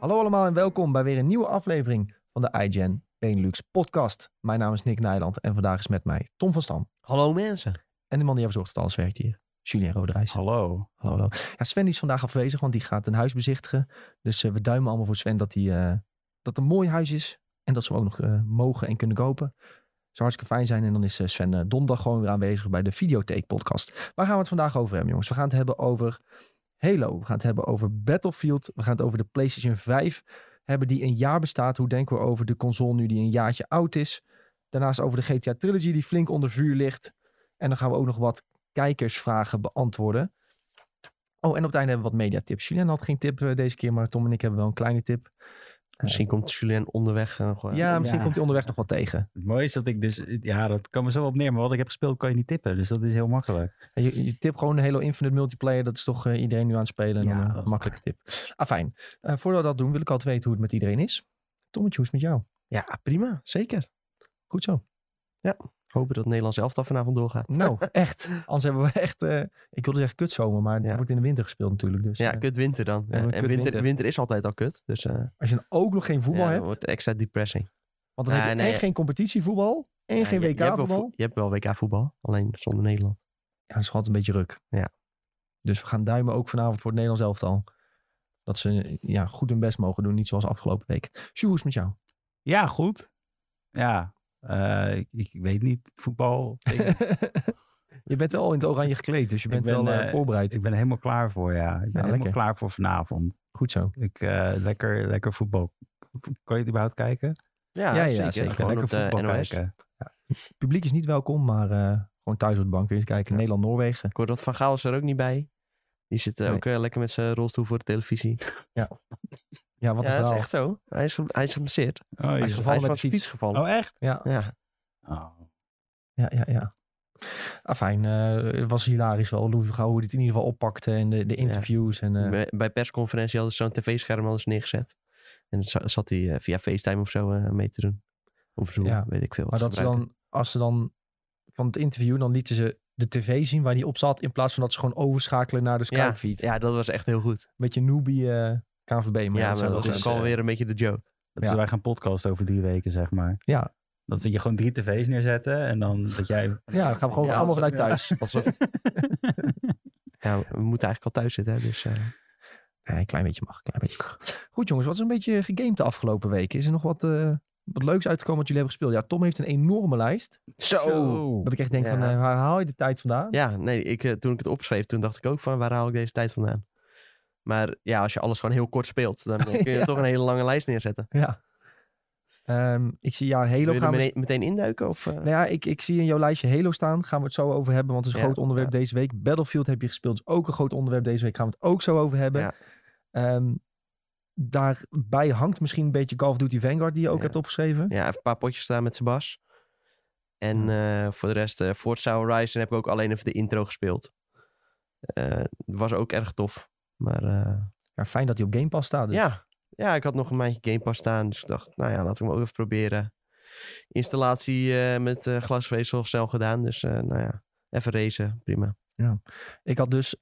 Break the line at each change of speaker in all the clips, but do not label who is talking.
Hallo allemaal en welkom bij weer een nieuwe aflevering van de iGen Benelux podcast. Mijn naam is Nick Nijland en vandaag is met mij Tom van Stam.
Hallo mensen.
En de man die ervoor zorgt dat alles werkt hier, Julien Roderijs.
Hallo.
Hallo, hallo. Ja, Sven die is vandaag afwezig, want die gaat een huis bezichtigen. Dus eh, we duimen allemaal voor Sven dat, hij, eh, dat het een mooi huis is. En dat ze hem ook nog eh, mogen en kunnen kopen. Zou hartstikke fijn zijn. En dan is eh, Sven eh, donderdag gewoon weer aanwezig bij de Videotheek podcast. Waar gaan we het vandaag over hebben, jongens? We gaan het hebben over Halo. We gaan het hebben over Battlefield. We gaan het over de PlayStation 5 hebben die een jaar bestaat. Hoe denken we over de console nu die een jaartje oud is? Daarnaast over de GTA Trilogy die flink onder vuur ligt. En dan gaan we ook nog wat kijkersvragen beantwoorden. Oh, en op het einde hebben we wat mediatips. Julien had geen tip eh, deze keer, maar Tom en ik hebben wel een kleine tip. Eh,
Misschien komt Julien onderweg eh, nog wel.
Ja, misschien
ja.
komt hij onderweg nog wat tegen.
Het mooie is dat ik dus, ja, dat kan me zo op neer, maar wat ik heb gespeeld kan je niet tippen, dus dat is heel makkelijk.
En Je, je tip gewoon een Halo Infinite multiplayer. Dat is toch eh, iedereen nu aan het spelen. En
Ja.
dan een makkelijke tip. Ah, fijn. Eh, voordat we dat doen, wil ik altijd weten hoe het met iedereen is. Tommetje, hoe is het met jou?
Ja, prima. Zeker.
Goed zo.
Hopen dat Nederlands elftal vanavond doorgaat.
Nou, echt. Anders hebben we echt... eh, ik wilde zeggen kutzomer, maar het
Ja.
wordt in de winter gespeeld natuurlijk. Dus
Ja,
eh,
kut winter dan.
Ja,
Ja,
maar
en
kut
winter,
winter.
winter is altijd al kut. Dus eh,
als je dan ook nog geen voetbal
ja, dat
hebt,
wordt extra depressing.
want dan
Ja,
heb je
nee,
en
ja.
geen competitievoetbal en
Ja,
geen
je- je hebt wel
WK-voetbal.
vo- Je hebt wel WK voetbal, alleen zonder Nederland.
Ja, dat is altijd een beetje ruk.
Ja.
Dus we gaan duimen ook vanavond voor het Nederlands elftal. Dat ze ja, goed hun best mogen doen, niet zoals afgelopen week. Sjoe, hoe is het met jou?
Ja, goed. Ja, eh, ik, ik weet niet, voetbal. Ik,
je bent wel in het oranje gekleed, dus je
Ik
bent
ben,
wel eh,
eh,
voorbereid.
ik ben er helemaal klaar voor, ja. Ik ben helemaal
lekker.
klaar voor vanavond.
Goed zo.
Ik, eh, lekker, lekker voetbal. Kan je het überhaupt kijken? Oké,
Ja, ja, zeker.
Gewoon
lekker
op de
voetbal
NOS.
kijken.
Het publiek is niet welkom, maar eh, gewoon thuis op de bank kun je kijken.
Ja.
Nederland-Noorwegen.
Ik hoor dat Van Gaal is er ook niet bij. Die zit eh,
Nee.
ook eh, lekker met zijn rolstoel voor de televisie.
Ja, wat
ja,
een
dat is
verhaal.
echt zo. Hij is, hij is geblesseerd.
Oh,
Hij is
joh.
gevallen
hij
met
is
de
van
fiets.
de fiets gevallen.
oh echt?
Ja,
Ja.
Oh.
ja, ja. ja. Ah, fijn. eh, het was hilarisch wel. Louis van Gaal, hoe hij het in ieder geval oppakte en de, de interviews. En, eh,
Bij, bij persconferentie hadden ze zo'n tv-scherm alles neergezet. En dan za- zat hij eh, via FaceTime of zo eh, mee te doen. Of zo,
Ja,
weet ik veel.
Maar
wat
dat
ze
ze
gebruiken.
dan, als ze dan van het interview, dan lieten ze de tv zien waar die op zat. In plaats van dat ze gewoon overschakelen naar de Skype-feed.
Ja, dat was echt heel goed.
Beetje noobie eh, KNVB. Maar
ja,
dat eh,
maar
zou
dat
wel
is ook
zijn.
alweer een beetje de joke.
Dat
Ja.
is- wij gaan podcast over drie weken, zeg maar.
Ja.
Dat je gewoon drie tv's neerzetten en dan dat jij...
Ja, dan gaan we gewoon
Ja,
allemaal
alsof-
vanuit thuis.
Alsof... ja, we moeten eigenlijk al thuis zitten, hè, dus... eh,
Nee, een klein beetje mag, een klein beetje mag. Goed jongens, wat is een beetje gegamed de afgelopen weken? Is er nog wat, eh, wat leuks uitgekomen wat jullie hebben gespeeld? Ja, Tom heeft een enorme lijst.
Zo.
Dat ik echt denk van,
Ja.
eh, waar haal je de tijd vandaan?
Ja, nee, ik, eh, toen ik het opschreef, toen dacht ik ook van, waar haal ik deze tijd vandaan? Maar ja, als je alles gewoon heel kort speelt, dan eh, kun je
Ja.
toch een hele lange lijst neerzetten.
Ja. Ehm, ik zie ja,
Wil
Halo
je er
gaan we
meteen, meteen induiken? Of, eh?
Nou ja, ik, ik zie in jouw lijstje Halo staan. Gaan we het zo over hebben, want het is een
Ja,
groot onderwerp deze week. Battlefield heb je gespeeld, is ook een groot onderwerp deze week. Gaan we het ook zo over hebben.
Ja.
Ehm, daarbij hangt misschien een beetje Call of Duty Vanguard, die je ook
Ja.
hebt opgeschreven.
Ja, even een paar potjes staan met Sebas. En eh, voor de rest, eh Forza Horizon heb ik ook alleen even de intro gespeeld. Eh, was ook erg tof. Maar eh,
Ja, fijn dat hij op Game Pass staat. Dus.
ja. ja, ik had nog een maandje Game Pass staan. Dus ik dacht, nou ja, laat ik hem ook even proberen. Installatie eh, met eh, glasvezel snel gedaan. Dus eh, nou ja, even racen. Prima.
Ik had dus,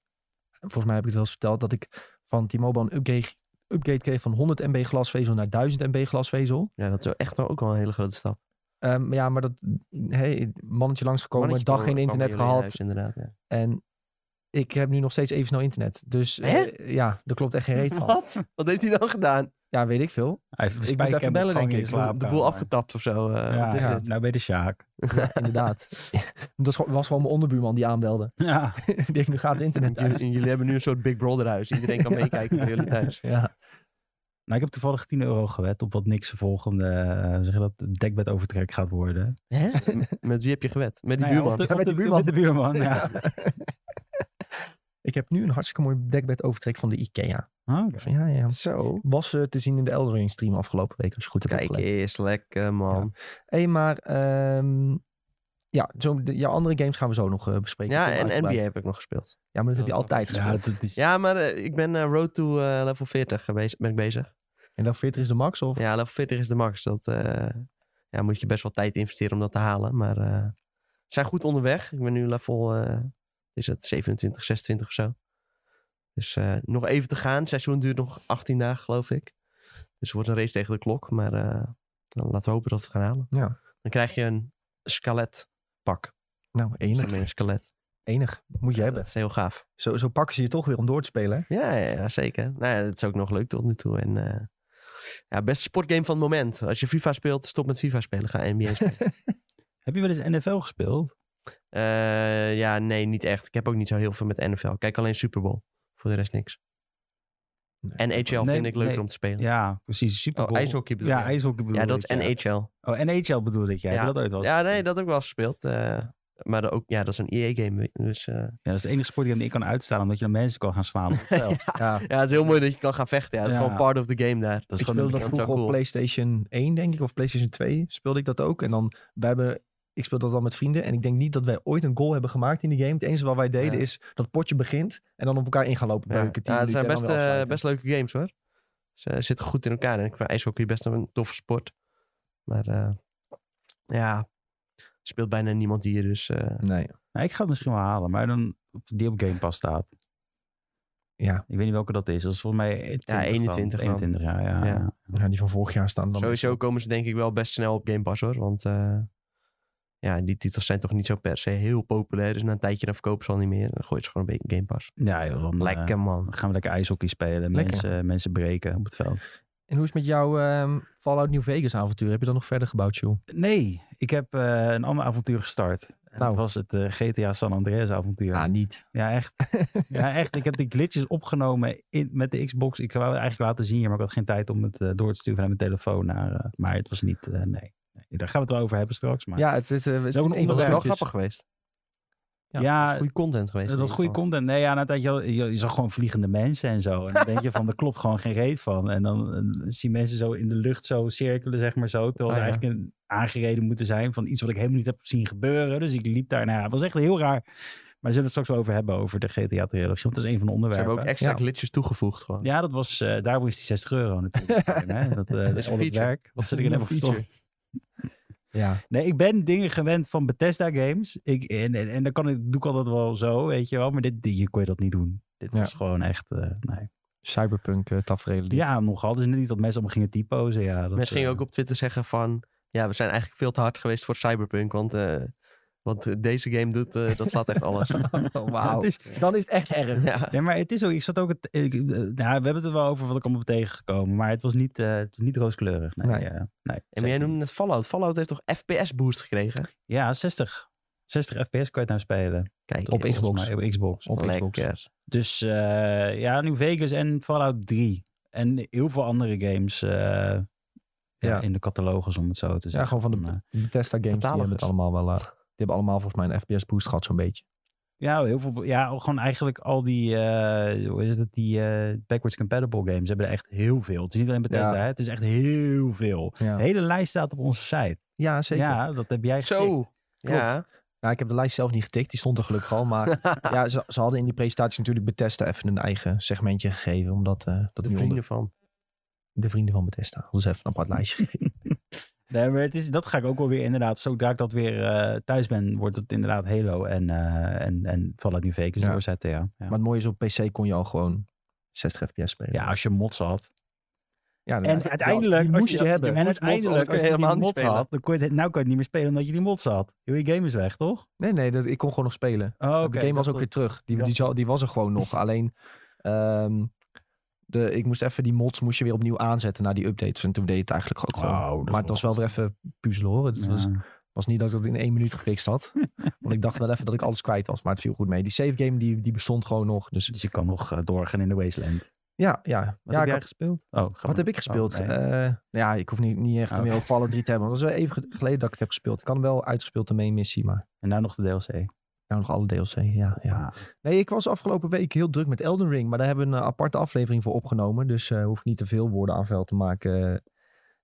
volgens mij heb ik het wel eens verteld, dat ik van T-Mobile een upgrade, upgrade kreeg van 100 MB glasvezel naar 1000 MB glasvezel.
Ja, dat is wel echt wel ook wel een hele grote stap.
Ehm, maar ja, maar dat hey, mannetje langsgekomen,
Mannetje
dag
kwam-
geen
kwam
internet
bij jullie in
gehad.
huis, inderdaad, ja.
En ik heb nu nog steeds even snel internet. Dus
Hè?
eh, ja, er klopt echt geen reet van.
Wat? Wat heeft hij dan gedaan?
Ja, weet ik veel.
Hij heeft
moet
een spijker
even
in de
bellen,
gang
denk
in
ik. De
je
boel
De boel
slaapkamer.
afgetapt of zo. eh,
Ja,
wat is
ja,
dit?
nou ben je de Sjaak.
Ja, inderdaad. Dat was- was gewoon mijn onderbuurman die aanbelde.
Ja.
Die heeft nu gratis internet
En
eh,
thuis.
jullie, jullie hebben nu een soort Big Brother huis. Iedereen kan meekijken bij jullie thuis.
Ja.
Nou, ik heb toevallig 10 euro gewet op wat niks de volgende, eh, hoe zeg je dat, dekbed overtrek gaat worden.
M- Met wie heb je gewet? Met die
Nou ja,
buurman.
op de-
Ja,
op
met
de-
de buurman.
Met de buurman, ja.
Ik heb nu een hartstikke mooi dekbed overtrek van de IKEA.
Ah, oké.
Dus Ja, ja.
Zo.
Was eh, te zien in de Eldering stream afgelopen week, als je goed hebt
Kijk
opgelet.
eens, lekker man.
Hé, maar ehm, ja, zo, de, jouw andere games gaan we zo nog eh, bespreken.
Ja,
Kom
en
uitgebreid.
NBA heb ik nog gespeeld.
Ja, maar dat heb je
Dat-
altijd
Ja,
gespeeld.
dat, dat is...
Ja, maar eh, ik ben eh, Road to eh, level 40 bezig, ben ik bezig.
En dan 40 is de max, of?
Ja, level 40 is de max. Dat eh, ja, moet je best wel tijd investeren om dat te halen. Maar eh, we zijn goed onderweg. Ik ben nu level eh, is het 27, 26 of zo. Dus eh, nog even te gaan. Het seizoen duurt nog 18 dagen, geloof ik. Dus het wordt een race tegen de klok. Maar eh, dan laten we hopen dat we het gaan halen.
Ja.
Dan krijg je een skelet pak.
Nou, enig.
Een skelet.
Enig. Moet je hebben.
Dat is heel gaaf.
Zo, zo pakken ze je toch weer om door te spelen. hè?
Ja, ja, ja, zeker. Nou ja, dat is ook nog leuk tot nu toe. En, eh, ja, beste sportgame van het moment. Als je FIFA speelt, stop met FIFA spelen. Ga NBA spelen.
Heb je wel eens NFL gespeeld?
Eh, ja, nee, niet echt. Ik heb ook niet zo heel veel met NFL. Ik Kijk alleen Super Bowl. Voor de rest niks.
Nee.
En NHL
Nee,
vind ik leuker
nee.
om te spelen.
Ja, precies. Super
oh,
Bowl.
ijshockey bedoel
ja,
je?
ijshockey bedoel
Ja, dat
ik,
is NHL.
Oh, NHL bedoelde ik. Ja, Heb je dat ooit wel eens
Ja, nee,
gespeeld?
dat heb ik wel eens gespeeld. eh, maar dat ook, ja, dat is een EA-game. Dus, eh,
Ja, dat is de enige sport die ik kan uitstaan, omdat je dan mensen kan gaan slaan op het veld.
Ja.
ja, het is heel mooi dat je kan gaan vechten. Ja. Het is
Ja.
gewoon part of the game daar.
Dat is
ik
gewoon
speelde
een
dat
dat is wel
vroeger op
cool.
PlayStation 1, denk ik, of PlayStation 2 speelde ik dat ook. En dan, wij hebben, ik speel dat dan met vrienden. En ik denk niet dat wij ooit een goal hebben gemaakt in die game. Het enige wat wij deden
Ja.
is dat potje begint en dan op elkaar in gaan lopen.
Ja.
Beuken, tien
Ja, het
minuten
zijn
en dan
best,
weer
eh,
afsluiten.
best leuke games hoor. Ze zitten goed in elkaar. En ik vind ijshockey best een toffe sport. Maar eh, ja, speelt bijna niemand hier. Dus eh,
Nee,
Nou, ik ga het misschien wel halen, maar dan op- die op Game Pass staat.
ja.
Ik weet niet welke dat is. Dat is volgens mij 20 dan.
21 dan.
21 jaar, ja.
Ja.
ja.
ja, die van vorig jaar staan dan.
sowieso komen ze denk ik wel best snel op Game Pass hoor. Want eh, ja, die titels zijn toch niet zo per se heel populair. Dus na een tijdje dan verkopen ze al niet meer. Dan gooi je ze gewoon een beetje Game Pass.
Ja, joh, dan eh,
Lekker man.
dan gaan we lekker ijshockey spelen.
Lekker.
Mensen, mensen breken op het veld.
En hoe is het met jouw ehm, Fallout New Vegas avontuur? Heb je dat nog verder gebouwd, Jules?
Nee, ik heb eh, een ander avontuur gestart. En
Nou.
Dat was het eh, GTA San Andreas avontuur.
Ja,
Ja,
Ah, niet.
echt. ja, echt. Ik heb die glitches opgenomen in, met de Xbox. Ik wou het eigenlijk laten zien, maar ik had geen tijd om het eh, door te sturen vanuit mijn telefoon. Naar, eh, maar het was niet, eh, nee. nee. Daar gaan we het wel over hebben straks. Maar
Ja, het, het, eh, het is
ook een
een
Dat
van
is
de
wel
onderwerp. dus-
grapjes.
grappig geweest.
Ja,
Ja,
Dat is goede content geweest.
Dat
in
was
ieder
goede
geval.
content. Nee, ja, na een tijdje, had- je, je zag gewoon vliegende mensen en zo. En dan denk je van, er klopt gewoon geen reet van. En dan eh, zie je mensen zo in de lucht zo cirkelen, zeg maar zo. Terwijl ze
Ah, ja.
eigenlijk een, aangereden moeten zijn van iets wat ik helemaal niet heb zien gebeuren. Dus ik liep daar naar. Het was echt heel raar. Maar we zullen het straks wel over hebben, over de GTA-trilogie. Want dat is een van
Ze
de onderwerpen.
hebben ook extra
Ja.
glitches toegevoegd gewoon.
Ja, dat was, eh, daarvoor is die 60 euro natuurlijk. hè? Dat, eh, dat is
een
al het
feature.
werk. Wat ze erin hebben
Feature.
gestopt.
Ja,
Nee, ik ben dingen gewend van Bethesda games. Ik, en, en, en dan kan ik, doe ik altijd wel zo, weet je wel. Maar dit, hier kon je dat niet doen. Dit
Ja.
was gewoon echt, eh, nee.
cyberpunk eh tafereel.
Ja, nogal. Dus niet dat mensen allemaal gingen typozen. Ja, dat,
Mensen
eh,
gingen ook op Twitter zeggen van... Ja, we zijn eigenlijk veel te hard geweest voor Cyberpunk. Want, eh, want eh, deze game doet... eh, dat slaat echt alles.
Oh, Wauw.
eh, Het is,
Dan is het echt erg.
ja.
nee, maar het is ook, ik zat ook, het, ik, eh, nou, we hebben het er wel over wat ik allemaal ben tegengekomen. Maar het was niet, eh, het was niet rooskleurig. Nee,
Nee.
eh, nee,
En jij
zeker niet.
noemde het Fallout. Fallout heeft toch FPS boost gekregen?
Ja, 60. 60 fps kan je het nou spelen.
Kijk,
Op
eens.
Xbox.
Volgens mij op Xbox.
Op Xbox.
Lekker.
Dus eh, ja, New Vegas en Fallout 3. En heel veel andere games eh, ja,
Ja.
in de catalogus, om het zo te
Ja,
zeggen.
gewoon van
Dan, eh,
de Bethesda games. Die
Catalogus.
hebben het allemaal wel... eh, die hebben allemaal volgens mij een FPS boost gehad zo'n beetje.
Ja, heel veel. Ja, gewoon eigenlijk al die, eh, hoe is het, die eh, backwards compatible games hebben er echt heel veel. Het is niet alleen Bethesda,
Ja.
hè? het is echt heel veel.
Ja,
De hele lijst staat op onze site.
ja zeker.
Ja, dat heb jij getikt.
Zo. Ja.
Nou, ik heb de lijst zelf niet getikt. Die stond er gelukkig al. Maar ja, ze, ze hadden in die presentatie natuurlijk Bethesda even een eigen segmentje gegeven. Omdat eh, dat
De
die onder-
vrienden van.
de vrienden van Bethesda hadden ze even een apart lijstje gegeven.
Nee, maar het is, dat ga ik ook wel weer inderdaad. Zodra ik dat weer eh, thuis ben, wordt het inderdaad Halo en, eh en, en Fallout New Vegas
Ja.
doorzetten. Ja. Ja.
Maar het mooie is, op PC kon je al gewoon 60 fps spelen.
ja, als je mods had.
Ja, dan-
En uiteindelijk,
Die
als
moest je, hebben.
En
moest mods, anders
uiteindelijk,
kon je
als je helemaal
helemaal
die
niet
mods
spelen.
had, dan kon je, het- nou kan je het niet meer spelen omdat je die mods had. Heel je game is weg, toch?
Nee, nee, dat, ik kon gewoon nog spelen.
Oh, oké.
de game Oh, was
dat-
ook weer terug. Die,
Ja.
die, zal- die was er gewoon nog. Alleen, ehm, de, ik moest even die mods moest je weer opnieuw aanzetten na die updates. En toen deed je het eigenlijk ook gewoon.
Oh, dat is
maar het was wel weer even puzzelen hoor. Het was,
Ja.
was niet dat ik dat in één minuut gefixt had. Want ik dacht wel even dat ik alles kwijt was. Maar het viel goed mee. Die save game die, die bestond gewoon nog. Dus
Dus je kan nog eh, doorgaan in de Wasteland.
ja, ja. ja,
Wat heb
ik
jij
had-
gespeeld? Oh, ga
wat
maar.
heb ik gespeeld?
Oh, nee.
Eh, nou ja, ik hoef niet, niet echt
Oh.
meer over Fallout 3 te hebben. Want dat is wel even ge- geleden dat ik het heb gespeeld. Ik had hem wel uitgespeeld, de main missie. Maar
En nou nog de DLC.
nou nog alle DLC. Ja, ja.
Ah.
Nee, ik was afgelopen week heel druk met Elden Ring. Maar daar hebben we een eh, aparte aflevering voor opgenomen. Dus eh hoef ik niet te veel woorden aan vuil te maken, eh,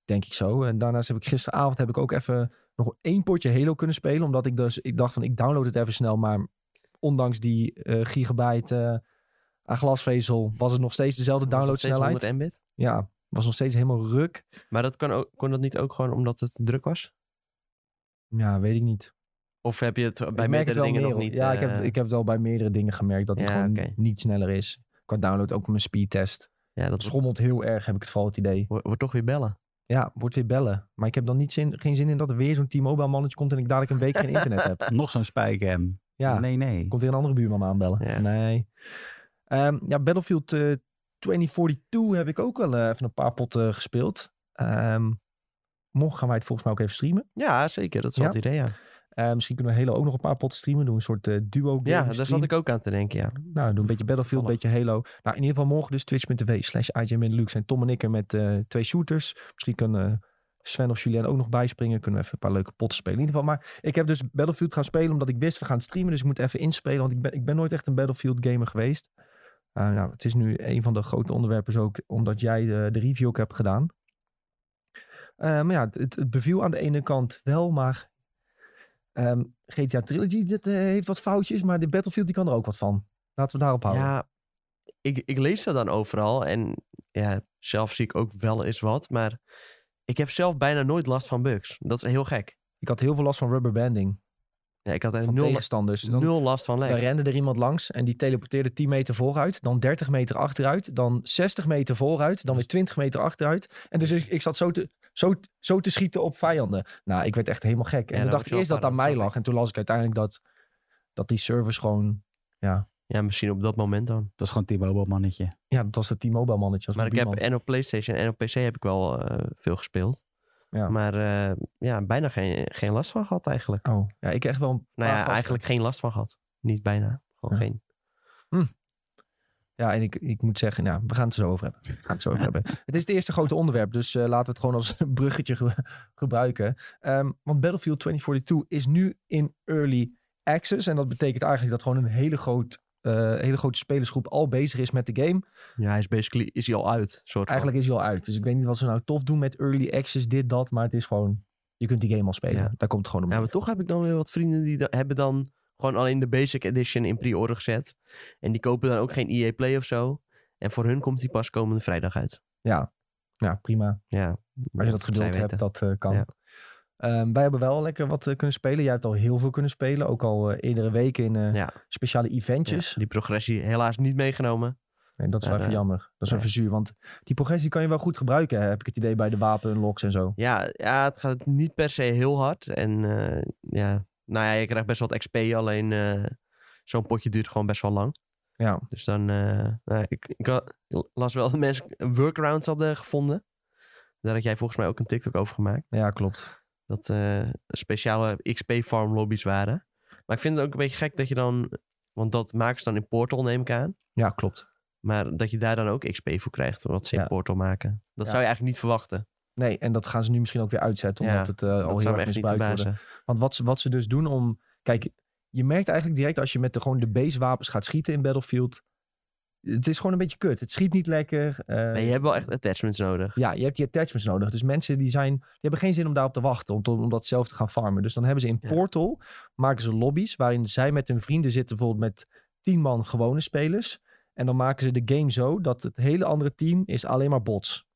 denk ik zo. En daarnaast heb ik gisteravond heb ik ook even nog één potje Halo kunnen spelen. Omdat ik dus, ik dacht van ik download het even snel. Maar ondanks die eh, gigabyte eh, aan glasvezel was het nog steeds dezelfde
Was nog steeds
downloadsnelheid.
100 Mbit.
Ja, was nog steeds helemaal ruk.
Maar dat kan ook, kon dat niet ook gewoon omdat het te druk was?
Ja, weet ik niet.
Of heb je het bij
ik merk het
meerdere
wel
dingen
meer.
nog niet?
ja, ik,
eh,
heb, ik heb het wel bij meerdere dingen gemerkt dat het
Ja,
gewoon
oké.
niet sneller is. Qua download ook op mijn speedtest.
Ja, dat
Het schommelt heel erg, heb ik het vooral het idee.
wordt wordt toch weer bellen.
Ja, wordt weer bellen. Maar ik heb dan niet zin, geen zin in dat er weer zo'n T-Mobile mannetje komt en ik dadelijk een week geen internet heb.
Ah. Nog zo'n spijkerhem.
Ja,
Nee, nee.
komt weer een andere buurman aanbellen.
Ja.
Nee. Ehm, ja, Battlefield eh, 2042 heb ik ook wel eh, even een paar potten gespeeld. Ehm morgen gaan wij het volgens mij ook even streamen.
Ja, zeker. Dat is
Ja.
wel het idee, ja.
Eh, misschien kunnen we Halo ook nog een paar potten streamen. Doen we een soort eh, duo game
Ja, daar
stream.
zat ik ook aan te denken, ja.
Nou, doen een beetje Battlefield, een beetje Halo. Nou, in ieder geval morgen dus twitch.tv slash Luke zijn Tom en ik er met eh, twee shooters. Misschien kan eh, Sven of Julien ook nog bijspringen. Kunnen we even een paar leuke potten spelen. In ieder geval, maar ik heb dus Battlefield gaan spelen omdat ik wist we gaan streamen. Dus ik moet even inspelen, want ik ben, ik ben nooit echt een Battlefield gamer geweest. Eh, nou, het is nu een van de grote onderwerpen dus ook omdat jij eh, de review ook hebt gedaan. Eh, maar ja, het, het beviel aan de ene kant wel, maar ehm, GTA Trilogy dit, eh, heeft wat foutjes, maar de Battlefield die kan er ook wat van. Laten we daarop houden.
Ja, ik, ik lees dat dan overal. En ja, zelf zie ik ook wel eens wat. Maar ik heb zelf bijna nooit last van bugs. Dat is heel gek.
Ik had heel veel last van rubberbanding.
Ja, ik had er
Van
nul,
tegenstanders. Dan,
nul last van
dan
lag.
rende er iemand langs en die teleporteerde 10 meter vooruit. Dan 30 meter achteruit. Dan 60 meter vooruit. Dan weer 20 meter achteruit. En dus ik, ik zat zo te, zo, zo te schieten op vijanden. Nou, ik werd echt helemaal gek. En toen
Ja, dan
dacht
word
ik
je wel
eerst dat het aan mij
paranoid,
lag. En toen las ik uiteindelijk dat, dat die servers gewoon...
Ja, misschien op dat moment dan.
Dat is gewoon T-Mobile mannetje.
Ja, dat was het T-Mobile mannetje. als
Maar ik heb
mobielman.
en op PlayStation en op PC heb ik wel eh, veel gespeeld.
Ja.
Maar eh, ja, bijna geen, geen last van gehad eigenlijk.
Oh, ja, ik echt wel een
Nou
paar
ja,
gasten.
eigenlijk geen last van gehad. Niet bijna. Gewoon
Ja.
geen.
Ja, en ik, ik moet zeggen, nou, we gaan het er zo over hebben. We gaan het zo over hebben. Het is het eerste grote onderwerp, dus eh, laten we het gewoon als een bruggetje ge- gebruiken. Ehm, want Battlefield 2042 is nu in early access. En dat betekent eigenlijk dat gewoon een hele, groot, eh, hele grote spelersgroep al bezig is met de game.
Ja, hij is basically is hij al uit. Soort van.
Eigenlijk is hij al uit. Dus ik weet niet wat ze nou tof doen met early access, dit, dat. Maar het is gewoon, je kunt die game al spelen.
Ja.
Daar komt het gewoon om.
Ja, maar toch heb ik dan weer wat vrienden die da- hebben dan gewoon alleen de Basic Edition in pre-order gezet. En die kopen dan ook geen EA Play of zo. En voor hun komt die pas komende vrijdag uit.
Ja, prima.
Ja.
Als je dat geduld
Zij weten.
hebt, dat eh, kan.
Ja.
Ehm, wij hebben wel lekker wat eh, kunnen spelen. Jij hebt al heel veel kunnen spelen. Ook al eh, eerdere weken in eh,
Ja.
speciale eventjes.
Ja, die progressie helaas niet meegenomen.
Nee, dat is wel
Maar,
even
eh,
jammer. Dat is
nee.
even zuur. Want die progressie kan je wel goed gebruiken, hè, heb ik het idee, bij de wapenlocks en zo.
Ja, ja, het gaat niet per se heel hard. En eh, ja, nou ja, je krijgt best wel wat XP. Alleen eh, zo'n potje duurt gewoon best wel lang.
Ja.
Dus dan, eh, nou, ik, ik had- las wel dat mensen workarounds hadden gevonden. Daar had jij volgens mij ook een TikTok over gemaakt.
Ja, klopt.
Dat eh, speciale XP-farm lobby's waren. Maar ik vind het ook een beetje gek dat je dan... Want dat maken ze dan in Portal, neem ik aan.
Ja, klopt.
Maar dat je daar dan ook XP voor krijgt, wat ze in
Ja.
Portal maken. Dat
Ja.
zou je eigenlijk niet verwachten.
Nee, en dat gaan ze nu misschien ook weer uitzetten,
Ja,
omdat het eh, al
dat
heel
zou me
erg
echt niet
misbruikt wordt.
verbazen.
Want wat ze, wat ze dus doen om... Kijk, je merkt eigenlijk direct als je met de, gewoon de base wapens gaat schieten in Battlefield... Het is gewoon een beetje kut. Het schiet niet lekker. eh,
Nee, je hebt wel echt attachments nodig.
Ja, je hebt die attachments nodig. Dus mensen die zijn, die hebben geen zin om daarop te wachten, om, om dat zelf te gaan farmen. Dus dan hebben ze in
Ja.
Portal, maken ze lobby's waarin zij met hun vrienden zitten, bijvoorbeeld met tien man gewone spelers. En dan maken ze de game zo dat het hele andere team is alleen maar bots.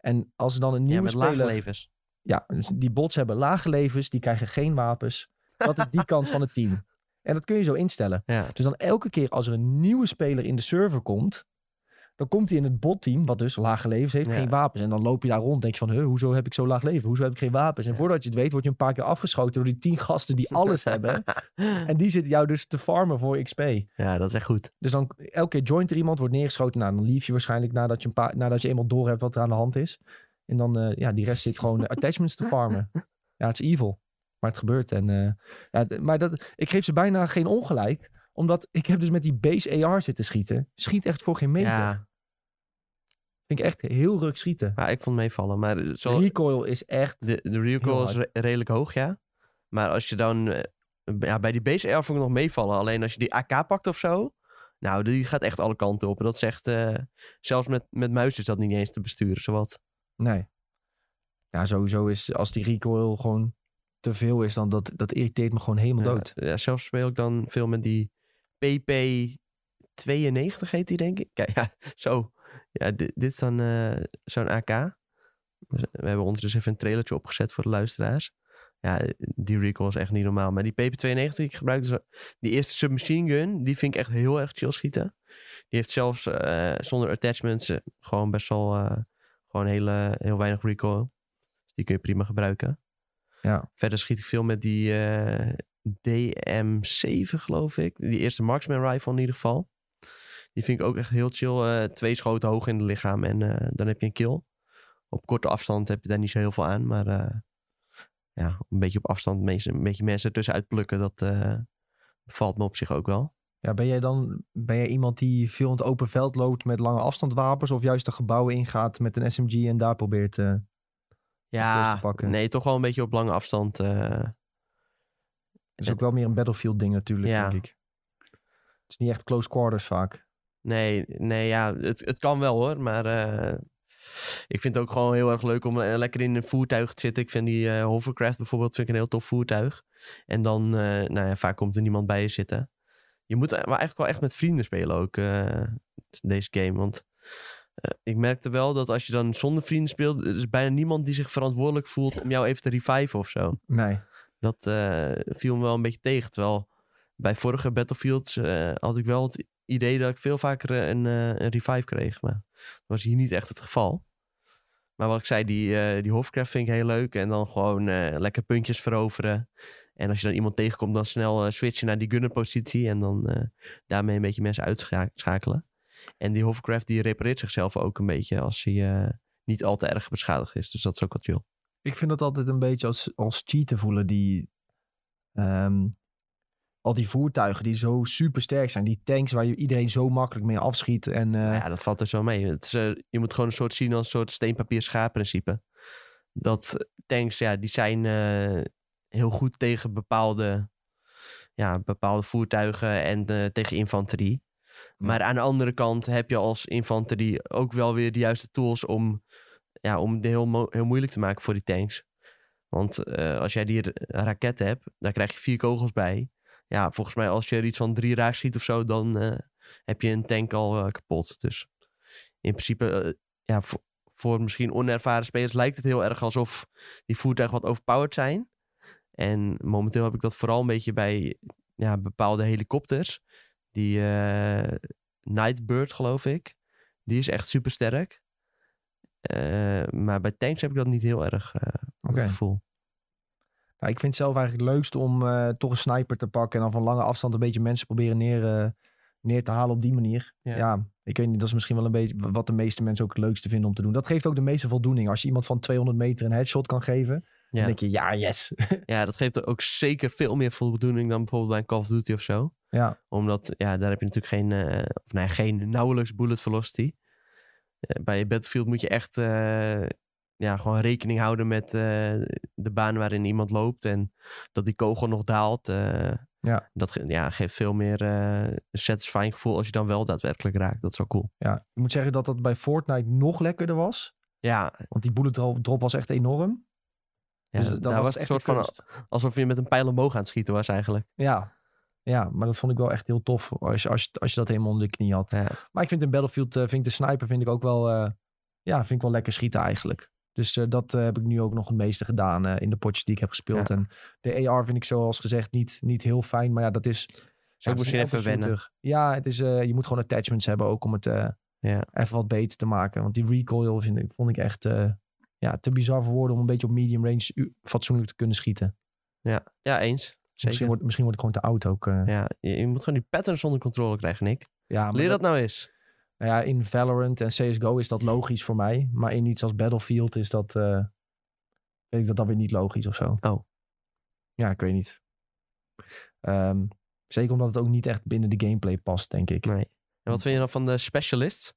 En als er dan een
Ja,
nieuwe
met lage
speler...
levens.
Ja, dus die bots hebben lage levens, die krijgen geen wapens. Dat is die kant van het team. En dat kun je zo instellen.
Ja.
Dus dan elke keer als er een nieuwe speler in de server komt, dan komt hij in het botteam, wat dus lage levens heeft,
Ja.
geen wapens. En dan loop je daar rond, denk je van, "Huh, hoezo heb ik zo laag leven? Hoezo heb ik geen wapens? En
Ja.
voordat je het weet, word je een paar keer afgeschoten door die tien gasten die alles hebben. En die zitten jou dus te farmen voor XP.
ja, dat is echt goed.
Dus dan elke keer joint er iemand, wordt neergeschoten. Nou, dan lief je waarschijnlijk nadat je, een paar, nadat je eenmaal door hebt wat er aan de hand is. En dan, eh, ja, die rest zit gewoon eh, attachments te farmen. Ja, het is evil. Maar het gebeurt. En, eh, ja, d- maar dat, ik geef ze bijna geen ongelijk. Omdat ik heb dus met die base AR zitten schieten. Schiet echt voor geen meter.
Ja,
Vind ik echt heel ruk schieten.
maar ik vond het meevallen. Maar zo,
Recoil is echt...
de, de
Heel
recoil is
hard.
re- redelijk hoog, ja. Maar als je dan... eh, ja, bij die base AR vond ik nog meevallen. Alleen als je die AK pakt of zo... Nou, die gaat echt alle kanten op. En dat zegt... eh zelfs met, met muis is dat niet eens te besturen, zowat.
Nee. Ja, sowieso is als die recoil gewoon te veel is, dan dat, dat irriteert me gewoon helemaal dood.
Ja, ja, zelfs speel ik dan veel met die PP92 heet die, denk ik. Kijk, ja, zo. Ja, di- dit is dan eh, zo'n AK. Dus We hebben ons dus even een trailertje opgezet voor de luisteraars. Ja, die recoil is echt eh, niet normaal. Maar die PP92 die ik gebruik, dus, die eerste submachine gun, die vind ik echt heel erg chill schieten. Die heeft zelfs eh, zonder attachments eh, gewoon best wel eh, gewoon hele, heel weinig recoil. Dus die kun je prima gebruiken.
Ja.
Verder schiet ik veel met die eh, DM7 geloof ik. Die eerste Marksman Rifle in ieder geval. Die vind ik ook echt heel chill. eh, twee schoten hoog in het lichaam en eh, dan heb je een kill. Op korte afstand heb je daar niet zo heel veel aan. Maar eh, ja, een beetje op afstand mensen, een beetje mensen tussenuit plukken, dat eh, valt me op zich ook wel.
Ja, ben jij dan ben jij iemand die veel in het open veld loopt met lange afstandwapens of juist de gebouwen ingaat met een SMG en daar probeert... eh,
Ja,
te pakken.
nee, toch wel een beetje op lange afstand. eh,
Het is ook wel meer een battlefield ding natuurlijk,
Ja.
denk ik. Het is niet echt close quarters vaak.
nee, nee, ja, het, het kan wel hoor, maar eh, ik vind het ook gewoon heel erg leuk om eh, lekker in een voertuig te zitten. Ik vind die eh, hovercraft bijvoorbeeld vind ik een heel tof voertuig. En dan, eh, nou ja, vaak komt er niemand bij je zitten. Je moet eh, maar eigenlijk wel echt met vrienden spelen ook, eh, deze game. Want eh, ik merkte wel dat als je dan zonder vrienden speelt, er is bijna niemand die zich verantwoordelijk voelt om jou even te reviven of zo.
Nee.
Dat eh, viel me wel een beetje tegen. Terwijl bij vorige Battlefields eh, had ik wel het idee dat ik veel vaker eh, een, eh, een revive kreeg. Maar dat was hier niet echt het geval. Maar wat ik zei, die, eh, die Hofcraft vind ik heel leuk. En dan gewoon eh, lekker puntjes veroveren. En als je dan iemand tegenkomt, dan snel eh, switchen naar die gunnerpositie. En dan eh, daarmee een beetje mensen uitschakelen. En die Hofcraft die repareert zichzelf ook een beetje als hij eh, niet al te erg beschadigd is. Dus dat is ook wel chill.
Ik vind dat altijd een beetje als, als cheaten voelen. Die, ehm, al die voertuigen die zo super sterk zijn. Die tanks waar je iedereen zo makkelijk mee afschiet. En eh,
Nou Ja, dat valt dus wel mee. Het is, eh, je moet gewoon een soort zien als een soort steen-papier-schaap-principe. Dat eh, tanks, ja, die zijn eh, heel goed tegen bepaalde, ja, bepaalde voertuigen en eh, tegen infanterie. Maar aan de andere kant heb je als infanterie ook wel weer de juiste tools om, ja, om het heel, mo- heel moeilijk te maken voor die tanks. Want eh, als jij die r- raket hebt, daar krijg je vier kogels bij. Ja, volgens mij als je er iets van drie raak ziet of zo, dan eh, heb je een tank al eh, kapot. Dus in principe, eh, ja, voor, voor misschien onervaren spelers lijkt het heel erg alsof die voertuigen wat overpowered zijn. En momenteel heb ik dat vooral een beetje bij ja, bepaalde helikopters. Die eh, Nightbird, geloof ik, die is echt super sterk. maar bij tanks heb ik dat niet heel erg, eh dat
Oké.
gevoel.
nou, ik vind het zelf eigenlijk het leukst om eh, toch een sniper te pakken. En dan van lange afstand een beetje mensen proberen neer, eh, neer te halen op die manier.
Ja.
Ja. ik weet niet. Dat is misschien wel een beetje wat de meeste mensen ook het leukste vinden om te doen. Dat geeft ook de meeste voldoening. Als je iemand van 200 meter een headshot kan geven. Dan
Ja.
denk je, ja, yes.
Ja, dat geeft ook zeker veel meer voldoening dan bijvoorbeeld bij een Call of Duty of zo.
ja.
Omdat, ja, daar heb je natuurlijk geen, eh, of, nou ja, geen nauwelijks bullet velocity. Eh, bij Battlefield moet je echt eh, ja, gewoon rekening houden met eh, de baan waarin iemand loopt. En dat die kogel nog daalt. eh,
Ja.
Dat ge- ja, geeft veel meer eh, een satisfying gevoel als je dan wel daadwerkelijk raakt. Dat is wel cool.
ja. Ik moet zeggen dat dat bij Fortnite nog lekkerder was.
Ja,
Want die bullet dro- drop was echt enorm.
ja
dus dan
daar was
het
het een
echt
soort
de
van
kunst.
alsof je met een pijl omhoog aan het schieten was eigenlijk.
Ja. ja, maar dat vond ik wel echt heel tof als, je- als, je- als je dat helemaal onder de knie had.
Ja.
Maar ik vind in Battlefield, eh, vind ik de sniper vind ik ook wel, eh, ja, vind ik wel lekker schieten eigenlijk. Dus eh, dat eh, heb ik nu ook nog het meeste gedaan eh, in de potjes die ik heb gespeeld. En de AR vind ik zoals gezegd niet, niet heel fijn, maar ja, dat is... ja, het is
misschien
een
even
auto shooter.
wennen.
Ja, het is, eh, je moet gewoon attachments hebben ook om het eh,
Ja.
even wat beter te maken. Want die recoil vind ik, vond ik echt eh, ja, te bizar voor woorden om een beetje op medium range u- fatsoenlijk te kunnen schieten.
Ja, ja eens.
Misschien
Zeker.
word, misschien word ik gewoon te oud ook. eh.
Ja, je, je moet gewoon die patterns onder controle krijgen, Nick.
Ja, maar
Leer dat nou eens.
nou ja, in Valorant en CSGO is dat logisch voor mij. Maar in iets als Battlefield is dat... eh, weet ik dat dan weer niet logisch of zo.
Oh.
Ja, ik weet niet. Ehm, zeker omdat het ook niet echt binnen de gameplay past, denk ik.
Nee. En wat vind je dan van de specialists?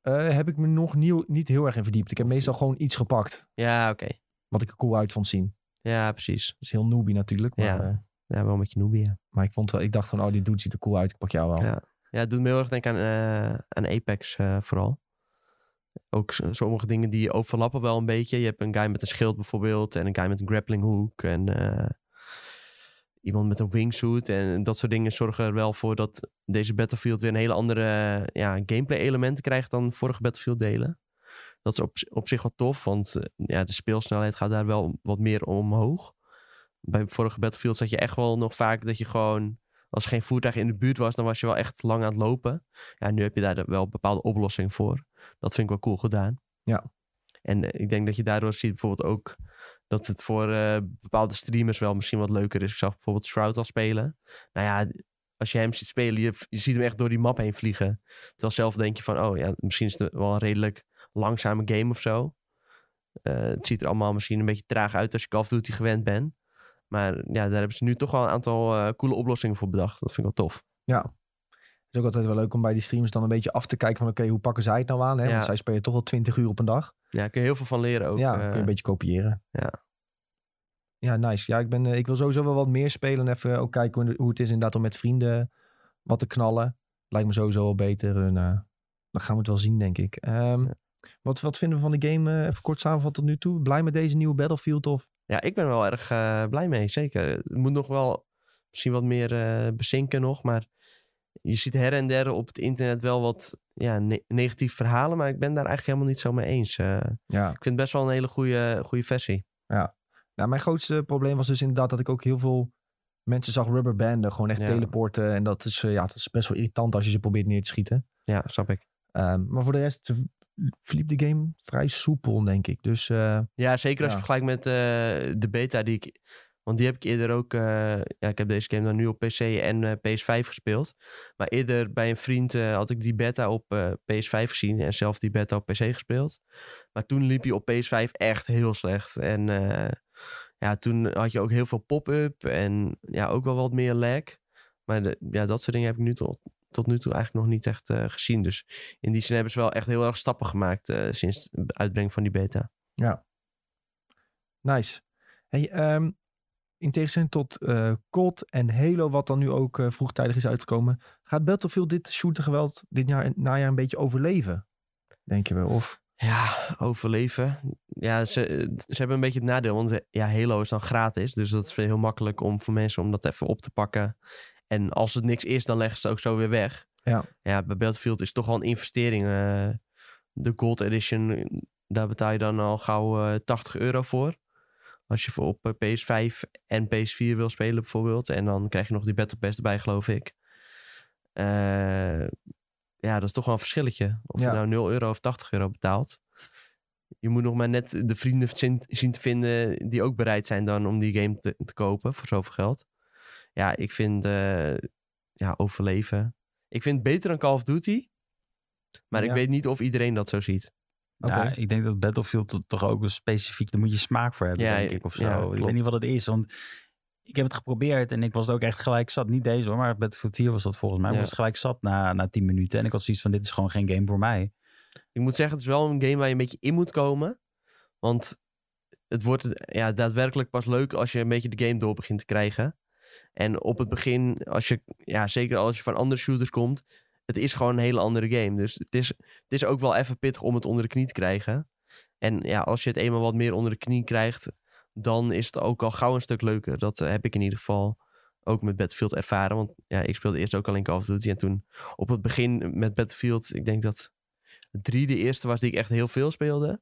Eh, heb ik me nog nieuw, niet heel erg in verdiept. Ik heb meestal gewoon iets gepakt.
Ja, oké.
Wat ik er cool uit vond zien.
Ja, precies.
Dat is heel noobie natuurlijk. Maar,
Ja.
eh,
Ja, wel een beetje noobie, ja.
maar ik, vond wel, ik dacht gewoon, oh, die dude ziet er cool uit. Ik pak jou wel.
Ja, ja het doet me heel erg denken aan, eh, aan Apex eh, vooral. Ook s- sommige dingen die overlappen wel een beetje. Je hebt een guy met een schild bijvoorbeeld en een guy met een grappling hook en eh, iemand met een wingsuit. En dat soort dingen zorgen er wel voor dat deze Battlefield weer een hele andere eh, ja, gameplay elementen krijgt dan vorige Battlefield delen. Dat is op, z- op zich wel tof, want eh, ja, de speelsnelheid gaat daar wel wat meer omhoog. Bij vorige Battlefield zat je echt wel nog vaak dat je gewoon als er geen voertuig in de buurt was, dan was je wel echt lang aan het lopen. Ja, nu heb je daar dan wel een bepaalde oplossing voor. Dat vind ik wel cool gedaan.
Ja.
En eh, ik denk dat je daardoor ziet bijvoorbeeld ook dat het voor eh, bepaalde streamers wel misschien wat leuker is. Ik zag bijvoorbeeld Shroud al spelen. Nou ja, als je hem ziet spelen, je, je ziet hem echt door die map heen vliegen. Terwijl zelf denk je van, oh ja, misschien is het wel een redelijk langzame game of zo. Eh, het ziet er allemaal misschien een beetje traag uit als je Call of Duty gewend bent. Maar ja, daar hebben ze nu toch wel een aantal eh, coole oplossingen voor bedacht. Dat vind ik wel tof.
Het is ook altijd wel leuk om bij die streams dan een beetje af te kijken van oké, hoe pakken zij het nou aan? Hè?
Ja.
Want zij spelen toch al 20 uur op een dag.
Ja, daar kun je heel veel van leren ook.
ja,
eh,
kun je een beetje kopiëren.
ja.
Ja, nice. Ja, ik, ben, eh, ik wil sowieso wel wat meer spelen. en Even ook kijken hoe, hoe het is inderdaad om met vrienden wat te knallen. Lijkt me sowieso wel beter. En, eh, dan gaan we het wel zien, denk ik. Ehm,
Ja.
wat, wat vinden we van de game? eh, even kort samenvat tot nu toe. Blij met deze nieuwe Battlefield of...
Ja, ik ben er wel erg eh, blij mee, zeker. Het moet nog wel misschien wat meer eh, bezinken nog, maar je ziet her en der op het internet wel wat ja, ne- negatief verhalen, maar ik ben daar eigenlijk helemaal niet zo mee eens. Eh,
Ja.
ik vind het best wel een hele goede, goede versie.
Nou, mijn grootste probleem was dus inderdaad dat ik ook heel veel mensen zag rubberbanden. Gewoon echt
Ja.
teleporten. En dat is, eh, ja, dat is best wel irritant als je ze probeert neer te schieten.
Ja, snap ik.
Ehm, maar voor de rest eh, verliep de game vrij soepel, denk ik. Dus eh,
Ja, zeker als je
Ja.
vergelijkt met eh, de beta die ik... Want die heb ik eerder ook... eh, ja, ik heb deze game dan nu op PC en eh, PS5 gespeeld. Maar eerder bij een vriend eh, had ik die beta op eh, PS5 gezien... en zelf die beta op PC gespeeld. Maar toen liep hij op PS5 echt heel slecht. En eh, ja, toen had je ook heel veel pop-up en ja, ook wel wat meer lag. Maar de- ja, dat soort dingen heb ik nu tot, tot nu toe eigenlijk nog niet echt eh, gezien. Dus in die zin hebben ze wel echt heel erg stappen gemaakt... eh, sinds de uitbreng van die beta.
Nice. Hey, ehm, in tegenstelling tot eh COD en Halo, wat dan nu ook eh, vroegtijdig is uitgekomen, gaat Battlefield dit shooter geweld dit jaar, najaar een beetje overleven? Denk je wel? Of
Ja, overleven. Ja, ze, eh, ze hebben een beetje het nadeel. Want eh, ja, Halo is dan gratis. Dus dat is heel makkelijk om voor mensen om dat even op te pakken. En als het niks is, dan leggen ze het ook zo weer weg.
Ja.
ja bij Battlefield is het toch wel een investering. eh. de Gold Edition, eh, daar betaal je dan al gauw eh, 80 euro voor. Als je voor op eh, PS5 en PS4 wil spelen bijvoorbeeld. En dan krijg je nog die Battle Pass erbij, geloof ik. Eh, ja, dat is toch wel een verschilletje. Of
Ja.
je nou 0 euro of 80 euro betaalt je moet nog maar net de vrienden zien, zien te vinden die ook bereid zijn dan om die game te, te kopen voor zoveel geld. Ja, ik vind eh, ja, overleven. Ik vind het beter dan Call of Duty. Maar ik
Ja.
weet niet of iedereen dat zo ziet.
Oké.
Ja, ik denk dat Battlefield dat toch ook een specifiek, daar moet je smaak voor hebben,
Ja,
denk ik, of zo.
ja,
ik
klopt.
weet niet wat het is, want ik heb het geprobeerd en ik was er ook echt gelijk zat. Niet deze hoor, maar Battlefield 4 was dat volgens mij. Ik
Ja.
was gelijk zat na, na 10 minuten en ik had zoiets van, dit is gewoon geen game voor mij.
Ik moet zeggen, het is wel een game waar je een beetje in moet komen. Want het wordt ja, daadwerkelijk pas leuk als je een beetje de game door begint te krijgen. En op het begin, als je, ja, zeker als je van andere shooters komt, het is gewoon een hele andere game. Dus het is, het is ook wel even pittig om het onder de knie te krijgen. En ja, als je het eenmaal wat meer onder de knie krijgt, dan is het ook al gauw een stuk leuker. Dat eh, heb ik in ieder geval ook met Battlefield ervaren. Want ja, ik speelde eerst ook alleen Call of Duty. En toen op het begin met Battlefield, ik denk dat 3 de eerste was die ik echt heel veel speelde.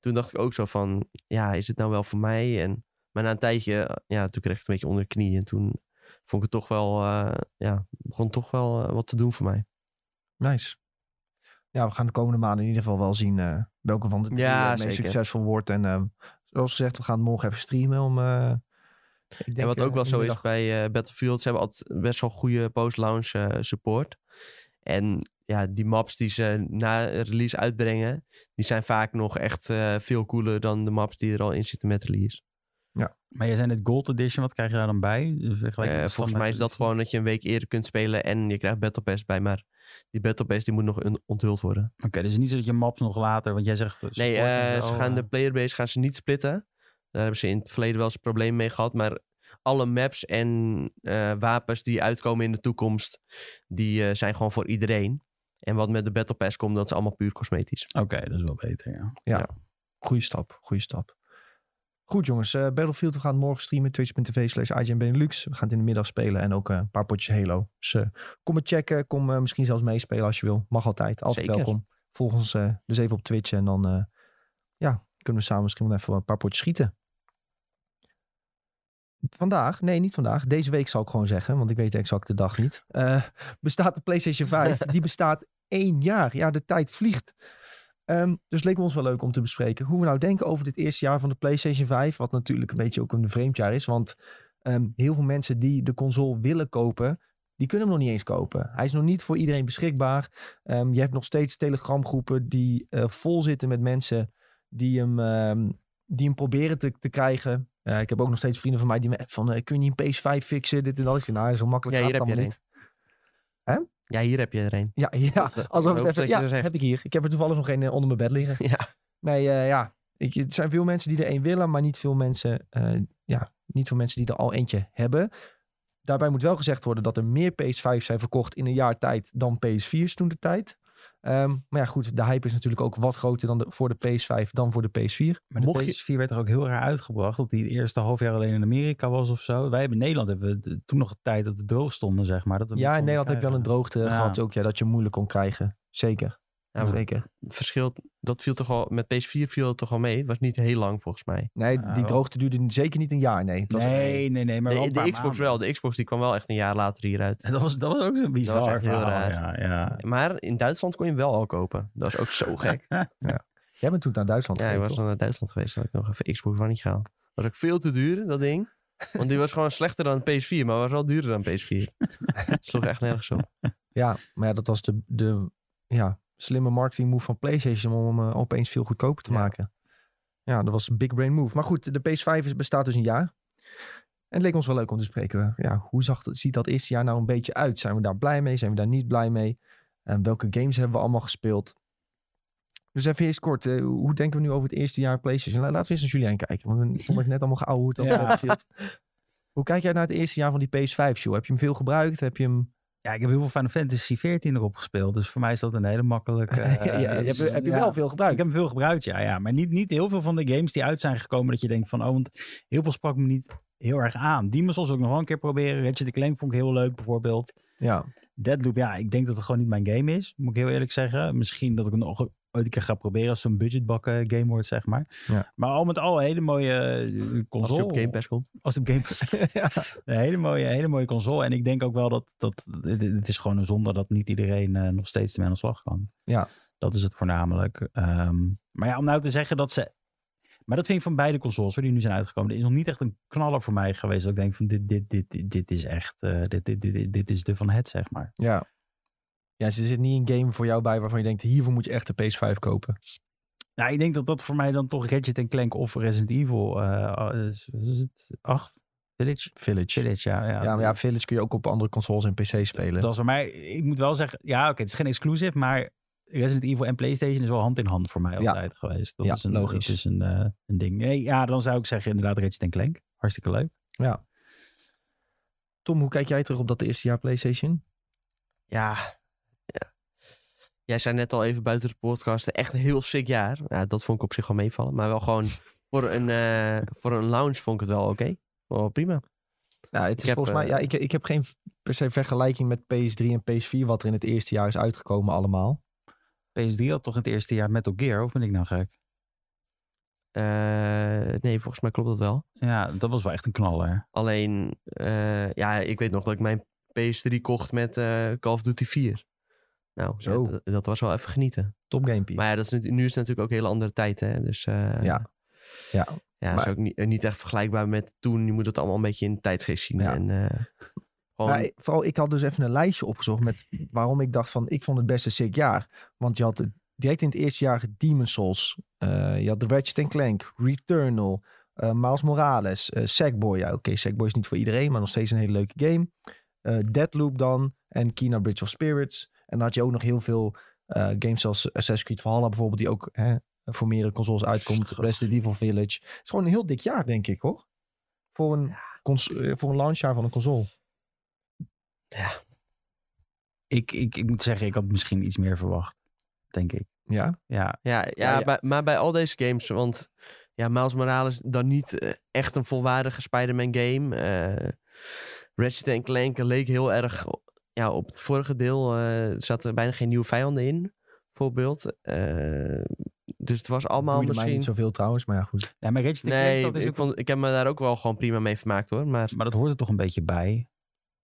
Toen dacht ik ook zo van, ja, is het nou wel voor mij? En, maar na een tijdje, eh, ja, toen kreeg ik het een beetje onder de knie. En toen vond ik het toch wel, eh, ja, begon toch wel eh, wat te doen voor mij.
nice. Ja, we gaan de komende maanden in ieder geval wel zien eh, welke van de drie
Ja,
eh, meest
zeker.
succesvol wordt. En eh, zoals gezegd, we gaan het morgen even streamen om. eh, ik denk,
En wat
eh,
ook wel
in
zo
de
is
middag-
bij eh, Battlefield, ze hebben altijd best wel goede post-launch eh, support. En ja, die maps die ze na release uitbrengen, die zijn vaak nog echt eh, veel cooler dan de maps die er al in zitten met release.
Maar jij zei net Gold Edition, wat krijg je daar dan bij? Dus In vergelijking
Eh,
met-
volgens mij is dat gewoon dat je een week eerder kunt spelen en je krijgt Battle Pass bij. Maar die Battle Pass die moet nog un- onthuld worden.
Oké, dus niet zo dat je maps nog later, want jij zegt...
Nee, eh, ze gaan de playerbase gaan ze niet splitten. Daar hebben ze in het verleden wel eens problemen mee gehad. Maar alle maps en eh, wapens die uitkomen in de toekomst, die eh, zijn gewoon voor iedereen. En wat met de Battle Pass komt, dat is allemaal puur cosmetisch.
Oké, dat is wel beter, ja.
Goeie stap, goede stap. Goed jongens, eh, Battlefield, we gaan het morgen streamen. Twitch.tv slash IGN Benelux. We gaan het in de middag spelen en ook eh, een paar potjes Halo. Dus eh, kom het checken, kom eh, misschien zelfs meespelen als je wil. Mag altijd, altijd
Zeker.
welkom. Volg ons eh, dus even op Twitch en dan eh, ja, kunnen we samen misschien wel even een paar potjes schieten. Vandaag, nee, niet vandaag. Deze week zal ik gewoon zeggen, want ik weet de exacte dag niet. Eh, bestaat de PlayStation 5? die bestaat één jaar. Ja, de tijd vliegt. Ehm, dus het leek ons wel leuk om te bespreken hoe we nou denken over dit eerste jaar van de PlayStation 5. Wat natuurlijk een beetje ook een vreemd jaar is, want ehm, heel veel mensen die de console willen kopen, die kunnen hem nog niet eens kopen. Hij is nog niet voor iedereen beschikbaar. Ehm, je hebt nog steeds telegramgroepen die eh, vol zitten met mensen die hem, ehm, die hem proberen te, te krijgen. Eh, ik heb ook nog steeds vrienden van mij die me appen van... eh, kun je een PS5 fixen, dit en dat. Ik zeg, nou, zo makkelijk
Ja,
gaat
hier
het
heb je
allemaal
er
niet. Hè?
Ja, hier heb je er een.
Ja, ja. Alsof
Dat- ik
het
hoop
even,
dat je
ja,
er zegt.
heb ik hier. Ik heb er toevallig nog een eh, onder mijn bed liggen.
Ja.
Nee, eh, ja. Ik, het zijn veel mensen die er één willen, maar niet veel, mensen, eh, ja, niet veel mensen die er al eentje hebben. Daarbij moet wel gezegd worden dat er meer PS5's zijn verkocht in een jaar tijd dan PS4's toen de tijd. Ehm, maar ja, goed, de hype is natuurlijk ook wat groter dan de, voor de PS5 dan voor de PS4.
Maar de
Mocht je-
PS4 werd er ook heel raar uitgebracht. Dat die het eerste half jaar alleen in Amerika was of zo. Wij hebben in Nederland hebben we de- toen nog een tijd dat we droog stonden, zeg maar. Dat we hem
Ja, in
niet konden
Nederland heb je wel een
krijgen.
droogte
Ja.
gehad ook, ja, dat je moeilijk kon krijgen. Zeker.
Ja, maar
Zeker.
het verschil, dat viel toch al, met PS4 viel het toch al mee. Was niet heel lang volgens mij.
Nee,
Ja,
die
wel.
droogte duurde zeker niet een jaar, nee. Het was-
Nee, nee, nee. Maar wel
De,
een
de
paar
Xbox
maanden.
wel. De Xbox die kwam wel echt een jaar later hieruit.
Dat was, dat was ook zo bizar.
echt heel
verhaal,
raar.
Ja, ja.
Maar in Duitsland kon je hem wel al kopen. Dat is ook zo gek.
Jij bent toen naar Duitsland
Ja, ik
geweest,
was
toch?
dan naar Duitsland geweest. Dan had ik nog even Xbox One niet gehaald. Was ook veel te duur, dat ding. Want die was gewoon slechter dan een PS4, maar was wel duurder dan een PS4. Sloeg echt nergens op.
Ja, maar ja, dat was de, de ja, slimme marketing move van PlayStation om hem eh, opeens veel goedkoper te
Ja.
maken. Ja, dat was een big brain move. Maar goed, de PS5 is- bestaat dus een jaar. En het leek ons wel leuk om te spreken. Ja, hoe zag, dat- ziet dat eerste jaar nou een beetje uit? Zijn we daar blij mee? Zijn we daar niet blij mee? En welke games hebben we allemaal gespeeld? Dus even eerst kort, eh, hoe denken we nu over het eerste jaar PlayStation? La- Laten we eerst naar Julien kijken, want we vond ik net allemaal geouwe hoe het
Ja.
allemaal opviel. Hoe kijk jij naar het eerste jaar van die PS5, show? Heb je hem veel gebruikt? Heb je hem
Ja, ik heb heel veel Final Fantasy 14 erop gespeeld. Dus voor mij is dat een hele makkelijke...
ja, ja,
eh,
heb, je- heb je
ja.
wel veel gebruikt?
Ik heb hem veel gebruikt, ja. ja. Maar niet, niet heel veel van de games die uit zijn gekomen dat je denkt van... Oh, want heel veel sprak me niet heel erg aan. Die moest ons ook nog wel een keer proberen. Ratchet Clank vond ik heel leuk, bijvoorbeeld.
Ja.
Deadloop, ja, ik denk dat het gewoon niet mijn game is. Moet ik heel eerlijk zeggen. Misschien dat ik het nog ooit een keer ga proberen als zo'n budgetbakken game wordt, zeg maar.
Ja.
Maar al met al een hele mooie eh,
Als
console.
je op Game Pass komt.
Als het op Game Pass. Een hele mooie, hele mooie console. En ik denk ook wel dat, dat het- het is gewoon een zonde dat niet iedereen eh, nog steeds ermee aan de slag kan.
Ja.
Dat is het voornamelijk. Ehm, maar ja, om nou te zeggen dat ze... Maar dat vind ik van beide consoles hoor, die nu zijn uitgekomen. Er is nog niet echt een knaller voor mij geweest. Dat ik denk van dit, dit, dit, dit, dit is echt... eh, dit, dit, dit, dit, dit is de van het, zeg maar.
ja. Ja, ze zit niet een game voor jou bij waarvan je denkt, hiervoor moet je echt de PS5 kopen.
Nou, ik denk dat dat voor mij dan toch Gadget en Clank of Resident Evil... eh is, is het acht? Village?
Village.
Village, ja.
Ja, maar ja, Village kun je ook op andere consoles en PC spelen.
Dat is wel- maar ik moet wel zeggen, ja, oké, het is geen exclusive, maar Resident Evil en PlayStation is wel hand in hand voor mij
Ja.
altijd geweest. Dat
Ja,
is een,
logisch.
Dat is een, eh, een ding. Nee, ja, dan zou ik zeggen inderdaad Ratchet Clank. Hartstikke leuk.
Tom, hoe kijk jij terug op dat eerste jaar PlayStation?
Ja. ja. Jij zei net al even buiten de podcast, echt een heel sick jaar. Ja, dat vond ik op zich wel meevallen. Maar wel gewoon, voor een, eh, voor een lounge vond ik het wel oké. Wel prima.
Nou, het is
heb,
volgens mij,
eh,
ja, ik, ik heb geen v- per se vergelijking met PS3 en PS4, wat er in het eerste jaar is uitgekomen allemaal.
PS3 had toch in het eerste jaar Metal Gear, of ben ik nou gek?
Eh, nee, volgens mij klopt dat wel.
Ja, dat was wel echt een knaller.
Alleen, eh, ja, ik weet nog dat ik mijn PS3 kocht met eh, Call of Duty 4. Nou,
Zo.
ja, dat, dat was wel even genieten.
Top gamepie.
Maar ja, dat is, nu nu is het natuurlijk ook een hele andere tijd, hè. Dus eh,
Ja. Ja.
ja
Maar-
is ook niet, eh, niet echt vergelijkbaar met toen. Je moet het allemaal een beetje in de tijdsgeest zien.
Ja.
En, eh, gewoon,
Maar vooral, ik had dus even een lijstje opgezocht met waarom ik dacht van, ik vond het best een sick jaar. Want je had het- direct in het eerste jaar Demon's Souls. eh, je had The Ratchet Clank, Returnal, eh Miles Morales, eh, Sackboy. Ja, oké, Sackboy is niet voor iedereen, maar nog steeds een hele leuke game. Eh, Deadloop dan en Kina Bridge of Spirits. En dan had je ook nog heel veel eh, games als Assassin's Creed Valhalla bijvoorbeeld, die ook hè, voor meerdere consoles uitkomt. Resident Evil Village. Het is gewoon een heel dik jaar, denk ik, hoor. Voor een, cons- eh, voor een launchjaar van een console.
Ik, ik, ik moet zeggen, ik had misschien iets meer verwacht, denk ik.
Ja.
Ja,
Ja, ja,
Ja, ja.
Bij, maar bij al deze games, want ja, Miles Morales dan niet eh, echt een volwaardige Spider-Man game. Eh Ratchet Clank leek heel erg, ja, op het vorige deel eh zaten bijna geen nieuwe vijanden in, bijvoorbeeld. Eh, Dus het was allemaal
Boeide mij
misschien...
niet zoveel trouwens, maar ja, goed.
Ja, maar Ratchet
Nee,
Clank, dat
ik,
is ook-
vond, ik heb me daar ook wel gewoon prima mee vermaakt hoor. Maar
Maar dat hoort er toch een beetje bij.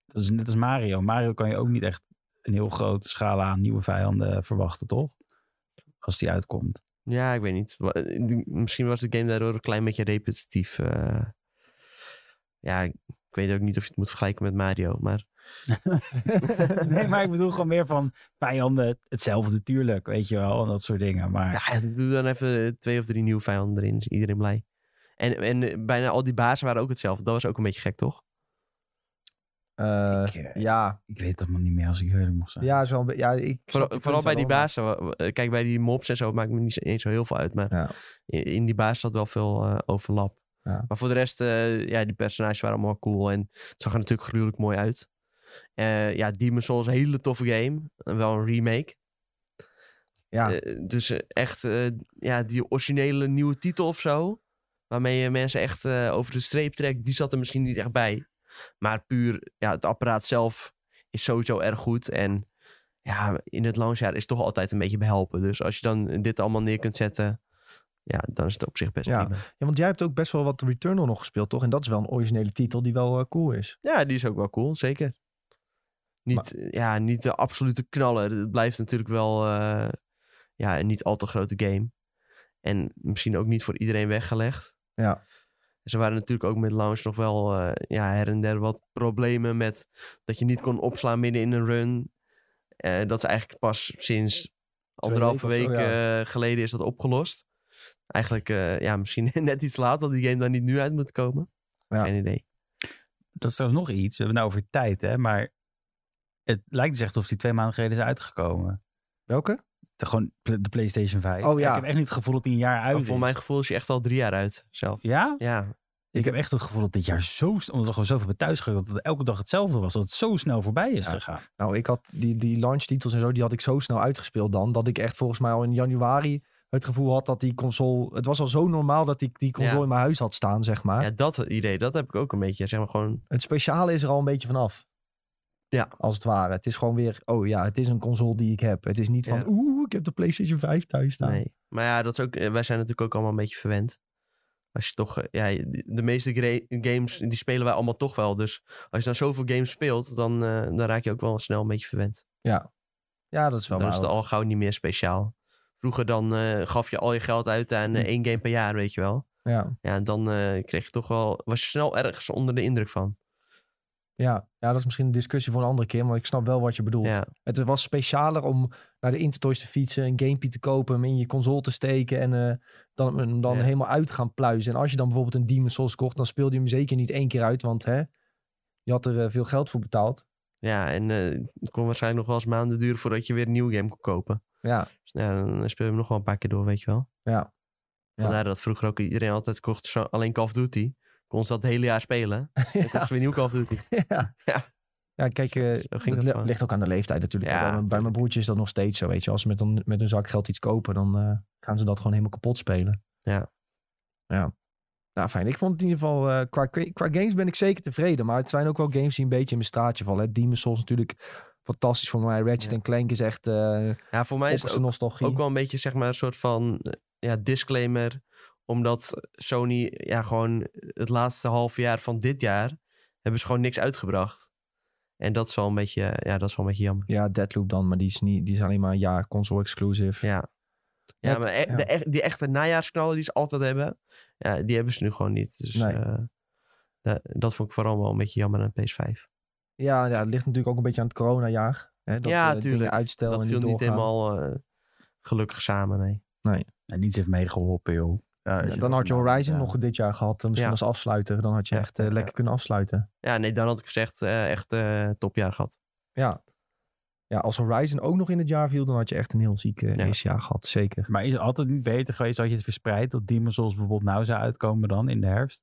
Dat is net als Mario. Mario kan je ook niet echt een heel grote scala aan nieuwe vijanden verwachten, toch? Als die uitkomt.
ja, ik weet niet. Wa- eh, Misschien was de game daardoor een klein beetje repetitief. eh. Ja, ik ik weet ook niet of je het moet vergelijken met Mario. Maar
nee, maar ik bedoel gewoon meer van vijanden hetzelfde, tuurlijk, weet je wel, en dat soort dingen. Maar
ja, doe dan even eh, twee of drie nieuwe vijanden erin. Is iedereen blij. En, en eh, bijna al die bazen waren ook hetzelfde. Dat was ook een beetje gek, toch?
Eh,
ik, eh,
ja,
ik weet het allemaal niet meer als ik eerlijk mag zijn.
ja, is wel een be- ja, ik snap je
Vooral,
punt
vooral bij
wel,
die
maar-
bazen. wa- wa- eh, Kijk, bij die mobs en zo maakt me niet zo- eens zo heel veel uit. Maar
Ja.
in, in die baas zat wel veel eh, overlap.
Ja.
Maar voor de rest, eh, ja, die personages waren allemaal cool. En het zag er natuurlijk gruwelijk mooi uit. Eh, ja, Demon's Souls, een hele toffe game. Eh, Wel een remake.
Ja.
Eh, dus eh, echt, eh, ja, die originele nieuwe titel of zo. Waarmee je mensen echt eh, over de streep trekt. Die zat er misschien niet echt bij. Maar puur, ja, het apparaat zelf is sowieso erg goed. En ja, in het launchjaar is toch altijd een beetje behelpen. Dus als je dan dit allemaal neer kunt zetten, ja, dan is het op zich best
Ja.
prima.
Ja, want jij hebt ook best wel wat Returnal nog gespeeld, toch? En dat is wel een originele titel die wel eh, cool is.
Ja, die is ook wel cool, zeker. Niet, eh, ja, niet de absolute knaller. Het blijft natuurlijk wel eh, ja, een niet al te grote game. En misschien ook niet voor iedereen weggelegd.
Ja.
Ze waren natuurlijk ook met launch nog wel eh, ja, her en der wat problemen met dat je niet kon opslaan midden in een run. Eh, dat is eigenlijk pas sinds anderhalve
weken
week
of zo,
eh, geleden is dat opgelost. Eigenlijk eh, ja, misschien net iets laat dat die game dan niet nu uit moet komen.
Ja.
Geen idee.
Dat is trouwens nog iets, we hebben het nou over tijd, hè, maar het lijkt dus echt alsof die twee maanden geleden is uitgekomen.
Welke?
De, gewoon pl- de PlayStation 5.
Oh, ja.
Ik heb echt niet het gevoel dat die een jaar uit
Maar
is.
voor mijn gevoel is je echt al drie jaar uit zelf.
Ja?
Ja,
Ik heb echt het gevoel dat dit jaar zo, omdat we gewoon zoveel hebben thuisgekomen, dat het elke dag hetzelfde was, dat het zo snel voorbij is
Ja.
gegaan.
Nou, ik had die, die launchtitels en zo, die had ik zo snel uitgespeeld dan, dat ik echt volgens mij al in januari het gevoel had dat die console... Het was al zo normaal dat ik die console
Ja.
in mijn huis had staan, zeg maar.
ja, dat idee, dat heb ik ook een beetje. Zeg maar gewoon,
Het speciale is er al een beetje vanaf.
Ja.
Als het ware. Het is gewoon weer, oh ja, het is een console die ik heb. Het is niet van,
Ja.
oeh, ik heb de PlayStation 5 thuis staan.
nee. Maar ja, dat is ook, eh, wij zijn natuurlijk ook allemaal een beetje verwend. Als je toch, eh, ja, de- de meeste gra- games, die spelen wij allemaal toch wel. Dus als je dan zoveel games speelt, dan, eh, dan raak je ook wel snel een beetje verwend.
Ja, dat is wel
Dan is
waar.
het al gauw niet meer speciaal. Vroeger dan eh, gaf je al je geld uit aan eh, één game per jaar, weet je wel.
Ja.
Ja, dan eh, kreeg je toch wel, was je snel ergens onder de indruk van.
Ja. ja, dat is misschien een discussie voor een andere keer, maar ik snap wel wat je bedoelt.
Ja,
Het was specialer om naar de Intertoys te fietsen, een gamepie te kopen, hem in je console te steken en eh, dan, hem dan
Ja.
helemaal uit te gaan pluizen. En als je dan bijvoorbeeld een Demon's Souls kocht, dan speelde je hem zeker niet één keer uit, want hè, je had er eh, veel geld voor betaald.
ja en eh, het kon waarschijnlijk nog wel eens maanden duren voordat je weer een nieuwe game kon kopen.
Ja,
Dus nou ja, dan speel je hem nog wel een paar keer door, weet je wel.
Ja. Ja.
Vandaar dat vroeger ook iedereen altijd kocht zo- alleen Call of Duty. Kon ze dat het hele jaar spelen. Dan kocht ze weer nieuw Call of Duty.
ja.
Ja.
Ja, kijk, eh, dat
dat
li-
gewoon.
ligt ook aan de leeftijd natuurlijk.
Ja,
bij, mijn, bij mijn
tuurlijk.
broertje is dat nog steeds zo, weet je. Als ze met een, met een zak geld iets kopen, dan eh, gaan ze dat gewoon helemaal kapot spelen.
Ja.
Ja. Nou, fijn. Ik vond het in ieder geval, eh, qua, qua games ben ik zeker tevreden. Maar het zijn ook wel games die een beetje in mijn straatje vallen. Hè. Demon's Souls natuurlijk fantastisch voor mij. Ratchet
Ja.
en Clank is echt eh
Ja, voor mij is het
opperste
ook,
nostalgie.
ook wel een beetje zeg maar een soort van eh, ja, disclaimer. Omdat Sony ja, gewoon het laatste half jaar van dit jaar hebben ze gewoon niks uitgebracht. En dat is wel een beetje, eh, ja, dat is wel een beetje jammer.
Ja, Deadloop dan, maar die is, niet, die is alleen maar een jaar console-exclusive.
Ja.
Net-
Ja, maar e-
ja.
De e- die echte najaarsknallen die ze altijd hebben, ja, die hebben ze nu gewoon niet. Dus
Nee.
eh, da- dat vond ik vooral wel een beetje jammer aan PS5.
Ja, ja, het ligt natuurlijk ook een beetje aan het coronajaar. Hè, dat,
Ja,
eh, dingen
tuurlijk.
Uitstel
dat
en
viel niet
doorgaan.
helemaal eh, gelukkig samen, nee.
En niets heeft meegeholpen, joh. Ja, als
Ja, dan had je
dat-
Horizon
ja.
nog dit jaar gehad. eh, Misschien
Ja.
als afsluiter. Dan had je
Ja,
echt eh,
ja,
lekker
ja.
kunnen afsluiten.
Ja, nee, dan had ik gezegd, eh, echt eh, topjaar gehad.
Ja. ja, als Horizon ook nog in het jaar viel, dan had je echt een heel ziek eh,
Ja.
eerste jaar gehad. Zeker.
Maar is het altijd niet beter geweest als je het verspreid dat Demon's Souls bijvoorbeeld nou zou uitkomen dan in de herfst?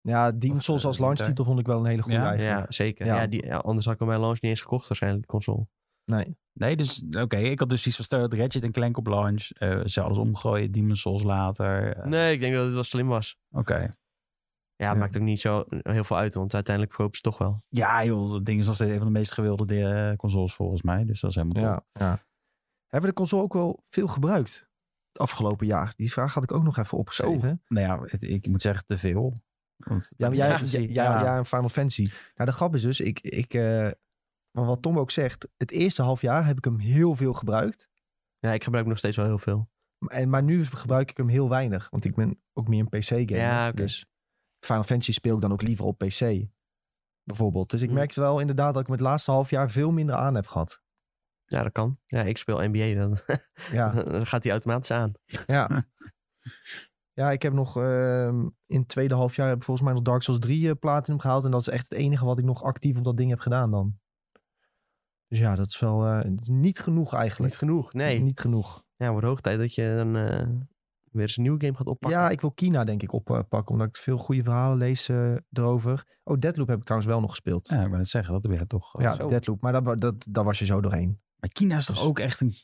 Ja, Demon's
Of,
Souls
eh,
als
winter.
launchtitel vond ik wel een hele goede
Ja?
Ja,
eigenlijk.
zeker.
Ja.
Ja. die, ja, anders had ik hem bij launch niet eens gekocht waarschijnlijk, die console.
Nee.
Nee, dus oké, ik had dus iets van stel dat Ratchet en Clank op launch, eh ze alles omgooien, Demon's Souls later. eh,
Nee, ik denk dat het wel slim was.
Oké.
Ja,
Ja.
het maakt ook niet zo heel veel uit, want uiteindelijk verkopen ze toch wel.
Ja joh, dat ding is nog steeds een van de meest gewilde eh, consoles volgens mij, dus dat is helemaal top.
Ja. ja. Hebben we de console ook wel veel gebruikt? het afgelopen jaar? Die vraag had ik ook nog even opgeschreven.
Nou ja, het- ik moet zeggen te veel. Want,
Ja, maar jij,
precies,
jij, jij- jij een Final Fantasy. Nou, de grap is dus, ik, ik, eh, maar wat Tom ook zegt, het eerste half jaar heb ik hem heel veel gebruikt.
Ja, ik gebruik nog steeds wel heel veel.
En, maar nu gebruik ik hem heel weinig, want ik ben ook meer een PC-gamer.
Ja, oké.
Dus Final Fantasy speel ik dan ook liever op PC, bijvoorbeeld. Dus ik
Hmm.
merkte wel inderdaad dat ik me het laatste half jaar veel minder aan heb gehad.
Ja, dat kan. Ja, ik speel NBA. Dan,
Ja,
dan gaat die automatisch aan.
ja. ja ik heb nog ehm, in het tweede half jaar heb ik volgens mij nog Dark Souls 3 eh, Platinum gehaald. En dat is echt het enige wat ik nog actief op dat ding heb gedaan dan. Dus ja, dat is wel eh, het is niet genoeg eigenlijk.
Niet genoeg. Nee.
Niet genoeg.
Ja, wordt hoog tijd dat je dan eh, weer eens een nieuwe game gaat oppakken.
Ja, ik wil Kina denk ik oppakken, omdat ik veel goede verhalen lees eh, erover. Oh, Deadloop heb ik trouwens wel nog gespeeld.
Ja, ik wou net zeggen, dat heb je toch. eh,
Ja,
Oh, zo.
Deadloop. Maar dat, wa- dat, daar was je zo doorheen.
Maar China is toch ook echt een...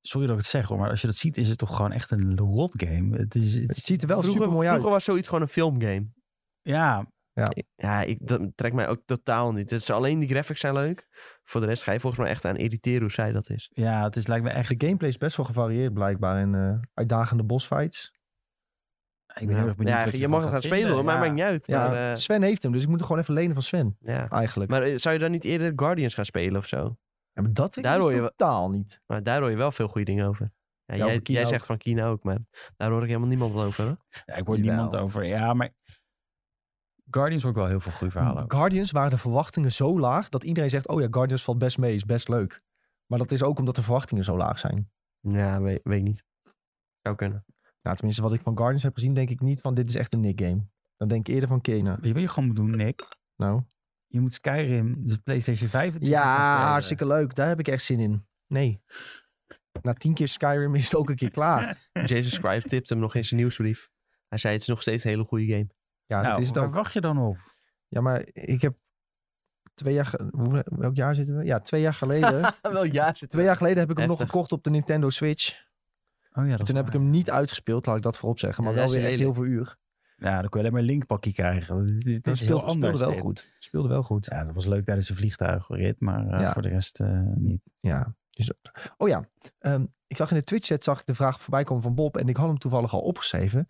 Sorry dat ik het zeg, hoor, maar als je dat ziet, is het toch gewoon echt een rot game. Het, is, het-
Het ziet er wel
vroeger,
super mooi uit.
vroeger was zoiets gewoon een filmgame.
ja,
Ja, ik, dat trekt mij ook totaal niet. Het is, alleen die graphics zijn leuk. Voor de rest ga je volgens mij echt aan irriteren hoe zij dat is.
ja, het is lijkt me echt...
De gameplay is best wel gevarieerd blijkbaar in eh, uitdagende bossfights.
Ik ben heel erg benieuwd
Ja,
wat
je
ervan
mag het gaan
gaat
spelen
vinden,
hoor, maar
ja.
maakt niet uit.
Ja,
Maar, eh,
Sven heeft hem, dus ik moet hem gewoon even lenen van Sven
ja.
eigenlijk.
maar eh, zou je dan niet eerder Guardians gaan spelen of zo?
Ja, maar dat ik
daar
dus
hoor je wel-
totaal niet.
Maar daar hoor je wel veel goede dingen over. Ja,
Ja,
jij
over Kina
jij
ook.
zegt van Kina ook, maar daar hoor ik helemaal niemand wel over. hoor.
Ja, ik hoor
Jawel.
niemand over. Ja, maar Guardians hoor ik wel heel veel goede verhalen over.
Guardians waren de verwachtingen zo laag dat iedereen zegt, oh ja, Guardians valt best mee, is best leuk. Maar dat is ook omdat de verwachtingen zo laag zijn.
Ja, weet, weet ik niet. Zou kunnen.
Nou, tenminste, wat ik van Guardians heb gezien, denk ik niet van dit is echt een Nick game. Dan denk ik eerder van Kena.
Weet je wat je gewoon moet doen, Nick?
Nou.
Je moet Skyrim, de PlayStation 5... edition gaan
Ja,
spelen.
hartstikke leuk. Daar heb ik echt zin in. Nee. Na tien keer Skyrim is het ook een keer klaar.
Jason Scribe tipte hem nog in zijn nieuwsbrief. Hij zei, het is nog steeds een hele goede game.
Ja, dat
Nou,
is het
waar
ook.
wacht je dan op?
Ja, maar ik heb twee jaar... ge- hoe- Welk jaar zitten we? Ja, twee jaar geleden.
Wel ja, zit
twee jaar geleden heb ik hem nog
Heftig.
gekocht op de Nintendo Switch.
Oh ja, dat is
Toen heb ik
waar.
hem niet uitgespeeld, laat ik dat voorop zeggen. Maar
Ja,
wel
dat is
weer echt heel
lelijk.
veel uur.
Ja, dan kun je alleen maar een linkpakje krijgen. Dit- Dit
Dat
is heel anders.
speelde wel
dit.
goed. Speelde wel goed.
Ja, dat was leuk tijdens een vliegtuigrit, maar eh,
Ja.
voor de rest eh, niet.
Ja. Dus, oh ja, ehm, ik zag in de Twitch-chat zag ik de vraag voorbij komen van Bob. En ik had hem toevallig al opgeschreven.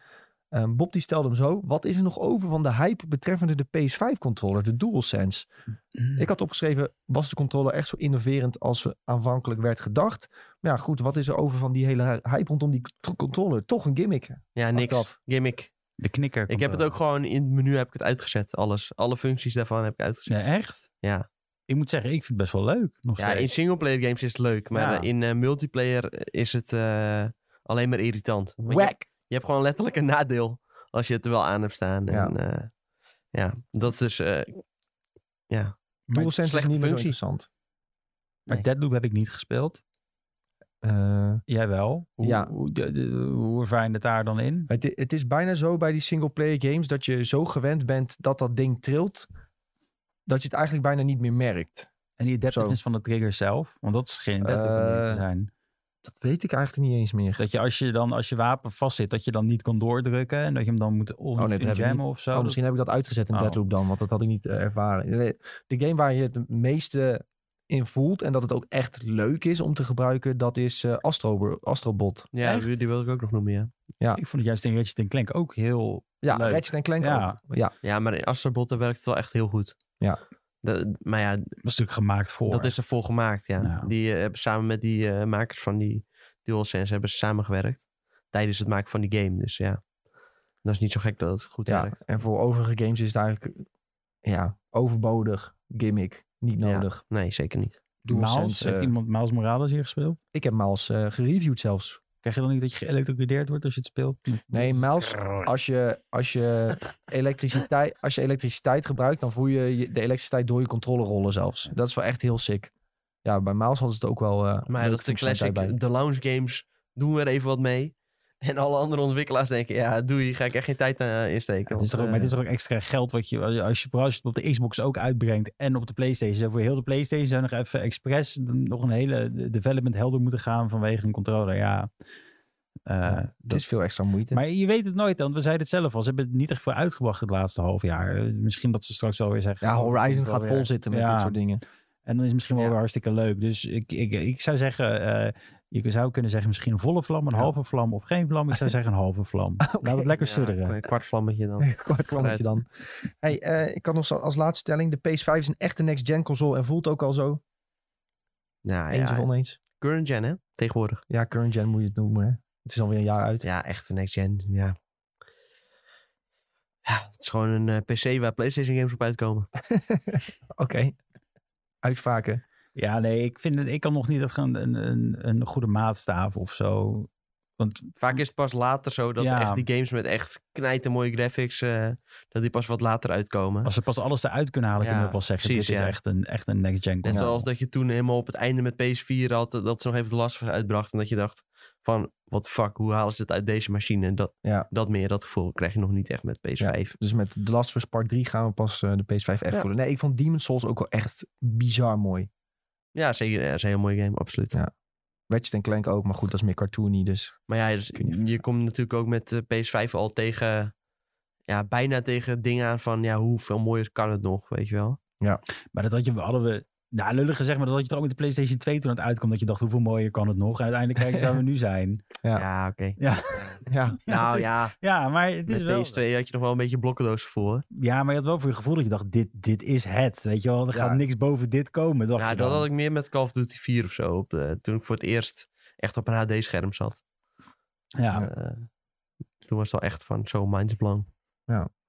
Ehm, Bob die stelde hem zo. Wat is er nog over van de hype betreffende de PS5-controller, de DualSense?
Hm.
Ik had opgeschreven, was de controller echt zo innoverend als er aanvankelijk werd gedacht? Maar ja, goed, wat is er over van die hele hype rondom die t- controller? Toch een gimmick.
Ja, niks.
Achteraf.
Gimmick.
De knikker.
Ik heb het ook gewoon in het menu heb ik het uitgezet. Alles. Alle functies daarvan heb ik uitgezet.
Nee, echt?
Ja.
Ik moet zeggen, ik vind het best wel leuk. Nog
Ja, in
steeds.
singleplayer games is het leuk. Maar
Ja.
eh, in eh, multiplayer is het eh, alleen maar irritant. Want je,
Wack!
je hebt gewoon letterlijk een nadeel als je het er wel aan hebt staan. En, eh, ja, dat is dus... eh,
Maar-
DualSense is
slechte
niet meer zo
functie.
interessant.
Maar
nee.
Deadloop heb ik niet gespeeld.
Eh,
Jij wel. Hoe,
Ja.
hoe, de, de- hoe ervaar je het daar dan in?
Het, i- het is bijna zo bij die single-player games dat je zo gewend bent dat dat ding trilt, dat je het eigenlijk bijna niet meer merkt.
En die adaptiveness
Zo.
van de trigger zelf? Want dat is geen adaptive manier te
Eh,
zijn.
Dat weet ik eigenlijk niet eens meer.
Dat je als je dan als je wapen vast zit, dat je dan niet kan doordrukken. En dat je hem dan moet on-
Oh, nee, dat heb ik
jammen of zo.
Oh, misschien heb ik dat uitgezet in
Oh.
Deadloop dan, want dat had ik niet eh, ervaren. De, de game waar je het meeste in voelt en dat het ook echt leuk is om te gebruiken, dat is eh, Astro, Astrobot.
ja,
Echt?
die die wil ik ook nog noemen, ja.
Ik vond het juist in Ratchet Clank ook heel...
Ja,
Leuk.
Ratchet Clank
Ja.
ook. Ja,
Ja, maar in Astrobot daar werkt het wel echt heel goed.
Ja.
Dat- maar ja,
Dat is natuurlijk gemaakt voor.
Dat is ervoor gemaakt, ja.
Ja.
Die eh, hebben samen met die eh, makers van die DualSense hebben ze samengewerkt. Tijdens het maken van die game, dus ja. Dat is niet zo gek dat het goed
ja.
werkt.
En voor overige games is het eigenlijk ja, overbodig, gimmick, niet
Ja.
nodig.
Nee, zeker niet.
Miles,
DualSense,
heeft
eh,
iemand Miles Morales hier gespeeld?
Ik heb Miles eh, gereviewd zelfs.
Krijg je dan niet dat je geëlectrocuteerd wordt als je het speelt?
Nee, Miles, als je, als, je elektriciteit, als je elektriciteit gebruikt, dan voel je je de elektriciteit door je controle rollen zelfs. Dat is wel echt heel sick. Ja, bij Miles hadden ze het ook wel. eh,
Maar ja,
leuke
dat is de
functionaliteit
classic.
bij.
De lounge games doen we er even wat mee. En alle andere ontwikkelaars denken, ja, doei, ga ik echt geen tijd aan insteken.
Het
want,
is toch ook,
eh,
maar het is toch ook extra geld wat je, als je, vooral als je het op de Xbox ook uitbrengt en op de Playstation. Zou Voor heel de Playstation zou nog even expres nog een hele development helder moeten gaan vanwege een controller. Ja, Eh,
Het is veel extra moeite.
Maar je weet het nooit, want we zeiden het zelf al. Ze hebben het niet echt voor uitgebracht het laatste half jaar. Eh, Misschien dat ze straks wel weer zeggen.
ja,
oh, het komt
Horizon
wel
gaat
weer.
vol zitten met
Ja.
dit soort dingen.
En dan is het misschien wel
Ja.
weer hartstikke leuk. Dus ik, ik, ik zou zeggen, eh, Je zou kunnen zeggen misschien een volle vlam, een
Ja.
halve vlam of geen vlam. Ik zou zeggen een halve vlam.
Nou,
Laat het lekker sudderen.
een kwart vlammetje dan.
Nee, kwart vlammetje dan. Hey, eh, ik kan nog zo- als laatste stelling. De PS5 is een echte next-gen console en voelt ook al zo.
Nou
Eens of
ja,
oneens.
current gen hè, tegenwoordig.
Ja, current gen moet je het noemen. Hè? Het is alweer een jaar uit.
Ja, echt een next gen, ja. Ja, het is gewoon een eh, PC waar PlayStation games op uitkomen.
Oké. Uitspraken.
Ja, nee, ik, vind het, ik kan nog niet echt een, een- een, een goede maatstaaf of zo. Want
Vaak is het pas later zo dat
Ja.
echt die games met echt knijten mooie graphics, eh, dat die pas wat later uitkomen.
als ze pas alles eruit kunnen halen,
Ja,
kunnen we pas zeggen,
precies,
dit
ja.
is echt een, echt een next-gen
Net
console.
zoals dat je toen helemaal op het einde met PS4 had, eh, dat ze nog even de last uitbracht. En dat je dacht van, what the fuck, hoe halen ze het uit deze machine? Dat,
Ja.
dat meer, dat gevoel krijg je nog niet echt met PS5.
Dus met The Last of Us Part 3 gaan we pas eh, de PS5 echt
Ja.
voelen. Nee, ik vond Demon's Souls ook wel echt bizar mooi.
Ja, zeker. Ja, dat is een heel mooie game, absoluut.
Ja. Ratchet Clank ook, maar goed, dat is meer cartoony. Dus
Maar ja, dus
Kun je
je, komt natuurlijk ook met eh, PS5 al tegen, ja, bijna tegen dingen aan van, ja, hoeveel mooier kan het nog, weet je wel?
Maar dat had je, hadden we... Nou, lullig gezegd, maar dat had je toch ook met de PlayStation 2 toen het uitkwam. Dat je dacht, hoeveel mooier kan het nog? En uiteindelijk kijk eens waar we nu zijn.
Ja.
Ja, oké.
Ja,
ja,
Nou
dat-
ja,
ja maar het
met
is wel...
PS2 had je nog wel een beetje blokkendoos gevoel, hoor.
Ja, maar je had wel voor je gevoel dat je dacht, dit, dit is het. Weet je wel, er gaat
Ja.
niks boven dit komen. Dacht
Ja,
je
dat
dan.
had ik meer met Call of Duty 4 of zo, op, eh, toen ik voor het eerst echt op een HD-scherm zat.
ja,
Eh, toen was het al echt van zo mindsblown.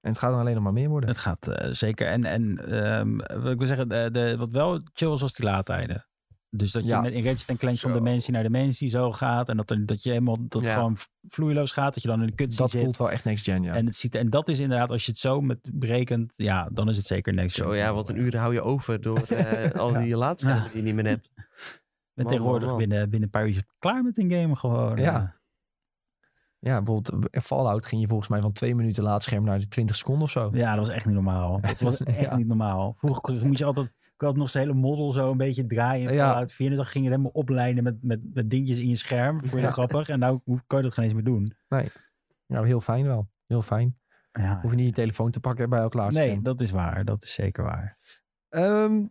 en het gaat dan alleen nog maar meer worden.
Het gaat eh, zeker. En, en ehm, wat ik wil zeggen, de, de- wat wel chill is, was die laadtijden. Dus dat je
Ja.
met in Ratchet en Clank van
Zo.
dimensie naar dimensie zo gaat. En dat, er- dat je helemaal dat
Ja.
gewoon v- vloeiloos gaat. Dat je dan in de cutscene
Dat
zit.
voelt wel echt next-gen, ja.
En, het ziet, en dat is inderdaad, als je het zo met berekent, ja, dan is het zeker next
Zo eh,
gen.
ja, wat een uur hou je over door eh, al die laatste die je niet meer hebt.
En
Man,
tegenwoordig
man, man.
Binnen, binnen een paar uur is het klaar met een game gewoon.
Ja. Ja, bijvoorbeeld eh, Fallout ging je volgens mij van twee minuten laadscherm naar de 20 seconden of zo.
Ja, dat was echt niet normaal. Het was echt
Ja.
niet normaal. Vroeger kon- moest je altijd... Ik had nog eens de hele model zo een beetje draaien.
Ja.
Ja. Fallout 4. En dan ging je het helemaal oplijnen met, met, met dingetjes in je scherm. Vond je dat grappig? En nou hoe- kan je dat geen eens meer doen.
Nou, heel fijn wel. Heel fijn.
Ja.
Hoef je niet je telefoon te pakken bij elk laadscherm.
Nee, dat is waar. Dat is zeker waar.
Ehm,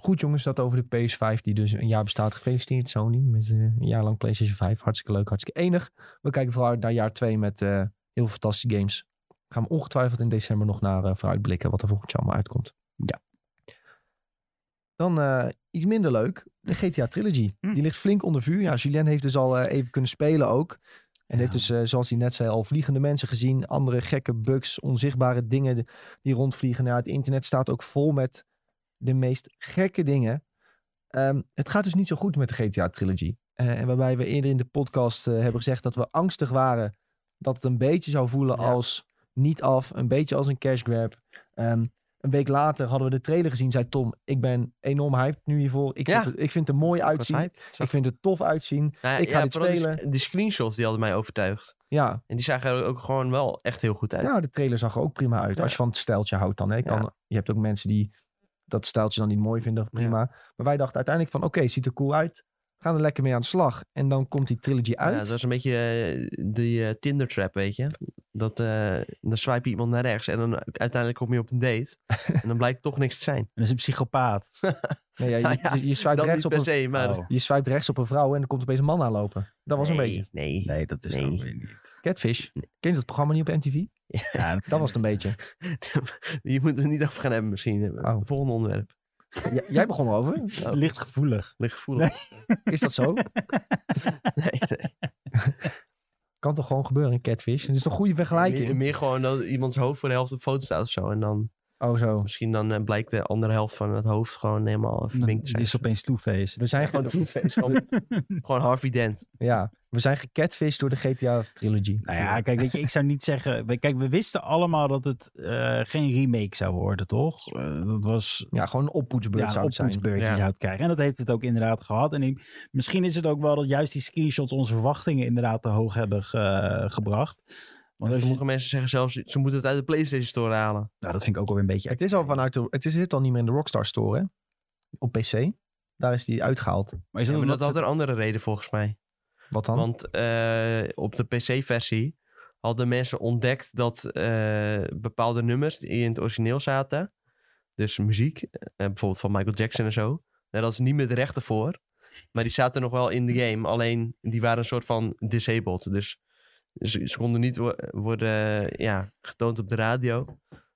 goed jongens, dat over de PS5 die dus een jaar bestaat. Gefeliciteerd Sony met eh, een jaar lang PlayStation 5. Hartstikke leuk, hartstikke enig. We kijken vooral uit naar jaar 2 met eh, heel veel fantastische games. Gaan we ongetwijfeld in december nog naar eh, vooruitblikken wat er volgend jaar allemaal uitkomt.
Ja.
Dan eh, iets minder leuk, de GTA Trilogy.
Hm.
Die ligt flink onder vuur. Ja, Julien heeft dus al eh, even kunnen spelen ook. En
Ja.
heeft dus, eh, zoals hij net zei, al vliegende mensen gezien. Andere gekke bugs, onzichtbare dingen d- die rondvliegen. Nou, het internet staat ook vol met de meest gekke dingen. Ehm, het gaat dus niet zo goed met de GTA-trilogie. Eh, en waarbij we eerder in de podcast eh, hebben gezegd dat we angstig waren. Dat het een beetje zou voelen
Ja.
als niet af. Een beetje als een cash grab. Ehm, een week later hadden we de trailer gezien, zei Tom. Ik ben enorm hyped nu hiervoor. Ik,
Ja.
vind, het, ik vind het er mooi
Ik was
uitzien.
hyped.
Ik
Zag-
vind het tof uitzien.
Nou ja,
ik ga
ja,
dit
vooral die-
spelen.
Die screenshots die hadden mij overtuigd.
Ja,
En die zagen er ook gewoon wel echt heel goed uit.
Ja, de trailer zag er ook prima uit.
Ja.
Als je van het stijltje houdt dan. Hè. Ik
Ja.
kan, je hebt ook mensen die dat stijltje dan niet mooi vinden. Prima. Maar wij dachten uiteindelijk van oké, ziet er cool uit. We gaan er lekker mee aan de slag. En dan komt die trilogy
Ja,
uit.
het was een beetje eh, die eh, Tinder trap, weet je. Dat, eh, dan swipe je iemand naar rechts en dan uiteindelijk kom je op een date. en dan blijkt toch niks te zijn.
En dat is een psychopaat.
Nee, ja, je,
Nou ja,
je, je swipe
Dat
rechts
niet
op
per
een,
se, maar...
Oh.
je swipe rechts op een vrouw en er komt opeens een man aanlopen. Dat was een
Nee,
beetje.
Nee.
Nee, dat is
Nee.
dan weer niet.
Catfish. Ken je dat programma niet op MTV?
Ja, dat-
Dat was het een beetje.
je moet het niet over gaan hebben misschien. Eh,
Oh.
Volgende onderwerp.
J- jij begon erover. Nou,
Oh,
Licht gevoelig.
Ligt gevoelig.
Is dat zo?
Nee, nee.
Kan toch gewoon gebeuren, een catfish? Het is toch een goede vergelijking?
Meer, meer gewoon dat iemands hoofd voor de helft op foto staat of zo. En dan
Oh zo.
misschien dan eh, blijkt de andere helft van het hoofd gewoon helemaal verminkt te
Die
zijn.
is opeens two-face.
We zijn gewoon...
Gewoon Harvey Dent.
Ja, we zijn gecatfished door de GTA trilogy.
Nou ja, kijk, weet je, ik zou niet zeggen... we- Kijk, we wisten allemaal dat het eh, geen remake zou worden, toch? Eh, dat was
Ja, gewoon een oppoetsbeurt
ja,
zou
een
het zijn.
oppoetsbeurtje
Ja.
zou het krijgen. En dat heeft het ook inderdaad gehad. En ik- misschien is het ook wel dat juist die screenshots onze verwachtingen inderdaad te hoog hebben ge- gebracht. Want als je-
Sommige mensen zeggen zelfs, ze moeten het uit de PlayStation Store halen.
nou, dat vind ik ook alweer een beetje...
Het is al vanuit de, het is, zit al niet meer in de Rockstar Store, hè? Op PC. Daar is die uitgehaald.
Maar is
Ja,
dat
maar
omdat
dat had
ze-
een andere reden volgens mij.
Wat dan?
Want eh, op de PC-versie hadden mensen ontdekt dat eh, bepaalde nummers die in het origineel zaten, dus muziek, eh, bijvoorbeeld van Michael Jackson en zo, daar hadden ze niet meer de rechten voor. Maar die zaten nog wel in de game. Alleen die waren een soort van disabled. Dus ze, ze konden niet wo- worden ja, getoond op de radio.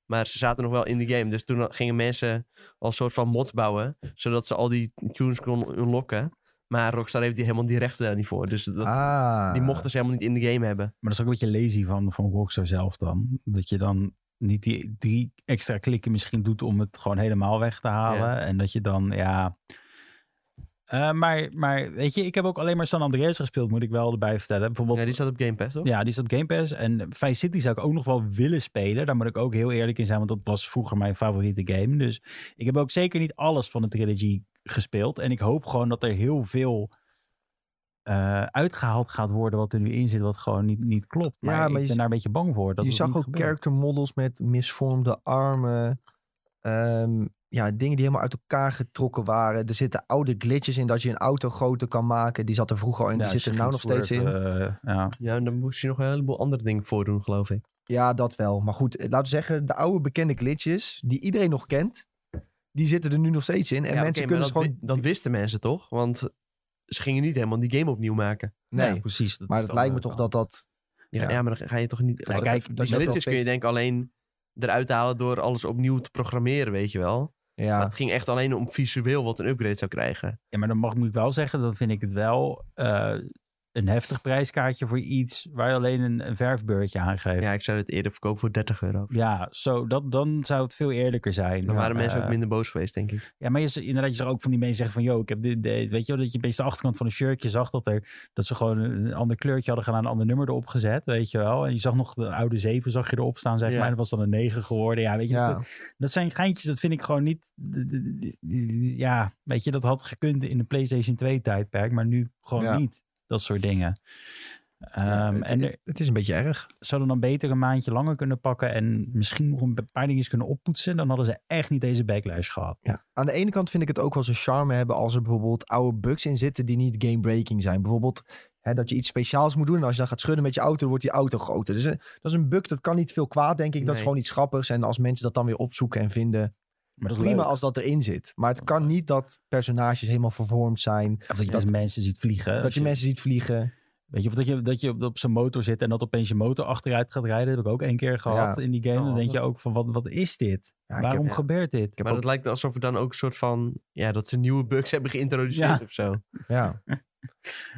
Maar ze zaten nog wel in de game. Dus toen gingen mensen als soort van mods bouwen. Zodat ze al die tunes konden unlocken. Maar Rockstar heeft die helemaal die rechten daar niet voor. Dus dat,
ah.
die mochten ze helemaal niet in de game hebben.
Maar dat is ook een beetje lazy van, van Rockstar zelf dan. Dat je dan niet die drie extra klikken misschien doet om het gewoon helemaal weg te halen. En dat je dan, ja... Eh, maar, maar weet je, ik heb ook alleen maar San Andreas gespeeld, moet ik wel erbij vertellen. Bijvoorbeeld,
Ja, die staat op Game Pass, toch?
Ja, die is op Game Pass. En Vice City zou ik ook nog wel willen spelen. Daar moet ik ook heel eerlijk in zijn, want dat was vroeger mijn favoriete game. Dus ik heb ook zeker niet alles van de trilogy gespeeld. En ik hoop gewoon dat er heel veel eh, uitgehaald gaat worden wat er nu in zit, wat gewoon niet, niet klopt. Maar,
Ja, maar
ik
je
ben
z-
daar een beetje bang voor. Dat
je
het
zag
niet
ook
gebeurt.
character models met misvormde armen. Ehm, ja, dingen die helemaal uit elkaar getrokken waren. Er zitten oude glitches in dat je een auto groter kan maken. Die zat er vroeger al in, die
Ja,
zit er nou nog steeds in.
eh, ja.
Ja, en dan moest je nog een heleboel andere dingen voordoen, geloof ik.
Ja, dat wel. Maar goed, eh, laten we zeggen, de oude bekende glitches, die iedereen nog kent, die zitten er nu nog steeds in. En
Ja,
mensen
oké, maar
kunnen ze
dat,
gewoon...
wi- Dat wisten mensen toch? Want ze gingen niet helemaal die game opnieuw maken.
Nee,
Ja, precies. Dat
maar
is
het
dan,
lijkt me
eh,
toch dat dat...
Ja,
Ja.
ja, maar dan ga je toch niet...
Ja,
als-
kijk,
die
dat is ook wel
glitches kun je
fix.
denk ik alleen eruit halen door alles opnieuw te programmeren, weet je wel. Maar
Ja,
het ging echt alleen om visueel wat een upgrade zou krijgen.
Ja, maar dan mag, moet ik wel zeggen, dan vind ik het wel eh, een heftig prijskaartje voor iets waar je alleen een, een verfbeurtje aan geeft.
Ja, ik zou het eerder verkopen voor 30 euro.
Ja, zo, dat, dan zou het veel eerlijker zijn.
Dan waren
Ja,
mensen ook
eh,
minder boos geweest, denk ik.
Ja, maar je, z- inderdaad, je zag ook van die mensen zeggen van... ...joh, ik heb dit, dit, weet je wel, dat je een beetje de achterkant van een shirtje zag... ...dat, er, dat ze gewoon een ander kleurtje hadden gedaan, een ander nummer erop gezet, weet je wel. En je zag nog de oude 7 zag je erop staan, zeg
Ja.
maar. En dat was dan een 9 geworden. Ja, weet je,
ja.
dat, dat zijn geintjes, dat vind ik gewoon niet... d- d- d- Ja, weet je, dat had gekund in de PlayStation 2 tijdperk, maar nu gewoon
Ja.
niet. Dat soort dingen. Ehm,
Ja, het,
en er,
het is een beetje erg.
zouden dan beter een maandje langer kunnen pakken en misschien nog een paar dingetjes kunnen oppoetsen. Dan hadden ze echt niet deze backlash gehad.
Aan de ene kant vind ik het ook wel zijn charme hebben als er bijvoorbeeld oude bugs in zitten die niet game-breaking zijn. Bijvoorbeeld hè, dat je iets speciaals moet doen en als je dan gaat schudden met je auto, dan wordt die auto groter. Dus eh, dat is een bug, dat kan niet veel kwaad, denk ik. Dat is
Nee.
gewoon iets grappigs. En als mensen dat dan weer opzoeken en vinden,
Maar dat is
prima
leuk.
als dat erin zit. Maar het kan niet dat personages helemaal vervormd zijn,
Of dat je
dat-
dat mensen ziet vliegen.
dat
Als
je mensen ziet vliegen.
Weet je, of dat je, dat je op, op zijn motor zit en dat opeens je motor achteruit gaat rijden. Dat heb ik ook één keer gehad in die game.
Oh,
dan denk je
dat-
ook van, wat, wat is dit?
Ja, ik
Waarom
heb-
gebeurt dit?
ik heb
Maar
ook-
het lijkt alsof er dan ook een soort van... Ja, dat ze nieuwe bugs hebben geïntroduceerd
Ja.
of zo.
ja. Ja,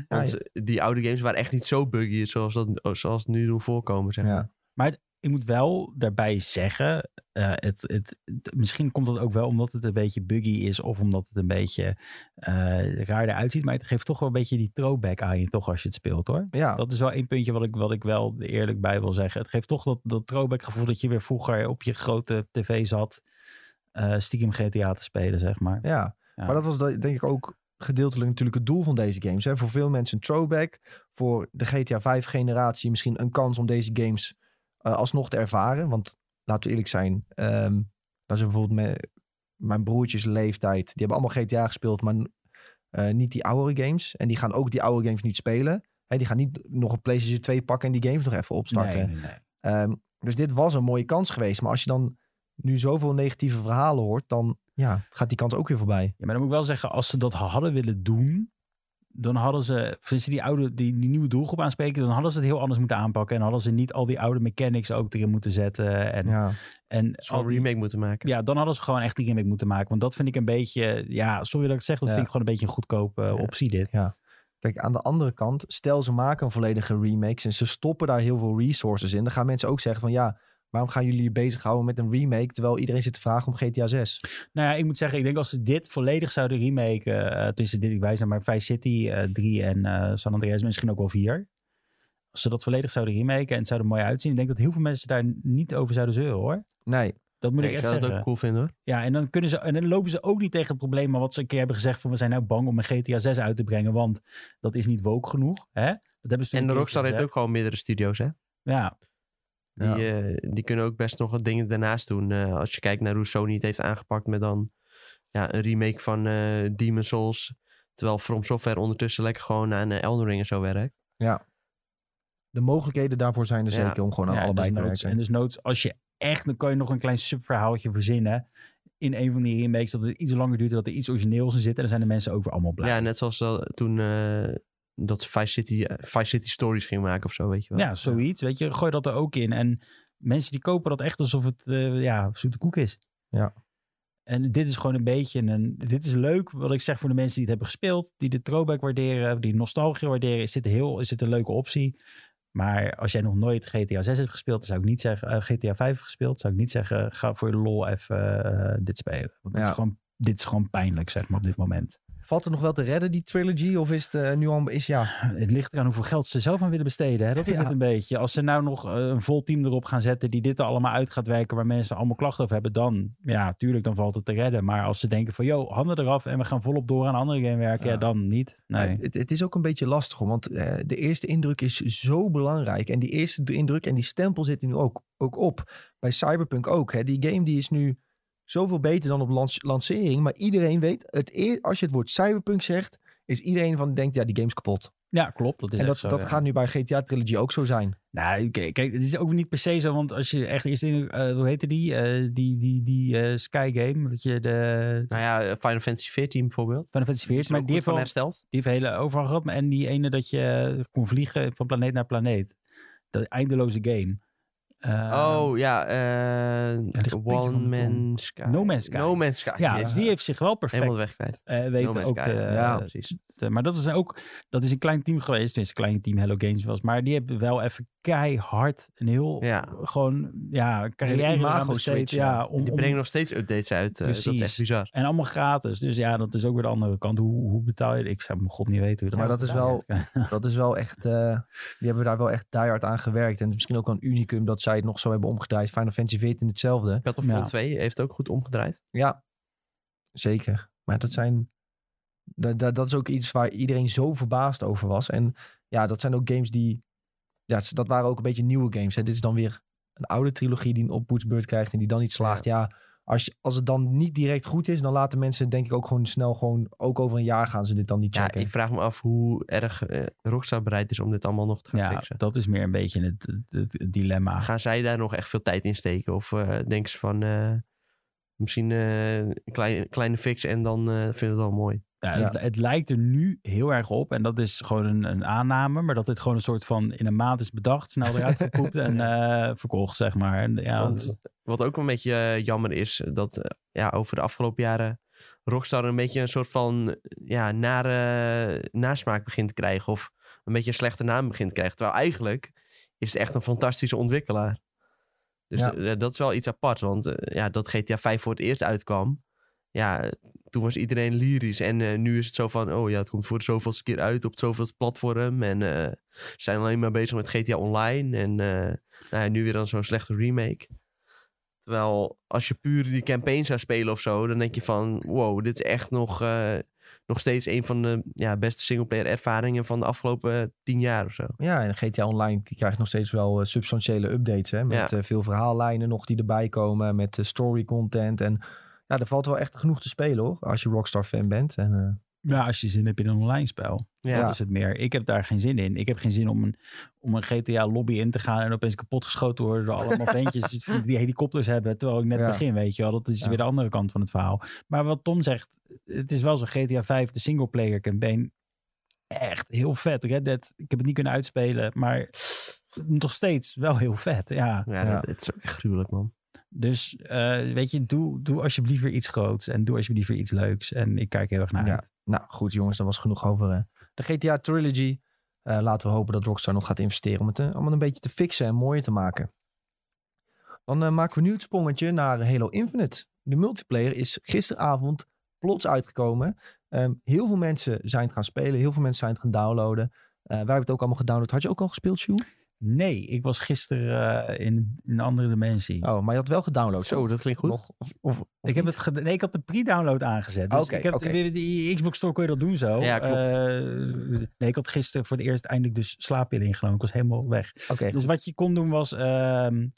Want eh, die oude games waren echt niet zo buggy zoals, dat, oh, zoals nu doen voorkomen, zeg
Ja.
maar.
Ik moet wel daarbij zeggen, eh, het, het, het- misschien komt dat ook wel omdat het een beetje buggy is of omdat het een beetje eh raar eruit ziet. Maar het geeft toch wel een beetje die throwback aan je toch als je het speelt hoor.
ja.
Dat is wel één puntje wat ik, wat ik wel eerlijk bij wil zeggen. Het geeft toch dat, dat throwback gevoel dat je weer vroeger op je grote tv zat. eh, stiekem GTA te spelen, zeg maar.
Ja,
Ja.
maar dat was de- denk ik ook gedeeltelijk natuurlijk het doel van deze games. Hè? Voor veel mensen een throwback. Voor de GTA 5 generatie misschien een kans om deze games eh, alsnog te ervaren. Want laten we eerlijk zijn, ehm dat is bijvoorbeeld me- mijn broertjes leeftijd. Die hebben allemaal GTA gespeeld, maar eh, niet die oudere games. En die gaan ook die oude games niet spelen. Hè, die gaan niet nog een PlayStation 2 pakken en die games nog even opstarten.
Nee, nee, nee.
Ehm, dus dit was een mooie kans geweest. Maar als je dan nu zoveel negatieve verhalen hoort, dan ja, gaat die kans ook weer voorbij.
Ja, maar dan moet ik wel zeggen, als ze dat hadden willen doen, dan hadden ze, of als ze die, oude, die, die nieuwe doelgroep aanspreken, dan hadden ze het heel anders moeten aanpakken. En hadden ze niet al die oude mechanics ook erin moeten zetten. En,
Ja.
en al
Zo'n
die-
remake moeten maken.
Ja, dan hadden ze gewoon echt die gimmick moeten maken. Want dat vind ik een beetje, ja, sorry dat ik het zeg, dat
Ja.
vind ik gewoon een beetje een goedkope eh,
Ja.
optie dit.
Kijk, aan de andere kant, stel ze maken een volledige remake en ze stoppen daar heel veel resources in. Dan gaan mensen ook zeggen van ja, waarom gaan jullie je bezighouden met een remake terwijl iedereen zit te vragen om GTA 6?
Nou ja, ik moet zeggen, ik denk als ze dit volledig zouden remaken, eh tussen dit, ik wijs naar maar Vice City eh 3 en eh, San Andreas, misschien ook wel 4. Als ze dat volledig zouden remaken en het zou er mooi uitzien, ik denk dat heel veel mensen daar niet over zouden zeuren hoor.
Nee,
Dat moet
Nee,
ik
ik
echt
zou dat
zeggen.
ook cool vinden, hoor.
Ja, en dan, kunnen ze, en dan lopen ze ook niet tegen het probleem wat ze een keer hebben gezegd van we zijn nou bang om een GTA 6 uit te brengen, want dat is niet woke genoeg. Hè? Dat hebben ze
En
toen
de
een keertje
Rockstar heeft ook
gezegd.
gewoon meerdere studio's, hè.
Ja,
Die,
Ja.
eh, die kunnen ook best nog wat dingen daarnaast doen. Eh, als je kijkt naar hoe Sony het heeft aangepakt met dan ja, een remake van eh Demon's Souls. Terwijl From Software ondertussen lekker gewoon aan eh, Elden Ring en zo werkt.
de mogelijkheden daarvoor zijn er
Ja.
zeker om gewoon aan
ja,
allebei
dus
te
noods-
werken.
En dus noods, als je echt, dan kan je nog een klein subverhaaltje verzinnen. in een van die remakes dat het iets langer duurt en dat er iets origineels in zit. En dan zijn de mensen ook weer allemaal blij.
Ja, net zoals dat, toen eh, dat Vice City, eh, Vice City Stories ging maken of zo, weet je wel.
Ja, zoiets. Weet je, gooi dat er ook in. En mensen die kopen dat echt alsof het eh, ja, zoete koek is.
Ja.
En dit is gewoon een beetje een. Dit is leuk, wat ik zeg voor de mensen die het hebben gespeeld. Die de throwback waarderen, die nostalgie waarderen. Is dit, heel, is dit een leuke optie? Maar als jij nog nooit GTA 6 hebt gespeeld, dan zou ik niet zeggen. eh, GTA 5 hebt gespeeld, zou ik niet zeggen. Ga voor de lol even eh, dit spelen. Want dit,
Ja.
is gewoon, dit is gewoon pijnlijk, zeg maar, op dit moment.
Valt het nog wel te redden, die trilogy? Of is het eh, nu al... Is, ja,
Het ligt eraan hoeveel geld ze zelf aan willen besteden. Hè? Dat is
Ja.
het een beetje. Als ze nou nog eh, een vol team erop gaan zetten die dit er allemaal uit gaat werken, waar mensen allemaal klachten over hebben, dan ja, tuurlijk, dan valt het te redden. Maar als ze denken van, joh, handen eraf en we gaan volop door aan een andere game werken, ja.
Ja.
dan niet. Nee.
het, het is ook een beetje lastig, hoor, want eh, de eerste indruk is zo belangrijk. En die eerste d- indruk en die stempel zitten nu ook, ook op. Bij Cyberpunk ook. Hè. Die game die is nu zoveel beter dan op lans- lancering. Maar iedereen weet, het eer, als je het woord Cyberpunk zegt, is iedereen van die denkt, ja, die game is kapot.
Ja, klopt. Dat is
en
echt
dat,
zo,
dat
ja.
gaat nu bij GTA Trilogy ook zo zijn.
Nou, kijk, kijk, het is ook niet per se zo, want als je echt eerst in, eh, hoe heette die? Eh, die die, die eh, Sky Game, dat je de
Nou ja, eh, Final Fantasy 14 bijvoorbeeld.
Final Fantasy
Die
14,
is er
maar
ook
die
goed
heeft,
van
wel,
hersteld.
Die heeft hele overal gehad. maar En die ene dat je eh, kon vliegen van planeet naar planeet. Dat eindeloze game. Eh,
oh ja, eh,
ligt een beetje
One
van de tong.
Man Sky.
No Man's Sky.
No Man's Sky.
Ja,
Jezus.
die heeft zich wel
helemaal
perfect
de weg kwijt.
eh,
No
weten.
Man's
ook
Sky.
te-
ja, precies.
te- maar dat is ook, dat is een klein team geweest. Tenminste, een klein team Hello Games was. Maar die hebben wel even keihard een heel,
Ja.
gewoon, ja, carrière
Hele
imago
imago
besteed,
switch,
Ja,
ja.
om,
Die
om-
brengen nog steeds updates uit. eh, dat is
Precies.
echt bizar.
en allemaal gratis. Dus ja, dat is ook weer de andere kant. Hoe, hoe betaal je? Ik zou mijn god niet weten hoe dat
Maar dat is wel- Dat is wel echt. eh, die hebben daar wel echt diehard aan gewerkt. En het is misschien ook wel een unicum dat zij het nog zo hebben omgedraaid. Final Fantasy 14 hetzelfde.
Battlefield
Ja.
2 heeft ook goed omgedraaid.
Ja, zeker. Maar dat zijn. Dat, dat, dat is ook iets waar iedereen zo verbaasd over was. En ja, dat zijn ook games die. Ja, het- dat waren ook een beetje nieuwe games. Hè. Dit is dan weer een oude trilogie die een oppoetsbeurt krijgt en die dan niet slaagt. Ja, als, je- als het dan niet direct goed is, dan laten mensen denk ik ook gewoon snel gewoon. Ook over een jaar gaan ze dit dan niet
Ja,
checken.
ik vraag me af hoe erg eh, Rockstar bereid is om dit allemaal nog te gaan
Ja, Ah.
fixen.
dat is meer een beetje het, het, het dilemma.
Gaan zij daar nog echt veel tijd in steken? Of eh, denken ze van eh, misschien eh, een kleine, kleine fix en dan eh vinden we het al mooi?
Ja,
Ja.
Nou, Het, het lijkt er nu heel erg op. En dat is gewoon een, een aanname. Maar dat dit gewoon een soort van in een maand is bedacht. Snel eruit gepoept en eh, verkocht, zeg maar. En, ja,
Want wat ook een beetje eh, jammer is, dat eh, ja, over de afgelopen jaren Rockstar een beetje een soort van eh, ja, nare nasmaak begint te krijgen. Of een beetje een slechte naam begint te krijgen. Terwijl eigenlijk is het echt een fantastische ontwikkelaar. Dus
Ja.
eh, dat is wel iets apart. Want eh, ja, dat GTA 5 voor het eerst uitkwam. Ja, eh, toen was iedereen lyrisch. En eh, nu is het zo van, oh ja, het komt voor de zoveelste keer uit op het zoveelste platform. En eh, ze zijn alleen maar bezig met GTA Online. En eh, nou ja, nu weer dan zo'n slechte remake. Terwijl als je puur die campaign zou spelen of zo, dan denk je van wow, dit is echt nog, eh, nog steeds een van de ja, beste singleplayer ervaringen van de afgelopen eh, tien jaar of zo.
Ja, en GTA Online die krijgt nog steeds wel eh, substantiële updates. Hè? Met
Ja.
eh, veel verhaallijnen nog die erbij komen. Met eh, story content. En ja, er valt wel echt genoeg te spelen hoor. Als je Rockstar fan bent. En, eh,
ja, als je zin hebt in een online spel.
Ja,
Dat is het meer. Ik heb daar geen zin in. Ik heb geen zin om een, om een GTA lobby in te gaan. En opeens kapotgeschoten te worden door allemaal ventjes die helikopters hebben. Terwijl ik net
Ja.
begin, weet je wel. Dat is
Ja.
weer de andere kant van het verhaal. Maar wat Tom zegt. Het is wel zo. GTA 5, de singleplayer campaign. Echt heel vet. Red Dead, ik heb het niet kunnen uitspelen. Maar nog steeds wel heel vet, ja.
ja,
Ja.
Dat, het is ook echt gruwelijk man.
Dus eh, weet je, doe, doe alsjeblieft weer iets groots en doe alsjeblieft weer iets leuks. En ik kijk heel erg naar
Ja.
uit.
nou goed jongens, dat was genoeg over eh, de GTA Trilogy. Eh, laten we hopen dat Rockstar nog gaat investeren om het eh, allemaal een beetje te fixen en mooier te maken. Dan eh, maken we nu het sprongetje naar Halo Infinite. De multiplayer is gisteravond plots uitgekomen. Ehm, heel veel mensen zijn het gaan spelen, heel veel mensen zijn het gaan downloaden. Eh, wij hebben het ook allemaal gedownload. Had je ook al gespeeld, Sjoe?
Nee, ik was gisteren eh, in, in een andere dimensie.
Oh, maar je had wel gedownload.
Zo,
toch?
dat klinkt goed.
Nog, of, of, of
ik, heb
niet?
het ged- nee, ik had de pre-download aangezet. Dus
Oké,
ik heb het-
oké.
weer- die Xbox Store kon je dat doen zo.
Ja, klopt.
Eh, nee, ik had gisteren voor het eerst eindelijk dus slaappillen ingenomen. Ik was helemaal weg.
Oké,
Dus wat je kon doen was ehm,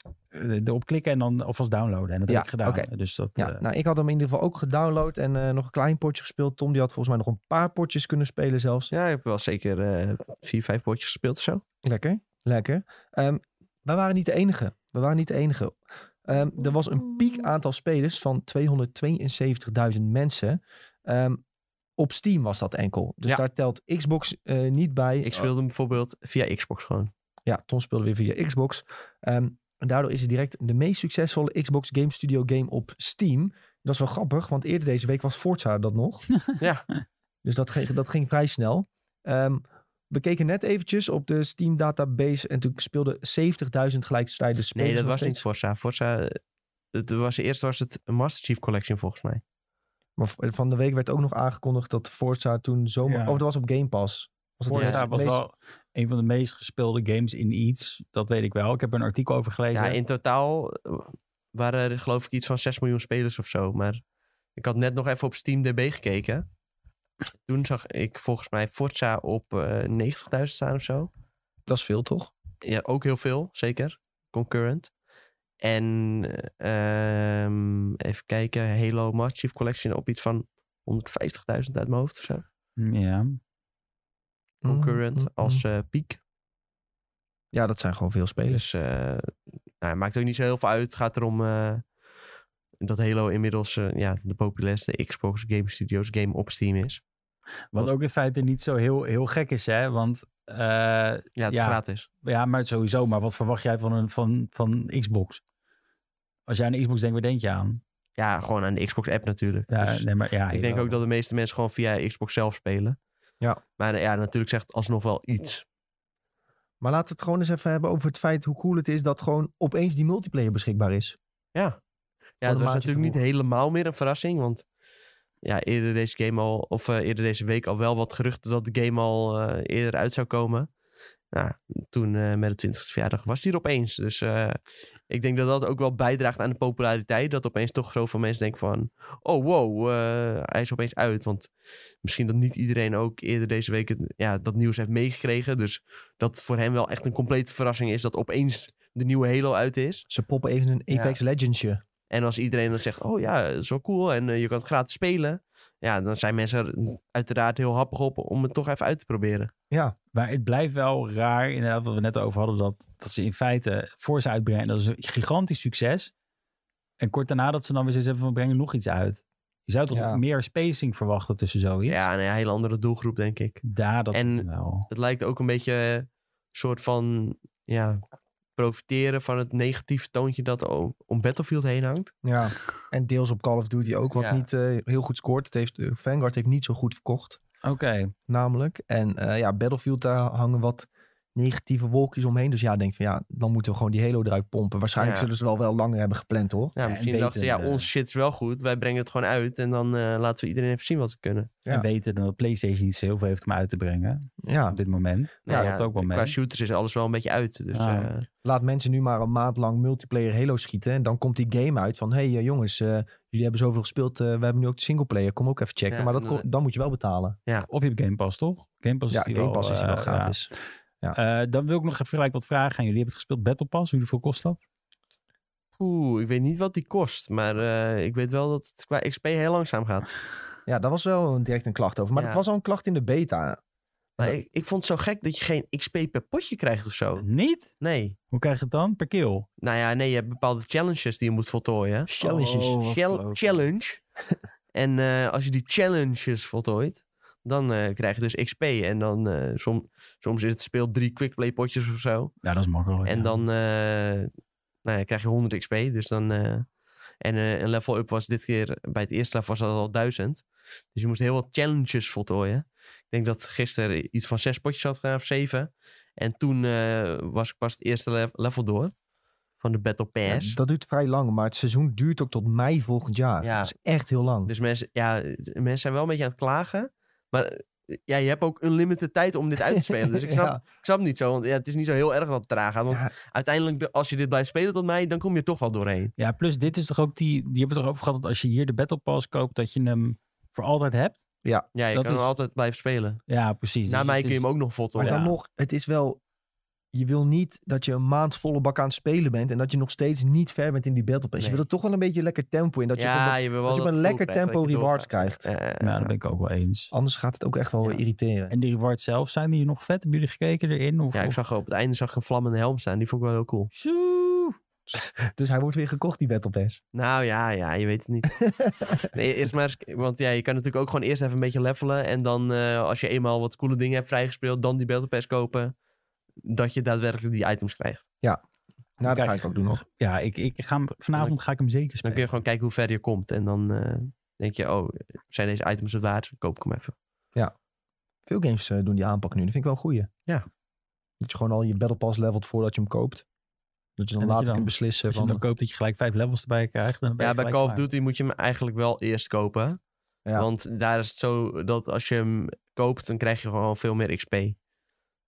erop klikken en dan alvast downloaden. En dat
Ja,
heb ik gedaan.
oké.
Dus dat,
Ja,
eh,
nou, ik had hem in ieder geval ook gedownload en eh, nog een klein potje gespeeld. Tom die had volgens mij nog een paar potjes kunnen spelen zelfs.
Ja, ik heb wel zeker eh, vier, vijf potjes gespeeld of zo.
Lekker, lekker. Ehm, wij waren niet de enige. We waren niet de enige. Ehm, er was een piek aantal spelers van 272.000 mensen. Ehm, op Steam was dat enkel. Dus
Ja.
daar telt Xbox eh, niet bij.
Ik speelde hem bijvoorbeeld via Xbox gewoon.
Ja, Ton speelde weer via Xbox. Ehm, en daardoor is hij direct de meest succesvolle Xbox Game Studio game op Steam. Dat is wel grappig, want eerder deze week was Forza dat nog.
Ja.
Dus dat ging, dat ging vrij snel. Ehm, we keken net eventjes op de Steam database en toen speelden 70.000 gelijktijdig spelers.
Nee, dat
nog
was niet
steeds.
Forza. Forza, eh, het was, eerst was het een Master Chief Collection volgens mij.
Maar v- van de week werd ook nog aangekondigd dat Forza toen zomaar...
Ja.
Of dat was op Game Pass. Was dat
Forza
de
was
meest-
wel een van de meest gespeelde games in iets. Dat weet ik wel. Ik heb er een artikel over gelezen.
Ja, in totaal eh, waren er geloof ik iets van 6 miljoen spelers of zo. Maar ik had net nog even op Steam DB gekeken. Toen zag ik volgens mij Forza op eh, 90.000 staan of zo.
Dat is veel, toch?
Ja, ook heel veel, zeker. Concurrent. En ehm, even kijken, Halo Master Chief Collection op iets van 150.000 uit mijn hoofd of zo.
Hm, ja.
Concurrent
Mm, mm, mm.
als eh, piek.
Ja, dat zijn gewoon veel spelers.
Dus eh, nou, het maakt ook niet zo heel veel uit. Het gaat erom eh, dat Halo inmiddels eh, ja, de populairste Xbox Game Studios game op Steam is.
Wat ook in feite niet zo heel, heel gek is, hè? Want eh,
Ja, het
Ja.
is gratis.
ja, maar sowieso. Maar wat verwacht jij van, een, van, van Xbox? Als jij aan de Xbox denkt, waar denk je aan?
Ja, gewoon aan de Xbox-app natuurlijk.
Ja,
Dus
nee, maar, ja,
ik denk ook dat de meeste mensen gewoon via Xbox zelf spelen.
Ja.
Maar eh, ja, natuurlijk zegt het alsnog wel iets.
Maar laten we het gewoon eens even hebben over het feit hoe cool het is dat gewoon opeens die multiplayer beschikbaar is.
Ja,
de
ja het was
maatje
natuurlijk niet
te hoog.
helemaal meer een verrassing, want... Ja, eerder deze game al, of eh, eerder deze week al wel wat geruchten dat de game al eh, eerder uit zou komen. Nou, toen eh, met de 20e verjaardag was die er opeens. Dus eh, ik denk dat dat ook wel bijdraagt aan de populariteit. Dat opeens toch zoveel mensen denken van... Oh, wow, eh, hij is opeens uit. Want misschien dat niet iedereen ook eerder deze week het- ja, dat nieuws heeft meegekregen. Dus dat voor hem wel echt een complete verrassing is... dat opeens de nieuwe Halo uit is.
Ze poppen even een
Ja.
Apex Legendsje.
En als iedereen dan zegt... Oh ja, dat is wel cool en eh, je kan het gratis spelen. Ja, dan zijn mensen er uiteraard heel happig op om het toch even uit te proberen.
Maar het blijft wel raar, inderdaad, wat we net over hadden, dat, dat ze in feite Forza uitbrengen. en Dat is een gigantisch succes. En kort daarna dat ze dan weer zoiets hebben van, we brengen nog iets uit. Je zou toch
Ja.
meer spacing verwachten tussen zoiets?
Ja, een hele andere doelgroep, denk ik.
Daar dat
En-
wel.
Het lijkt ook een beetje eh, een soort van ja, profiteren van het negatieve toontje dat o- om Battlefield heen hangt.
Ja. En deels op Call of Duty ook, wat
Ja.
niet eh, heel goed scoort. Het heeft, eh, Vanguard heeft niet zo goed verkocht,
Oké,
namelijk. En eh, ja, Battlefield, daar hangen wat negatieve wolkjes omheen. Dus ja, ik denk van ja, dan moeten we gewoon die Halo eruit pompen. Waarschijnlijk
Ja.
zullen ze wel wel langer hebben gepland, hoor.
Ja,
en
misschien
weten,
dachten ze, ja,
eh,
ons shit is wel goed. Wij brengen het gewoon uit en dan eh, laten we iedereen even zien wat we kunnen.
Ja.
en weten dat PlayStation niet zo heel veel heeft om uit te brengen
Ja,
op dit moment.
Nou
ja, dat ook wel mee.
Qua shooters is alles wel een beetje uit. Dus
Ah.
eh,
laat mensen nu maar een maand lang multiplayer Halo schieten. En dan komt die game uit van, hé hey, eh, jongens, eh, jullie hebben zoveel gespeeld. eh, we hebben nu ook de singleplayer, kom ook even checken.
Ja,
maar dat
en,
kon-
eh,
dan moet je wel betalen.
Of je hebt Game Pass, toch? Game Pass
Ja,
is die
Game
wel,
Pass is die wel
eh, ja.
gratis.
Eh, dan wil ik nog even gelijk wat vragen aan jullie. Hebben het gespeeld Battle Pass? Hoeveel kost dat?
poeh, ik weet niet wat die kost. Maar eh, ik weet wel dat het qua XP heel langzaam gaat.
Ja, daar was wel een- direct een klacht over. Maar
Ja.
dat was al een klacht in de beta.
Maar
Ja.
ik, ik vond het zo gek dat je geen XP per potje krijgt of zo.
Niet?
Nee.
Hoe krijg je het dan? Per kill?
Nou ja, nee, je hebt bepaalde challenges die je moet voltooien.
Challenges.
Oh, wat
Chal-
kloten.
challenge. en eh, als je die challenges voltooit, dan eh, krijg je dus XP. En dan eh, som- soms is het speel drie quickplay potjes of zo.
Ja, dat is
Oh,
makkelijk.
En
ja.
dan eh, nou ja, krijg je 100 XP. Dus dan, eh, en eh, een level up was dit keer, bij het eerste level was dat al 1000. Dus je moest heel wat challenges voltooien. Ik denk dat gisteren iets van zes potjes had gedaan of zeven. En toen eh, was ik pas het eerste le- level door. Van de Battle
Ja,
Pass.
dat duurt vrij lang, maar het seizoen duurt ook tot mei volgend jaar.
Ja.
Dat is echt heel lang.
Dus mensen, ja, het- mensen zijn wel een beetje aan het klagen. Maar eh, ja, je hebt ook unlimited tijd om dit uit te spelen. Dus ik snap,
Ja.
ik snap het niet zo. Want ja, het is niet zo heel erg dat het traag gaat. Want
Ja,
uiteindelijk, de- als je dit blijft spelen tot mij, dan kom je er toch wel doorheen.
Ja, plus dit is toch ook die... Die hebben we toch over gehad dat als je hier de Battle Pass koopt, dat je hem voor altijd hebt?
Ja, je
Dat
kan
is-
altijd blijven spelen.
Ja, precies.
Na
Dus
mij
het
kun je
is-
hem ook nog voltooien.
maar
Ja.
dan nog, het is wel... Je wil niet dat je een maand volle bak aan het spelen bent... en dat je nog steeds niet ver bent in die battle pass.
Nee.
Je wil er toch wel een beetje lekker tempo in. Dat je, op
ja,
een-
je wil wel
dat je op
dat
een
gevoel
lekker
krijgen
tempo
dat je
rewards Nou,
doorgaat.
krijgt.
Eh,
Ja, dat ben ik ook wel eens.
Anders gaat het ook echt wel
Ja.
irriteren.
En die rewards zelf, zijn die nog vet? Hebben jullie gekeken erin? Of,
ja, ik
of-
zag op het einde zag ik een vlammende helm staan. Die vond ik wel heel cool.
Zo.
Dus hij wordt weer gekocht, die Battle Pass.
Nou ja, ja, je weet het niet. nee, eerst maar eens- want ja, je kan natuurlijk ook gewoon eerst even een beetje levelen. En dan eh, als je eenmaal wat coole dingen hebt vrijgespeeld, dan die Battle Pass kopen. Dat je daadwerkelijk die items krijgt.
Nou, dat
Kijk,
ga ik ook doen nog.
Ja, ik, ik ga hem, vanavond ga ik hem zeker
Dan kun je
spelen.
gewoon kijken hoe ver je komt. En dan eh, denk je, oh, zijn deze items het waard? Koop ik hem even.
Veel games eh, doen die aanpak nu. Dat vind ik wel een goeie.
Ja.
Dat je gewoon al je Battle Pass levelt voordat je hem koopt. Dat je dan
En dat je
later
dan-
kunt beslissen
Als je
van...
hem Dus dan koopt dat je gelijk vijf levels erbij krijgt. Dan ben
Ja,
je
bij
gelijk
Call of
klaar.
Duty moet je hem eigenlijk wel eerst kopen.
Ja.
Want daar is het zo dat als je hem koopt, dan krijg je gewoon veel meer XP.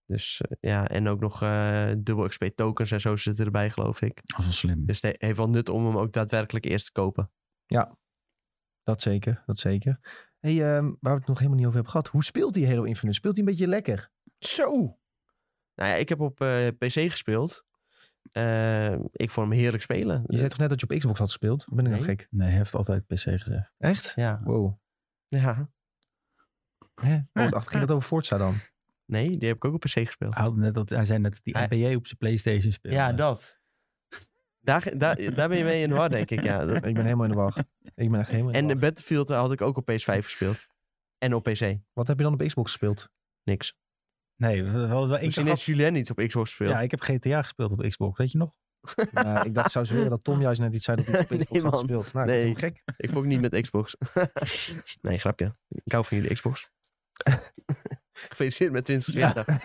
Dus eh, ja, en ook nog eh, dubbel XP tokens en zo zitten erbij, geloof ik.
Dat is wel slim.
Dus het he- heeft wel nut om hem ook daadwerkelijk eerst te kopen.
Dat zeker, dat zeker. hey, ehm, waar we het nog helemaal niet over hebben gehad. Hoe speelt die Halo Infinite? Speelt hij een beetje lekker?
Zo! Nou ja, ik heb op eh, PC gespeeld. Eh, ik vond hem heerlijk spelen.
Je zei toch net dat je op Xbox had gespeeld? Of ben ik nog
Nee.
gek?
Nee, hij heeft altijd PC gezegd.
Echt?
Ja.
Wow.
Eh, ja.
Hè? Oh, dacht, ging dat over Forza dan?
Nee, die heb ik ook op PC gespeeld.
Hij, had net dat, hij zei net dat die
Hij-
NBA op zijn Playstation speelde.
dat. Daar, daar, daar ben je mee in de war, denk ik. Ja, Dat-
Ik ben helemaal in de war. Ik ben echt helemaal in
En
de
de
war.
Battlefield had ik ook op PS5 gespeeld. En op PC.
Wat heb je dan op Xbox gespeeld?
Niks.
Nee, we we hadden wel één keer
Misschien
gehad.
heeft Julien iets op Xbox gespeeld.
Ja, ik heb GTA gespeeld op Xbox, weet je nog?
Ja, ik dacht, zou zweren dat Tom juist net iets zei dat hij het op
Nee,
Xbox had
man.
gespeeld. Nou,
Nee.
nee. gek.
Ik vond niet met Xbox. nee, grapje. Ik hou van jullie Xbox. Gefeliciteerd met 20
Ja.
jaar.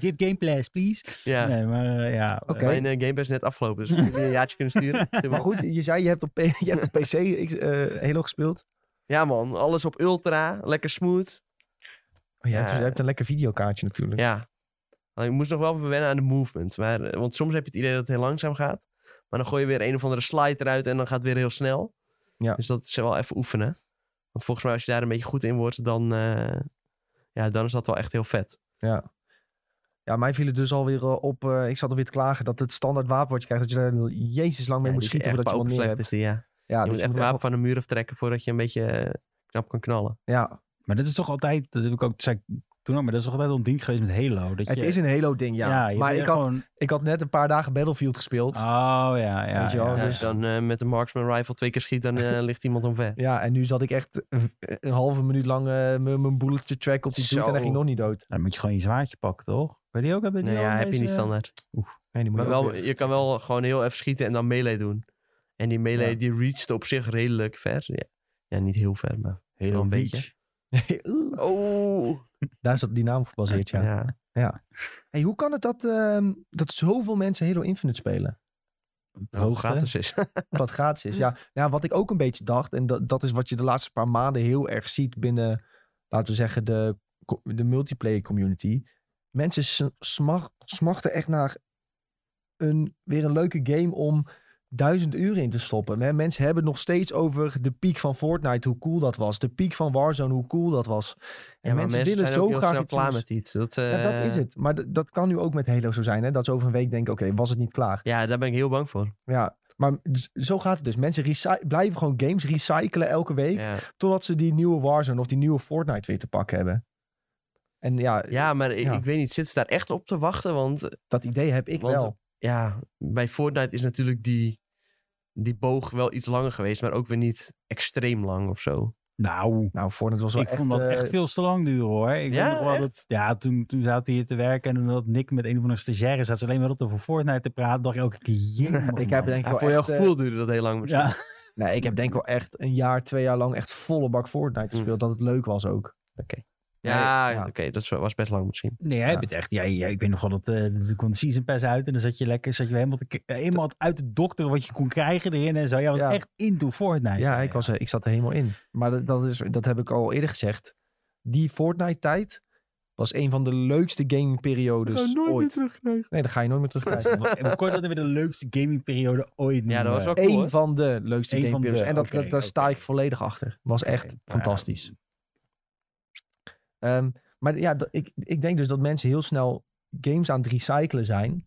Give gameplays, please.
Ja.
Nee, maar eh, ja.
Oké.
Mijn eh, Game Pass is net afgelopen, dus jullie een jaartje kunnen sturen.
Maar goed, je zei je hebt op, P- je hebt op PC X- eh, Halo gespeeld.
Ja man, alles op ultra, lekker smooth.
Oh, ja,
Ja.
dus je hebt een lekker videokaartje natuurlijk.
Eh, Ja. Alleen, ik moest nog wel even wennen aan de movement. Maar, eh, want soms heb je het idee dat het heel langzaam gaat. Maar dan gooi je weer een of andere slide eruit en dan gaat het weer heel snel.
Ja.
Dus dat is wel even oefenen. Want volgens mij als je daar een beetje goed in wordt, dan, eh, ja, dan is dat wel echt heel vet.
Ja, mij viel het dus alweer eh, op. eh, ik zat alweer te klagen dat het standaard wapen wat je krijgt, dat je daar jezus lang mee
Ja,
moet
dit is
schieten
echt
voordat je wat neer
bouwopgevlekt
hebt.
is die, ja.
Ja, dus
je moet
je
echt
moet
een wapen
echt-
van een muur aftrekken voordat je een beetje eh, knap kan knallen.
ja.
Maar dat is toch altijd, dat heb ik ook, dat zei ik toen ook, maar dat is toch altijd een ding geweest met Halo. Dat
Het
je,
is een Halo-ding, ja.
je
maar
wil
ik had,
gewoon...
ik had net een paar dagen Battlefield gespeeld.
Oh, ja, ja.
Weet je wel,
ja,
Ja,
dus-
Als je dan eh, met een marksman rifle twee keer schiet, dan eh, ligt iemand omver.
Ja, en nu zat ik echt eh, een halve minuut lang eh, mijn mijn bulletje track op die
Zo.
doet en hij ging nog niet dood.
Dan moet je gewoon je zwaardje pakken, toch? Weet je ook, heb je die
Nee,
al
ja,
in
heb je
deze-
niet standaard.
Nee, die moet
Maar
je ook
wel,
weer-
je kan wel gewoon heel even schieten en dan melee doen. En die melee, die reached op zich redelijk ver. Ja, ja niet heel ver, maar...
Halo
Wel een
Reach.
beetje.
Oeh,
Oh!
Daar zat die naam op gebaseerd, ja.
Ja.
Hey, hoe kan het dat, ehm, dat zoveel mensen Halo Infinite spelen?
Nou,
Hoogte.
gratis is.
Omdat het gratis is. Ja, nou, ja, wat ik ook een beetje dacht, en dat, dat is wat je de laatste paar maanden heel erg ziet binnen, laten we zeggen, de, co- de multiplayer community. Mensen s- smach- smachten echt naar een, weer een leuke game om duizend uren in te stoppen. Hè, Mensen hebben het nog steeds over de piek van Fortnite, hoe cool dat was. De piek van Warzone, hoe cool dat was. En
Ja, maar
mensen, willen
zijn
zo
ook heel
graag
snel
iets
klaar
nieuws.
met iets. Dat,
Ja, dat is
eh,
het. Maar d- dat kan nu ook met Halo zo zijn. Hè? Dat ze over een week denken, oké, was het niet klaar?
Ja, daar ben ik heel bang voor.
Ja, maar z- zo gaat het dus. Mensen recy- blijven gewoon games recyclen elke week.
Ja.
Totdat ze die nieuwe Warzone of die nieuwe Fortnite weer te pakken hebben. En ja,
Ja, maar ik,
Ja.
ik weet niet, zitten ze daar echt op te wachten? Want eh,
dat idee heb ik
Want-
wel.
ja, bij Fortnite is natuurlijk die, die boog wel iets langer geweest, maar ook weer niet extreem lang of zo.
Nou,
Nou, Fortnite was wel
ik
echt...
vond dat
eh,
echt veel te lang duren, hoor. Ik
Ja,
weet nog wel
echt?
dat, ja toen, toen zaten we hier te werken en omdat Nick met een of andere stagiaire zat ze alleen maar dat over Fortnite te praten, dacht ik ook, jemig,
ik heb
man.
denk ik
Ja,
wel
voor jouw
echt, eh,
gevoel duurde dat heel lang.
Ja.
misschien.
nee, ik heb denk ik wel echt een jaar, twee jaar lang echt volle bak Fortnite gespeeld. Dat het leuk was ook.
Ja,
Nee, ja.
oké, dat is- was best lang misschien.
Nee, jij
Ja.
bent echt. Ja, ja, ik weet nog wel dat eh er kwam de season pass uit en dan zat je lekker, zat je helemaal, te k- eh, helemaal uit de dokter wat je kon krijgen erin en zo. Jij was
Ja.
echt into Fortnite.
Ja, ik, was, eh, ik zat er helemaal in. Maar dat, dat, is, dat heb ik al eerder gezegd. Die Fortnite-tijd was een van de leukste gamingperiodes ooit.
terugkrijgen.
Nee, dat ga je nooit meer terugkijken.
En kort dat weer de leukste gamingperiode ooit.
Ja, dat was wel cool.
Eén
hoor.
van de leukste
Eén van
gameperiodes.
de,
En dat,
oké,
dat- daar sta
oké.
ik volledig achter. Was echt
nou
fantastisch. Ehm, maar ja, dat- ik, ik denk dus dat mensen heel snel games aan het recyclen zijn.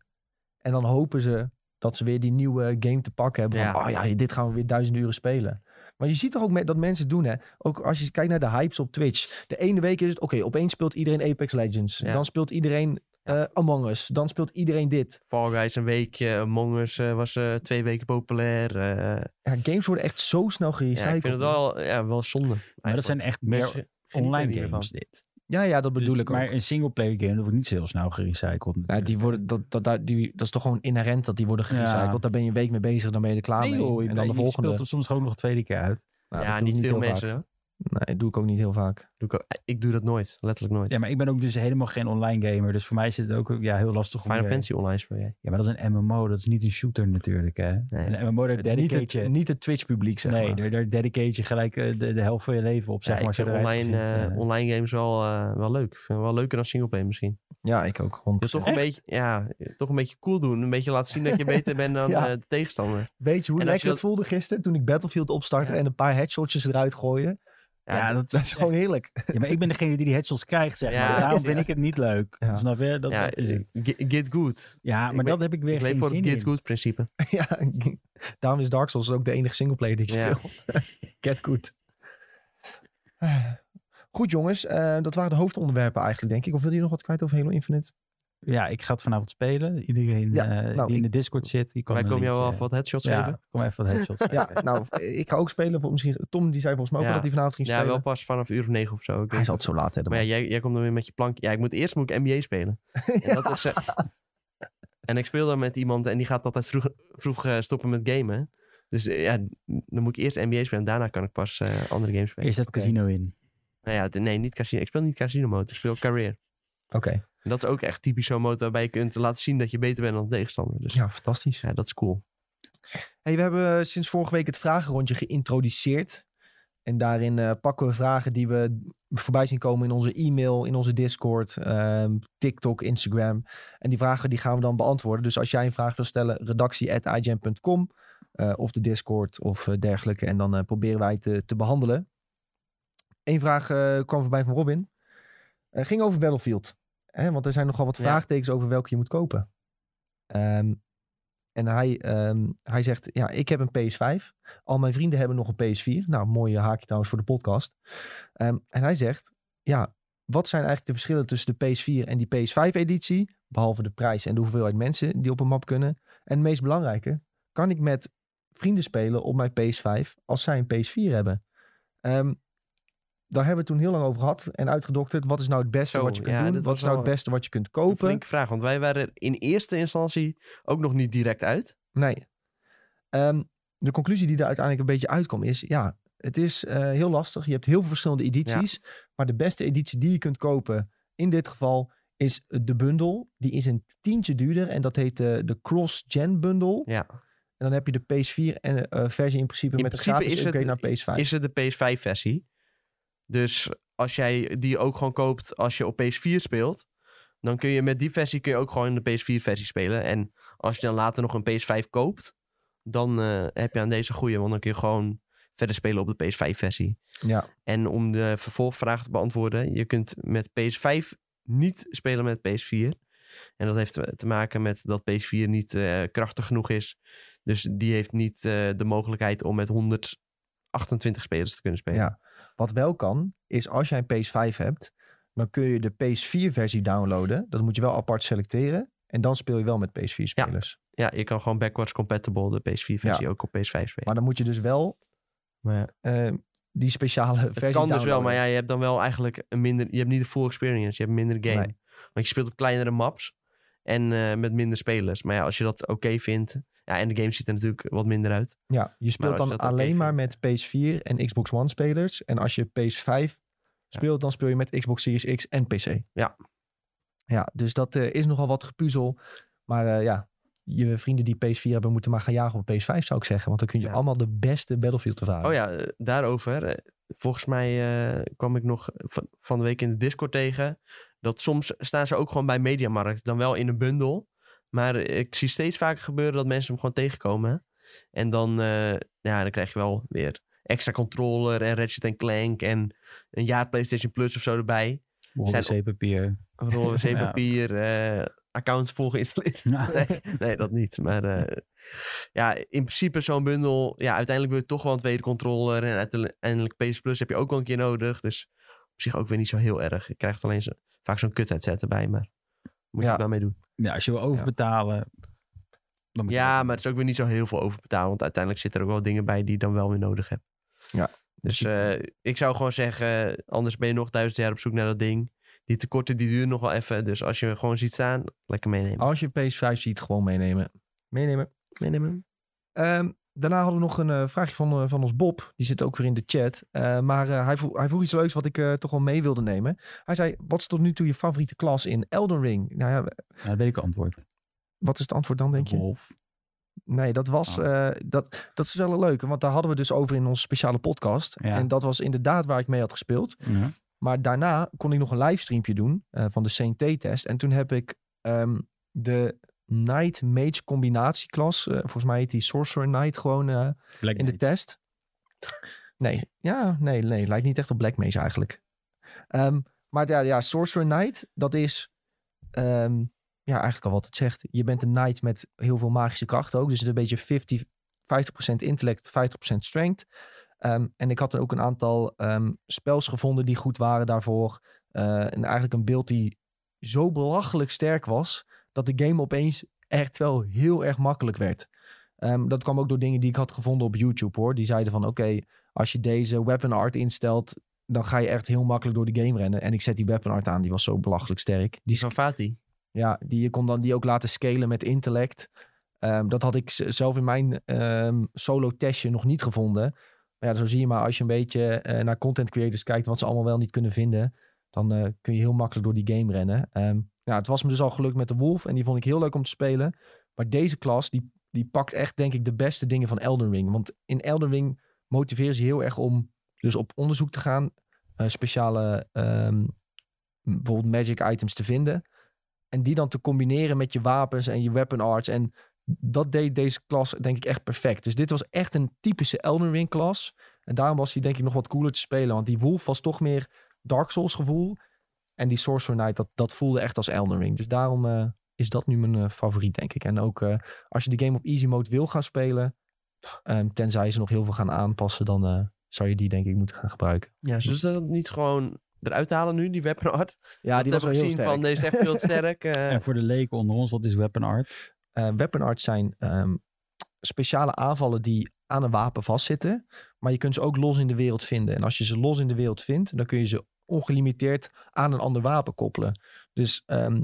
En dan hopen ze dat ze weer die nieuwe game te pakken hebben. Van,
Ja.
oh ja, dit gaan we weer duizend uren spelen. Maar je ziet toch ook me- dat mensen het doen, hè? Ook als je kijkt naar de hypes op Twitch. De ene week is het, oké, opeens speelt iedereen Apex Legends.
Ja.
Dan speelt iedereen Eh, Among Us, dan speelt iedereen dit.
Fall Guys een weekje, Among Us eh, was eh, twee weken populair. eh.
Ja, games worden echt zo snel
ja,
gerecycled.
ik vind het wel, ja, wel zonde.
Maar dat zijn echt meer
Mensen genieten er
online
niet meer
games
van.
dit.
ja, ja, dat bedoel
Dus-
ik ook.
Maar een singleplayer game, dat wordt niet zo heel snel gerecycled.
Ja, die worden, dat, dat, dat, die, dat is toch gewoon inherent dat die worden gerecycled.
Ja.
Daar ben je een week mee bezig, dan ben je er klaar
nee
mee.
joh, je,
en dan de
je
volgende.
speelt er soms gewoon nog een tweede keer uit.
Nou,
ja,
dat doe ik
niet veel
heel
mensen.
vaak.
hè?
Nee, doe ik ook niet heel vaak.
Doe ik, ook- ik doe dat nooit, letterlijk nooit.
Ja, maar ik ben ook dus helemaal geen online gamer. Dus voor mij is het ook ja, heel lastig om...
Final
eh,
Fantasy online speel jij.
Ja, maar dat is een MMO. Dat is niet een shooter natuurlijk, hè.
Nee.
Een MMO, daar
Het is niet
dedicate je...
het, niet het Twitch-publiek, zeg
nee,
maar.
daar, daar dedicate je gelijk eh, de, de helft van je leven op, zeg
ja,
maar.
ik vind
zodra je
online,
begint,
eh,
eh.
online games wel, eh, wel leuk. Ik vind het wel leuker dan singleplayer misschien.
Ja, ik ook. 100%.
Je wil toch een, beetje, ja, toch een beetje cool doen. Een beetje laten zien dat je beter bent dan
Ja.
eh, de tegenstander.
Weet je hoe
En als
lekker
je
het voelde gisteren toen ik Battlefield opstartte
Ja.
en een paar headshotjes eruit gooide?
Ja,
ja,
dat-
dat,
Dat is gewoon heerlijk.
ja, maar ik ben degene die die headshots krijgt, zeg
Ja.
maar. Daarom vind
Ja.
ik het niet leuk.
Ja.
Snap je? Dat,
ja,
dat is het.
eh, get, get good.
ja
ik
maar
ben-
dat heb ik weer
Ik leef
geen
voor het
zin
get
in.
good principe.
ja, daarom is Dark Souls ook de enige singleplayer die ik
Ja.
speel. Get good. Goed jongens, eh, dat waren de hoofdonderwerpen eigenlijk denk ik. Of wil je nog wat kwijt over Halo Infinite?
Ja, ik ga het vanavond spelen. Iedereen
Ja,
eh,
nou,
die in
ik-
de Discord zit, die kan
Wij
een
komen jou wel
linkje-
af wat headshots
eh, Ja,
geven.
kom even wat headshots.
Ja, nou, ik ga ook spelen. Misschien, Tom die zei volgens mij ook
Ja.
dat hij vanavond ging
Ja,
spelen.
wel pas vanaf uur of negen of zo. Ik
Hij
weet
is altijd
het.
zo laat, hè. de
Maar ja,
man.
jij, jij komt dan weer met je plank. Ja, ik moet eerst moet ik NBA spelen. En, dat is, eh, en ik speel dan met iemand en die gaat altijd vroeg, vroeg eh, stoppen met gamen. Dus eh, ja, dan moet ik eerst NBA spelen en daarna kan ik pas eh, andere games spelen.
Is dat
Oké.
casino in?
Nou ja, d- nee, niet casino. Ik speel niet casino mode. Ik speel career.
Oké.
En dat is ook echt typisch zo'n mode waarbij je kunt laten zien dat je beter bent dan de tegenstander. Dus
Ja, fantastisch.
ja, dat is cool.
Hey, we hebben eh, sinds vorige week het vragenrondje geïntroduceerd. En daarin eh, pakken we vragen die we voorbij zien komen in onze e-mail, in onze Discord, ehm, TikTok, Instagram. En die vragen die gaan we dan beantwoorden. Dus als jij een vraag wil stellen, redactie.igem.com eh, of de Discord of eh, dergelijke. En dan eh, proberen wij te, te behandelen. Eén vraag eh, kwam voorbij van Robin. Eh, ging over Battlefield. Hè, want er zijn nogal wat
Ja.
vraagtekens over welke je moet kopen. Ehm, en hij, ehm, hij zegt, ja, ik heb een PS5. Al mijn vrienden hebben nog een PS4. Nou, mooie haakje trouwens voor de podcast. Ehm, en hij zegt, ja, wat zijn eigenlijk de verschillen tussen de PS4 en die PS5-editie? Behalve de prijs en de hoeveelheid mensen die op een map kunnen. En het meest belangrijke, kan ik met vrienden spelen op mijn PS5 als zij een PS4 hebben? Ehm, daar hebben we het toen heel lang over gehad en uitgedokterd. Wat is nou het beste
Zo,
wat je kunt
ja,
doen?
dit
Wat
was
is nou het
wel
beste wat je kunt
Een
kopen?
flinke vraag, want wij waren er in eerste instantie ook nog niet direct uit.
Nee. Ehm, de conclusie die er uiteindelijk een beetje uitkomt is, ja, het is eh, heel lastig. Je hebt heel veel verschillende edities, maar de beste editie die je kunt kopen in dit geval is de bundel. Die is een tientje duurder en dat heet eh, de Cross-Gen Bundle.
Ja.
En dan heb je de PS4 en, eh, versie in principe
In
met
principe
een gratis
is het-
upgrade naar PS5.
Is het de PS5-versie? Dus als jij die ook gewoon koopt als je op PS4 speelt, dan kun je met die versie kun je ook gewoon de PS4-versie spelen. En als je dan later nog een PS5 koopt, dan eh, heb je aan deze goede, want dan kun je gewoon verder spelen op de PS5-versie.
Ja.
En om de vervolgvraag te beantwoorden, je kunt met PS5 niet spelen met PS4. En dat heeft te maken met dat PS4 niet eh, krachtig genoeg is. Dus die heeft niet eh, de mogelijkheid om met 128 spelers te kunnen spelen.
Ja. Wat wel kan, is als jij een PS5 hebt, dan kun je de PS4-versie downloaden. Dat moet je wel apart selecteren. En dan speel je wel met PS4-spelers.
Ja, je kan gewoon backwards compatible de PS4-versie ook op PS5 spelen.
Maar dan moet je dus wel
Maar ja,
eh, die speciale versie
het kan dus wel,
downloaden.
maar ja, je hebt dan wel eigenlijk een minder... Je hebt niet de full experience, je hebt minder game.
Nee.
Want je speelt op kleinere maps en eh, met minder spelers. Maar ja, als je dat oké vindt... Ja, en de game ziet er natuurlijk wat minder uit.
Ja, je
Maar
speelt
als
dan
je dat ook
alleen
even-
maar met PS4 en Xbox One spelers. En als je PS5 speelt, dan speel je met Xbox Series X en PC.
Ja.
Ja, dus dat eh, is nogal wat gepuzzel. Maar eh, ja, je vrienden die PS4 hebben, moeten maar gaan jagen op PS5, zou ik zeggen. Want dan kun je
Ja.
allemaal de beste Battlefield ervaren.
Oh ja, eh, daarover. eh, Volgens mij eh, kwam ik nog van, van de week in de Discord tegen. Dat soms staan ze ook gewoon bij Mediamarkt. Dan wel in een bundel. Maar ik zie steeds vaker gebeuren dat mensen hem gewoon tegenkomen. En dan, eh, ja, dan krijg je wel weer extra controller en Ratchet Clank. En een jaar PlayStation Plus of zo erbij.
Zijn... papier
Rollen wc-papier, eh, account vol geïnstalleerd.
Nou,
Nee, nee, dat niet. Maar eh, ja, in principe zo'n bundel... Ja, uiteindelijk wil je toch wel een tweede controller. En uiteindelijk PS Plus heb je ook wel een keer nodig. Dus op zich ook weer niet zo heel erg. Ik krijg alleen zo, vaak zo'n kut headset erbij. Maar Moet
Ja.
je het maar mee doen.
Ja, als je wil overbetalen. Dan moet je
Ja,
dat
maar het is ook weer niet zo heel veel overbetalen. Want uiteindelijk zitten er ook wel dingen bij die je dan wel weer nodig hebt.
Ja.
Dus eh, ik zou gewoon zeggen, anders ben je nog duizend jaar op zoek naar dat ding. Die tekorten die duren nog wel even. Dus als je hem gewoon ziet staan, lekker meenemen.
Als je PS5 ziet, gewoon meenemen. Meenemen.
Meenemen.
Ehm, daarna hadden we nog een eh, vraagje van, eh, van ons Bob. Die zit ook weer in de chat. Eh, maar eh, hij, vroeg, hij vroeg iets leuks wat ik eh, toch wel mee wilde nemen. Hij zei, wat is tot nu toe je favoriete klas in Elden Ring? Nou ja,
doen. Ja, dat weet ik het antwoord.
wat is het antwoord dan, denk
De
je?
wolf.
Nee, dat was... eh, dat, dat is wel een leuke, want daar hadden we dus over in onze speciale podcast.
Ja.
En dat was inderdaad waar ik mee had gespeeld.
Ja.
Maar daarna kon ik nog een livestreampje doen eh, van de CNT-test. En toen heb ik ehm, de Knight Mage combinatieklas, eh, volgens mij heet die Sorcerer Knight, gewoon eh,
Black
in de test. Nee, ja, nee, nee, lijkt niet echt op Black Mage eigenlijk. Ehm, maar ja, ja, Sorcerer Knight, dat is ehm, ja, eigenlijk al wat het zegt. Je bent een knight met heel veel magische krachten ook. Dus het is een beetje 50, 50% intellect, 50% strength. Ehm, en ik had er ook een aantal ehm, spels gevonden die goed waren daarvoor. Eh, en eigenlijk een beeld die zo belachelijk sterk was... dat de game opeens echt wel heel erg makkelijk werd. Ehm, dat kwam ook door dingen die ik had gevonden op YouTube hoor. Die zeiden van oké, als je deze weapon art instelt... dan ga je echt heel makkelijk door de game rennen. En ik zet die weapon art aan, die was zo belachelijk sterk.
Die
Die
van Fatih.
ja, die je kon dan die ook laten scalen met intellect. Ehm, dat had ik z- zelf in mijn ehm, solo-testje nog niet gevonden. Maar ja, zo zie je maar als je een beetje eh, naar content creators kijkt... wat ze allemaal wel niet kunnen vinden... dan eh, kun je heel makkelijk door die game rennen. Ehm, ja, het was me dus al gelukt met de Wolf... en die vond ik heel leuk om te spelen. Maar deze klas, die, die pakt echt denk ik de beste dingen van Elden Ring. Want in Elden Ring motiveren ze heel erg om... dus op onderzoek te gaan, eh, speciale... ehm, bijvoorbeeld magic items te vinden... En die dan te combineren met je wapens en je weapon arts. En dat deed deze klas denk ik echt perfect. Dus dit was echt een typische Elden Ring klas. En daarom was hij denk ik nog wat cooler te spelen. Want die Wolf was toch meer Dark Souls gevoel. En die Sorcerer Knight, dat, dat voelde echt als Elden Ring. Dus daarom eh, is dat nu mijn eh, favoriet denk ik. En ook eh, als je de game op easy mode wil gaan spelen. ehm, tenzij ze nog heel veel gaan aanpassen. Dan eh, zou je die denk ik moeten gaan gebruiken.
Ja, dus dat niet gewoon eruit halen nu, die weapon art.
Ja,
Dat hebben we gezien van, deze is echt heel sterk. eh.
En voor de leken onder ons, wat is weapon art?
eh weapon arts zijn ehm, speciale aanvallen die aan een wapen vastzitten. Maar je kunt ze ook los in de wereld vinden. En als je ze los in de wereld vindt, dan kun je ze ongelimiteerd aan een ander wapen koppelen. Dus ehm,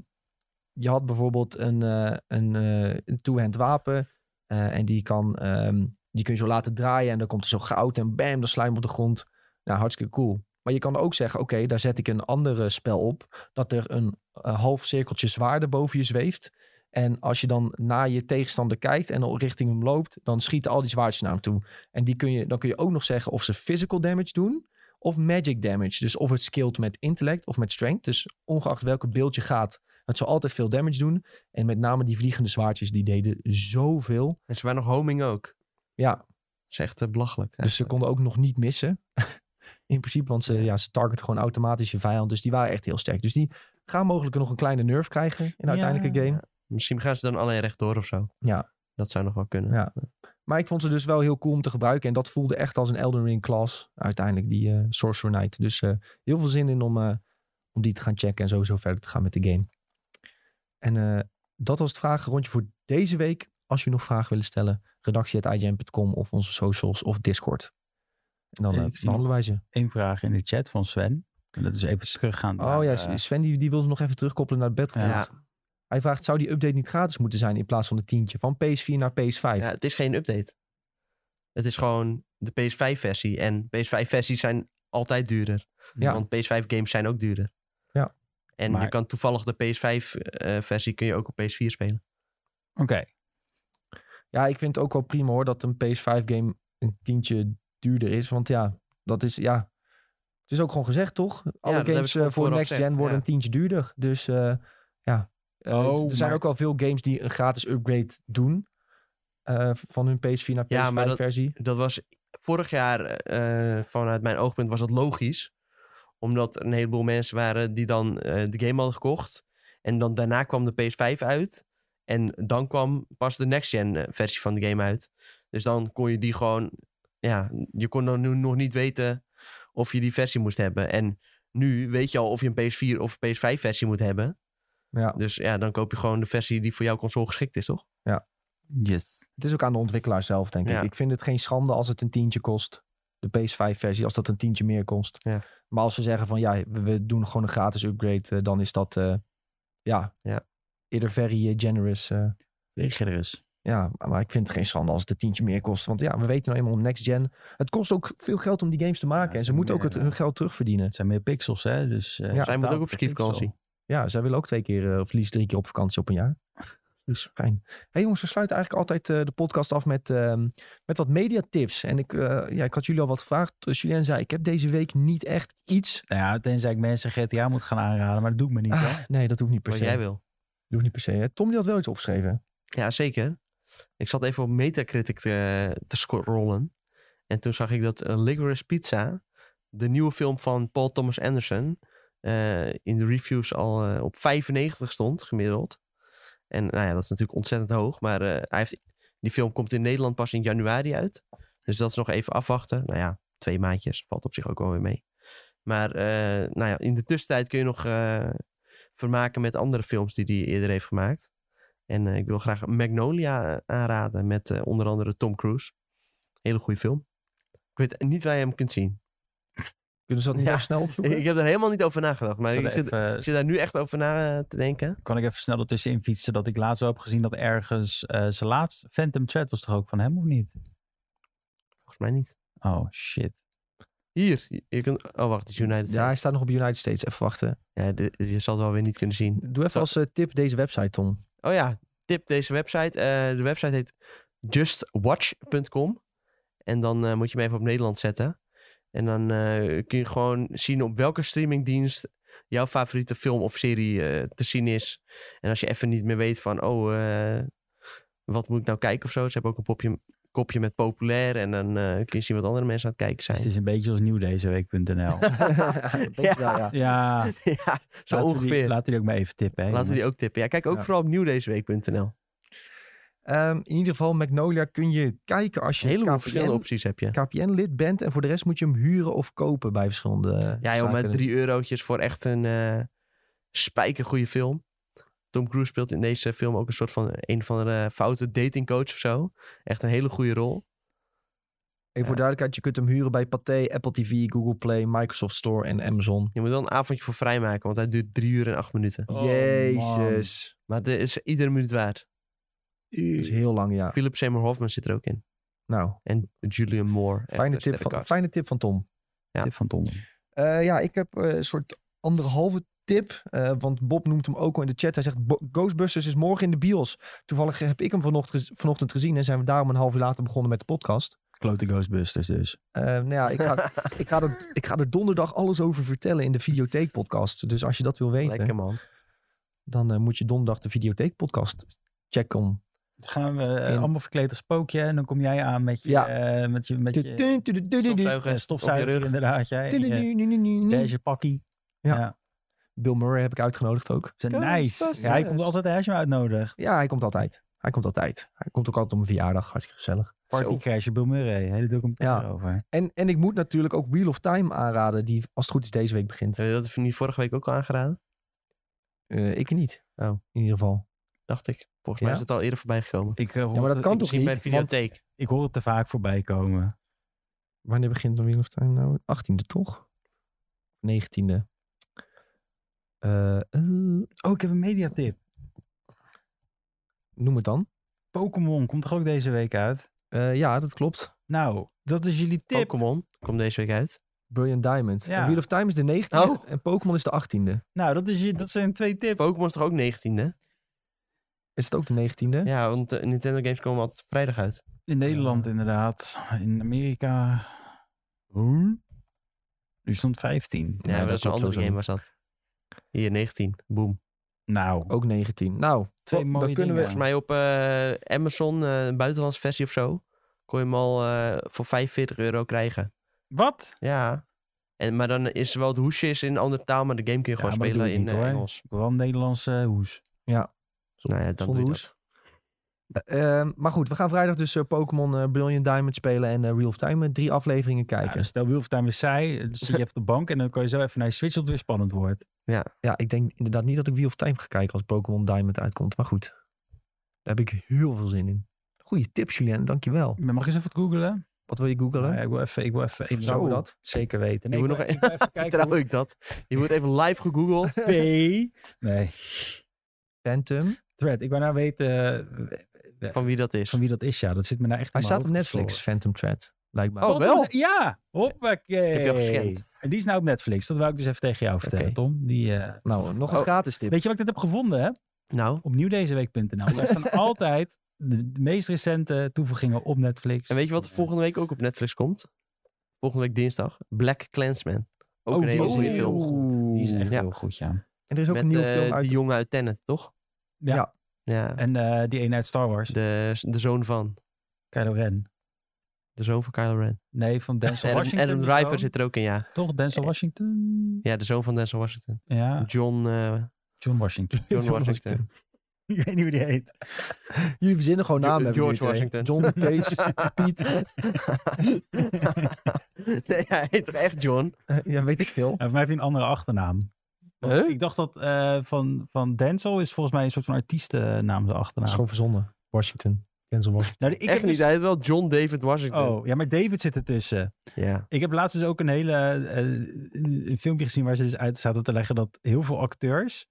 je had bijvoorbeeld een, eh, een, eh, een two-hand wapen. eh, en die, kan, ehm, die kun je zo laten draaien. En dan komt er zo goud en bam, dan sla je hem op de grond. Nou, hartstikke cool. Maar je kan ook zeggen, oké, daar zet ik een andere spel op. Dat er een eh, half cirkeltje zwaarden boven je zweeft. En als je dan naar je tegenstander kijkt en al richting hem loopt, dan schieten al die zwaardjes naar hem toe. En die kun je, dan kun je ook nog zeggen of ze physical damage doen of magic damage. Dus of het skillt met intellect of met strength. Dus ongeacht welke beeld je gaat, het zal altijd veel damage doen. En met name die vliegende zwaardjes, die deden zoveel.
En ze waren nog homing ook.
Ja,
Dat is echt eh, belachelijk.
dus ze
eigenlijk.
konden ook nog niet missen. In principe, want ze, ja, ze targeten gewoon automatisch je vijand. Dus die waren echt heel sterk. Dus die gaan mogelijk nog een kleine nerf krijgen in de
Ja.
uiteindelijke game.
Misschien gaan ze dan alleen rechtdoor of zo.
Ja.
Dat zou nog wel kunnen.
Ja. Maar ik vond ze dus wel heel cool om te gebruiken. En dat voelde echt als een Elden Ring class. Uiteindelijk die eh Sorcerer Knight. Dus eh, heel veel zin in om, eh, om die te gaan checken. En sowieso verder te gaan met de game. En eh, dat was het vragenrondje voor deze week. Als jullie nog vragen willen stellen. redactie.igm.com of onze socials of Discord. En dan
Ik
eh,
zie nog-
behandelen wij ze.
Eén vraag in de chat van Sven. En dat is even teruggaan.
Oh ja,
naar, eh,
Sven die, die wilde nog even terugkoppelen naar Battlefield.
Ja.
Hij vraagt, zou die update niet gratis moeten zijn in plaats van de tientje? Van PS4 naar PS5.
Ja, het is geen update. Het is gewoon de PS5-versie. En PS5-versies zijn altijd duurder.
Ja.
Want PS5-games zijn ook duurder.
Ja.
En
Maar-
je kan toevallig de PS5-versie eh, kun je ook op PS4 spelen.
Oké.
Ja, ik vind het ook wel prima hoor dat een PS5-game een tientje duurder is. Want ja, dat is ja. Het is ook gewoon gezegd, toch? Alle
dat hebben
games
ze
eh,
van
voor
tevoren
next
al
gen
gezegd,
worden
ja.
een tientje duurder. Dus eh, ja. Eh,
Oh,
er zijn
maar-
ook wel veel games die een gratis upgrade doen. eh, van hun PS4 naar
Ja, maar dat-
PS5-versie.
Dat was vorig jaar, eh, vanuit mijn oogpunt, was dat logisch. Omdat er een heleboel mensen waren die dan eh, de game hadden gekocht. En dan daarna kwam de PS5 uit. En dan kwam pas de next-gen eh, versie van de game uit. Dus dan kon je die gewoon... Ja, je kon dan nu nog niet weten of je die versie moest hebben. En nu weet je al of je een PS4 of PS5 versie moet hebben.
Ja.
Dus ja, dan koop je gewoon de versie die voor jouw console geschikt is, toch?
Yes.
Het is ook aan de ontwikkelaar zelf, denk
Ja.
ik. Ik vind het geen schande als het een tientje kost. De PS5-versie, als dat een tientje meer kost.
Ja.
Maar als ze zeggen van ja, we, we doen gewoon een gratis upgrade, eh, dan is dat eh, ja,
Ja.
eerder very eh, generous. eh.
Weet je er eens.
ja, maar ik vind het geen schande als het een tientje meer kost. Want ja, we weten nou eenmaal next gen. Het kost ook veel geld om die games te maken.
Ja,
en ze
ze
moeten ook het,
moeten-
hun geld terugverdienen.
Het zijn meer pixels, hè? Dus eh,
Ja,
Zij moet ook op ski-vakantie.
Ja, zij willen ook twee keer, eh, of liefst drie keer op vakantie op een jaar. Dus fijn. hey jongens, we sluiten eigenlijk altijd eh, de podcast af met, ehm, met wat mediatips. En ik, eh, ja, ik had jullie al wat gevraagd. Dus Julien zei, ik heb deze week niet echt iets.
Nou ja, tenzij ik mensen GTA moet gaan aanraden, maar dat doe ik me niet. hè?
Ah, nee, dat hoeft niet per
Wat
se.
jij wil.
Dat hoeft niet per se. Hè? Tom die had wel iets opgeschreven.
Ja, zeker. Ik zat even op Metacritic te, te scrollen. En toen zag ik dat eh, Licorice Pizza, de nieuwe film van Paul Thomas Anderson, eh, in de reviews al eh, op 95 stond gemiddeld. En nou ja, dat is natuurlijk ontzettend hoog. Maar eh, hij heeft, die film komt in Nederland pas in januari uit. Dus dat is nog even afwachten. Nou ja, twee maandjes valt op zich ook wel weer mee. Maar eh, nou ja, in de tussentijd kun je nog eh, vermaken met andere films die hij eerder heeft gemaakt. En eh, ik wil graag Magnolia eh, aanraden met eh, onder andere Tom Cruise. Hele goede film. Ik weet niet waar je hem kunt zien.
Kunnen ze dat niet
Ja.
even snel opzoeken?
Ik heb er helemaal niet over nagedacht, maar
Zal
ik
ik
zit,
even- eh,
ik zit daar nu echt over na eh, te denken.
kan ik even snel ertussenin fietsen dat ik laatst wel heb gezien dat ergens eh, zijn laatst Phantom Thread was toch ook van hem of niet?
Volgens mij niet.
Oh shit.
Hier. Je, je kunt, oh, wacht. Het is United
ja, hij
States.
staat nog op United States. Even wachten.
Ja, de- je zal het wel weer niet kunnen zien.
Doe even
Zo.
als eh, tip deze website, Tom.
Oh ja, tip deze website. Eh, de website heet justwatch.com. En dan eh, moet je hem even op Nederland zetten. En dan eh, kun je gewoon zien op welke streamingdienst jouw favoriete film of serie eh, te zien is. En als je even niet meer weet van, oh, eh, wat moet ik nou kijken of zo. Ze hebben ook een popje, kopje met populair. En dan eh, kun je zien wat andere mensen aan het kijken
Dus het
zijn.
is een beetje als nieuwdezeweek.nl.
Dat denk ik wel, ja.
ja,
ja, zo
laten we die-
ongeveer.
laten we die ook maar even tippen. Hè,
Laten we die
jongens.
ook tippen. Ja, kijk ook
Ja.
vooral op nieuwdezeweek.nl.
Ehm, in ieder geval, Magnolia kun je kijken als je
Hele
KPN
verschillende opties heb je.
KPN-lid bent. En voor de rest moet je hem huren of kopen bij verschillende eh,
Ja, joh,
zaken.
met drie eurotjes voor echt een eh spijkergoede film. Tom Cruise speelt in deze film ook een soort van eh, een van de foute datingcoach of zo. Echt een hele goede rol.
Even voor duidelijkheid, je kunt hem huren bij Pathé, Apple TV, Google Play, Microsoft Store en Amazon.
Je moet wel een avondje voor vrijmaken, want hij duurt drie uur en acht minuten.
Oh,
Jezus.
Maar dat is iedere minuut waard.
Dat is heel lang, ja.
Philip Seymour Hoffman zit er ook in.
Nou,
En Julian Moore. echt
fijne
een
tip, van,
sterrenkast.
fijne tip van Tom.
Ja.
Tip van Tom.
Eh, ja, ik heb eh, een soort anderhalve tip. eh, want Bob noemt hem ook al in de chat. Hij zegt, "Bo- Ghostbusters is morgen in de bios. Toevallig heb ik hem vanochtend, gez- vanochtend gezien en zijn we daarom een half uur later begonnen met de podcast.
Klote Ghostbusters dus.
Eh, nou ja, ik ga, ik, ga er, ik ga er donderdag alles over vertellen in de Videotheek podcast. Dus als je dat wil weten,
Lekker man.
dan eh, moet je donderdag de Videotheek podcast checken om
Dan gaan we eh,
In-
allemaal verkleed als spookje en dan kom jij aan met je,
Ja.
eh, met je, met je
Bill
eh,
Stofzuigen.
stofzuiger
op je rug.
inderdaad. Jij, en je beige pakkie.
Ja. Murray heb ik uitgenodigd ook.
Zijn
Ghostbusters.
Nice. Ja, hij komt altijd hè, als je hem uitnodigt.
Ja, hij komt altijd. Hij komt altijd. Hij komt ook altijd op mijn verjaardag. Hartstikke gezellig.
Party
Oh.
Crasher, Bill Murray. Hele documentaire
Ja.
over.
En, en ik moet natuurlijk ook Wheel of Time aanraden, die als het goed is deze week begint.
Hebben we dat niet vorige week ook al aangeraden?
Eh, ik niet.
Oh.
In ieder geval.
Dacht ik. Volgens
Ja?
mij is het al eerder voorbij gekomen.
Ik, eh, hoor
maar dat
het-
kan
ik-
toch
Misschien bij de
niet, want-
videotheek.
Ik hoor het te vaak voorbij komen.
Wanneer begint dan Wheel of Time nou? 18e toch? 19e. Eh, eh,
Oh, ik heb een mediatip.
noem het dan.
Pokémon komt toch ook deze week uit?
Eh, ja, dat klopt.
Nou, dat is jullie tip.
Pokémon Oh, komt deze week uit.
Brilliant Diamond.
Ja.
En Wheel of Time is de 19e
Oh.
en Pokémon is de 18e.
Nou, dat, is je, dat zijn twee tips.
Pokémon is toch ook 19, hè?
Is het ook de 19e?
Ja, want eh, Nintendo games komen altijd vrijdag uit.
In Nederland inderdaad. In Amerika. Hoe? Nu stond 15.
Ja,
Nee,
maar
dat
dat is een
klopt sowieso
andere game was dat. Hier, 19. Boom.
Nou,
Ook 19. Nou,
twee
dan
mooie
kunnen we-
dingen.
Volgens mij op eh, Amazon, eh, een buitenlandse versie of zo, kon je hem al eh, voor 45 euro krijgen.
Wat?
Ja. En, maar dan is wel het hoesje is in een andere taal, maar de game kun je
Ja,
gewoon
maar dat
spelen in
doe ik niet,
eh,
hoor.
Engels.
Ik wil wel een Nederlandse eh, hoes.
Nou ja, dan
Zonder
doe je
hoes.
dat.
Eh, ehm, maar goed, we gaan vrijdag dus eh, Pokémon eh, Brilliant Diamond spelen en eh, Real of Time eh, drie afleveringen
Ja,
kijken.
dus stel Wheel of Time is saai. Dan zit je even op de bank en dan kan je zo even naar je Switch dat het weer spannend wordt.
Ja.
ja, ik denk inderdaad niet dat ik Wheel of Time ga kijken als Pokémon Diamond uitkomt. Maar goed, daar heb ik heel veel zin in. Goeie tip, Julien. Dankjewel.
Maar Mag ik eens even wat googlen?
Wat wil je googlen?
Nou ja, ik wil even... Ik wil even ik
Zou
wil
dat?
Zeker weten.
Je
ik
moet
wil-
nog
ik wil even kijken
Vertrouw
hoe-
ik dat. Je wordt even live gegoogeld.
P. Nee.
Phantom.
Thread. Ik wil nou weten eh,
Van wie dat is.
van wie dat is. Ja, dat zit me nou echt
Hij
in
staat
mijn
op
hoofd
Netflix,
gevroren.
Phantom Thread. Blijkbaar.
Oh, wel?
Ja, hoppakee.
Ik heb je al gescand.
En die is nou op Netflix. Dat wou ik dus even tegen jou vertellen,
Oké.
Tom. Die, eh,
nou, nog een
Oh.
gratis tip.
Weet je wat ik net heb gevonden, hè?
Nou,
Op nieuwdezeweek.nl. Daar staan altijd de, de meest recente toevoegingen op Netflix.
en weet je wat er volgende week ook op Netflix komt? Volgende week dinsdag. Black Clansman. Ook
Oh,
een hele
die is
goede
heel
film.
goed. Die is echt
Ja.
heel goed, ja.
En er is ook
Met
een nieuwe
eh,
film uit.
die jongen uit Tenet, toch?
Ja.
Ja.
Ja.
En eh, die ene uit Star Wars.
De, de zoon van.
Kylo Ren.
De zoon van Kylo Ren.
Nee, van Denzel
Adam,
Washington.
Adam
de
Driver
zoon.
zit er ook in, ja.
Toch, Denzel Washington?
Ja, de zoon van Denzel Washington.
Ja,
John, eh,
John Washington.
John
John
Washington.
ik weet niet hoe die heet.
Jullie verzinnen gewoon
Jo-
namen. hebben
George
jullie twee.
Washington.
John, Kees, Piet.
nee, hij heet toch echt John?
eh, ja, weet ik veel.
Ja, voor mij heeft hij een andere achternaam. Want
Huh?
Ik dacht dat eh, van, van Denzel is volgens mij een soort van artiestennaam de
Dat is
achternaam.
gewoon verzonnen. Washington. Denzel Washington.
Nou, ik
echt
heb
niet.
dus-
Hij heet wel John David Washington.
Oh, ja, maar David zit ertussen.
Ja.
Ik heb laatst dus ook een hele eh, een filmpje gezien waar ze dus uit zaten te leggen dat heel veel acteurs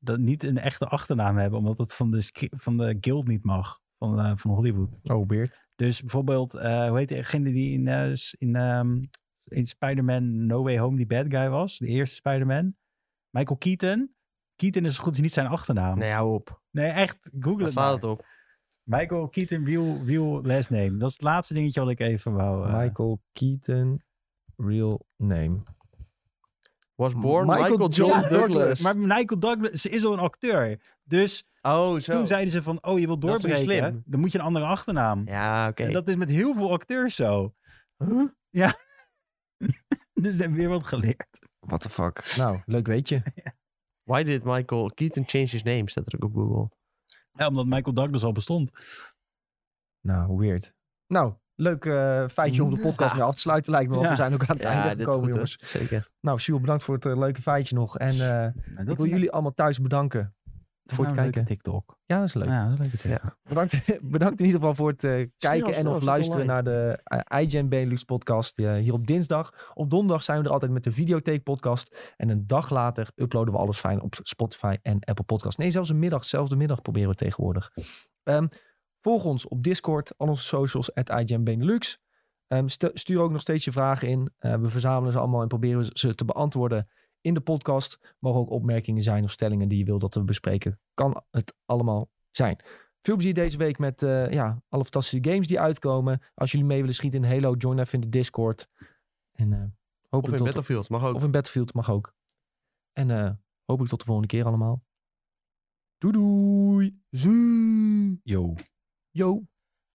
dat niet een echte achternaam hebben, omdat het van de, sc- van de guild niet mag van, eh, van Hollywood.
Oh, Beert.
Dus bijvoorbeeld, eh, hoe heet degene die in, eh, s- in, ehm, in Spider-Man No Way Home die bad guy was, de eerste Spider-Man, Michael Keaton. Keaton is goed is niet zijn achternaam. Nee,
Nee, hou op.
echt, google
Waar
het,
staat
maar.
het op?
Michael Keaton, real, real last name. Dat is het laatste dingetje wat ik even wou... eh,
Michael Keaton. Real name.
Was born
Michael
Michael, John,
John
Douglas.
Douglas.
Maar Michael Douglas ze is al een acteur. Dus
Oh, zo.
toen zeiden ze van, oh, je wilt
Dat is niet
doorbreken.
slim.
Dan moet je een andere achternaam.
Ja, oké.
En dat is met heel veel acteurs zo. Ja. dus ze hebben weer wat geleerd.
What the fuck. Nou, leuk weet je.
Why did Michael Keaton change his name? Staat er ook op Google.
Ja, omdat Michael Douglas al bestond.
Nou, weird. Nou, leuk eh, feitje om de podcast
Ja.
mee af te sluiten lijkt me. Want
Ja.
we zijn ook aan het
Ja,
einde
dit
gekomen,
goed,
jongens.
hoor. Zeker.
Nou, Sjoel, bedankt voor het eh, leuke feitje nog. En eh,
Nou,
ik wil
is-
jullie allemaal thuis bedanken.
dat is
voor het
nou een leuke
kijken.
TikTok.
Ja, dat is leuk.
Ja, dat is een leuke TikTok.
Bedankt, bedankt in ieder geval voor het eh, kijken en
snel,
of
zit
luisteren
online.
naar de eh, iGen Benelux podcast eh, hier op dinsdag. Op donderdag zijn we er altijd met de Videotheek podcast. En een dag later uploaden we alles fijn op Spotify en Apple Podcast. Nee, zelfs een middag, zelfs de middag proberen we tegenwoordig. Ehm, volg ons op Discord, al onze socials, at iGen Benelux. Ehm, stu- stuur ook nog steeds je vragen in. Eh, we verzamelen ze allemaal en proberen ze te beantwoorden in de podcast. Mogen ook opmerkingen zijn of stellingen die je wil dat we bespreken. Kan het allemaal zijn. Veel plezier deze week met eh, ja, alle fantastische games die uitkomen. Als jullie mee willen schieten in Halo, join even in de Discord. En eh
Of
hopelijk
in
tot
Battlefield, mag ook.
of in Battlefield mag ook. En eh hopelijk tot de volgende keer allemaal. Doei doei. Zuu.
Yo.
Yo.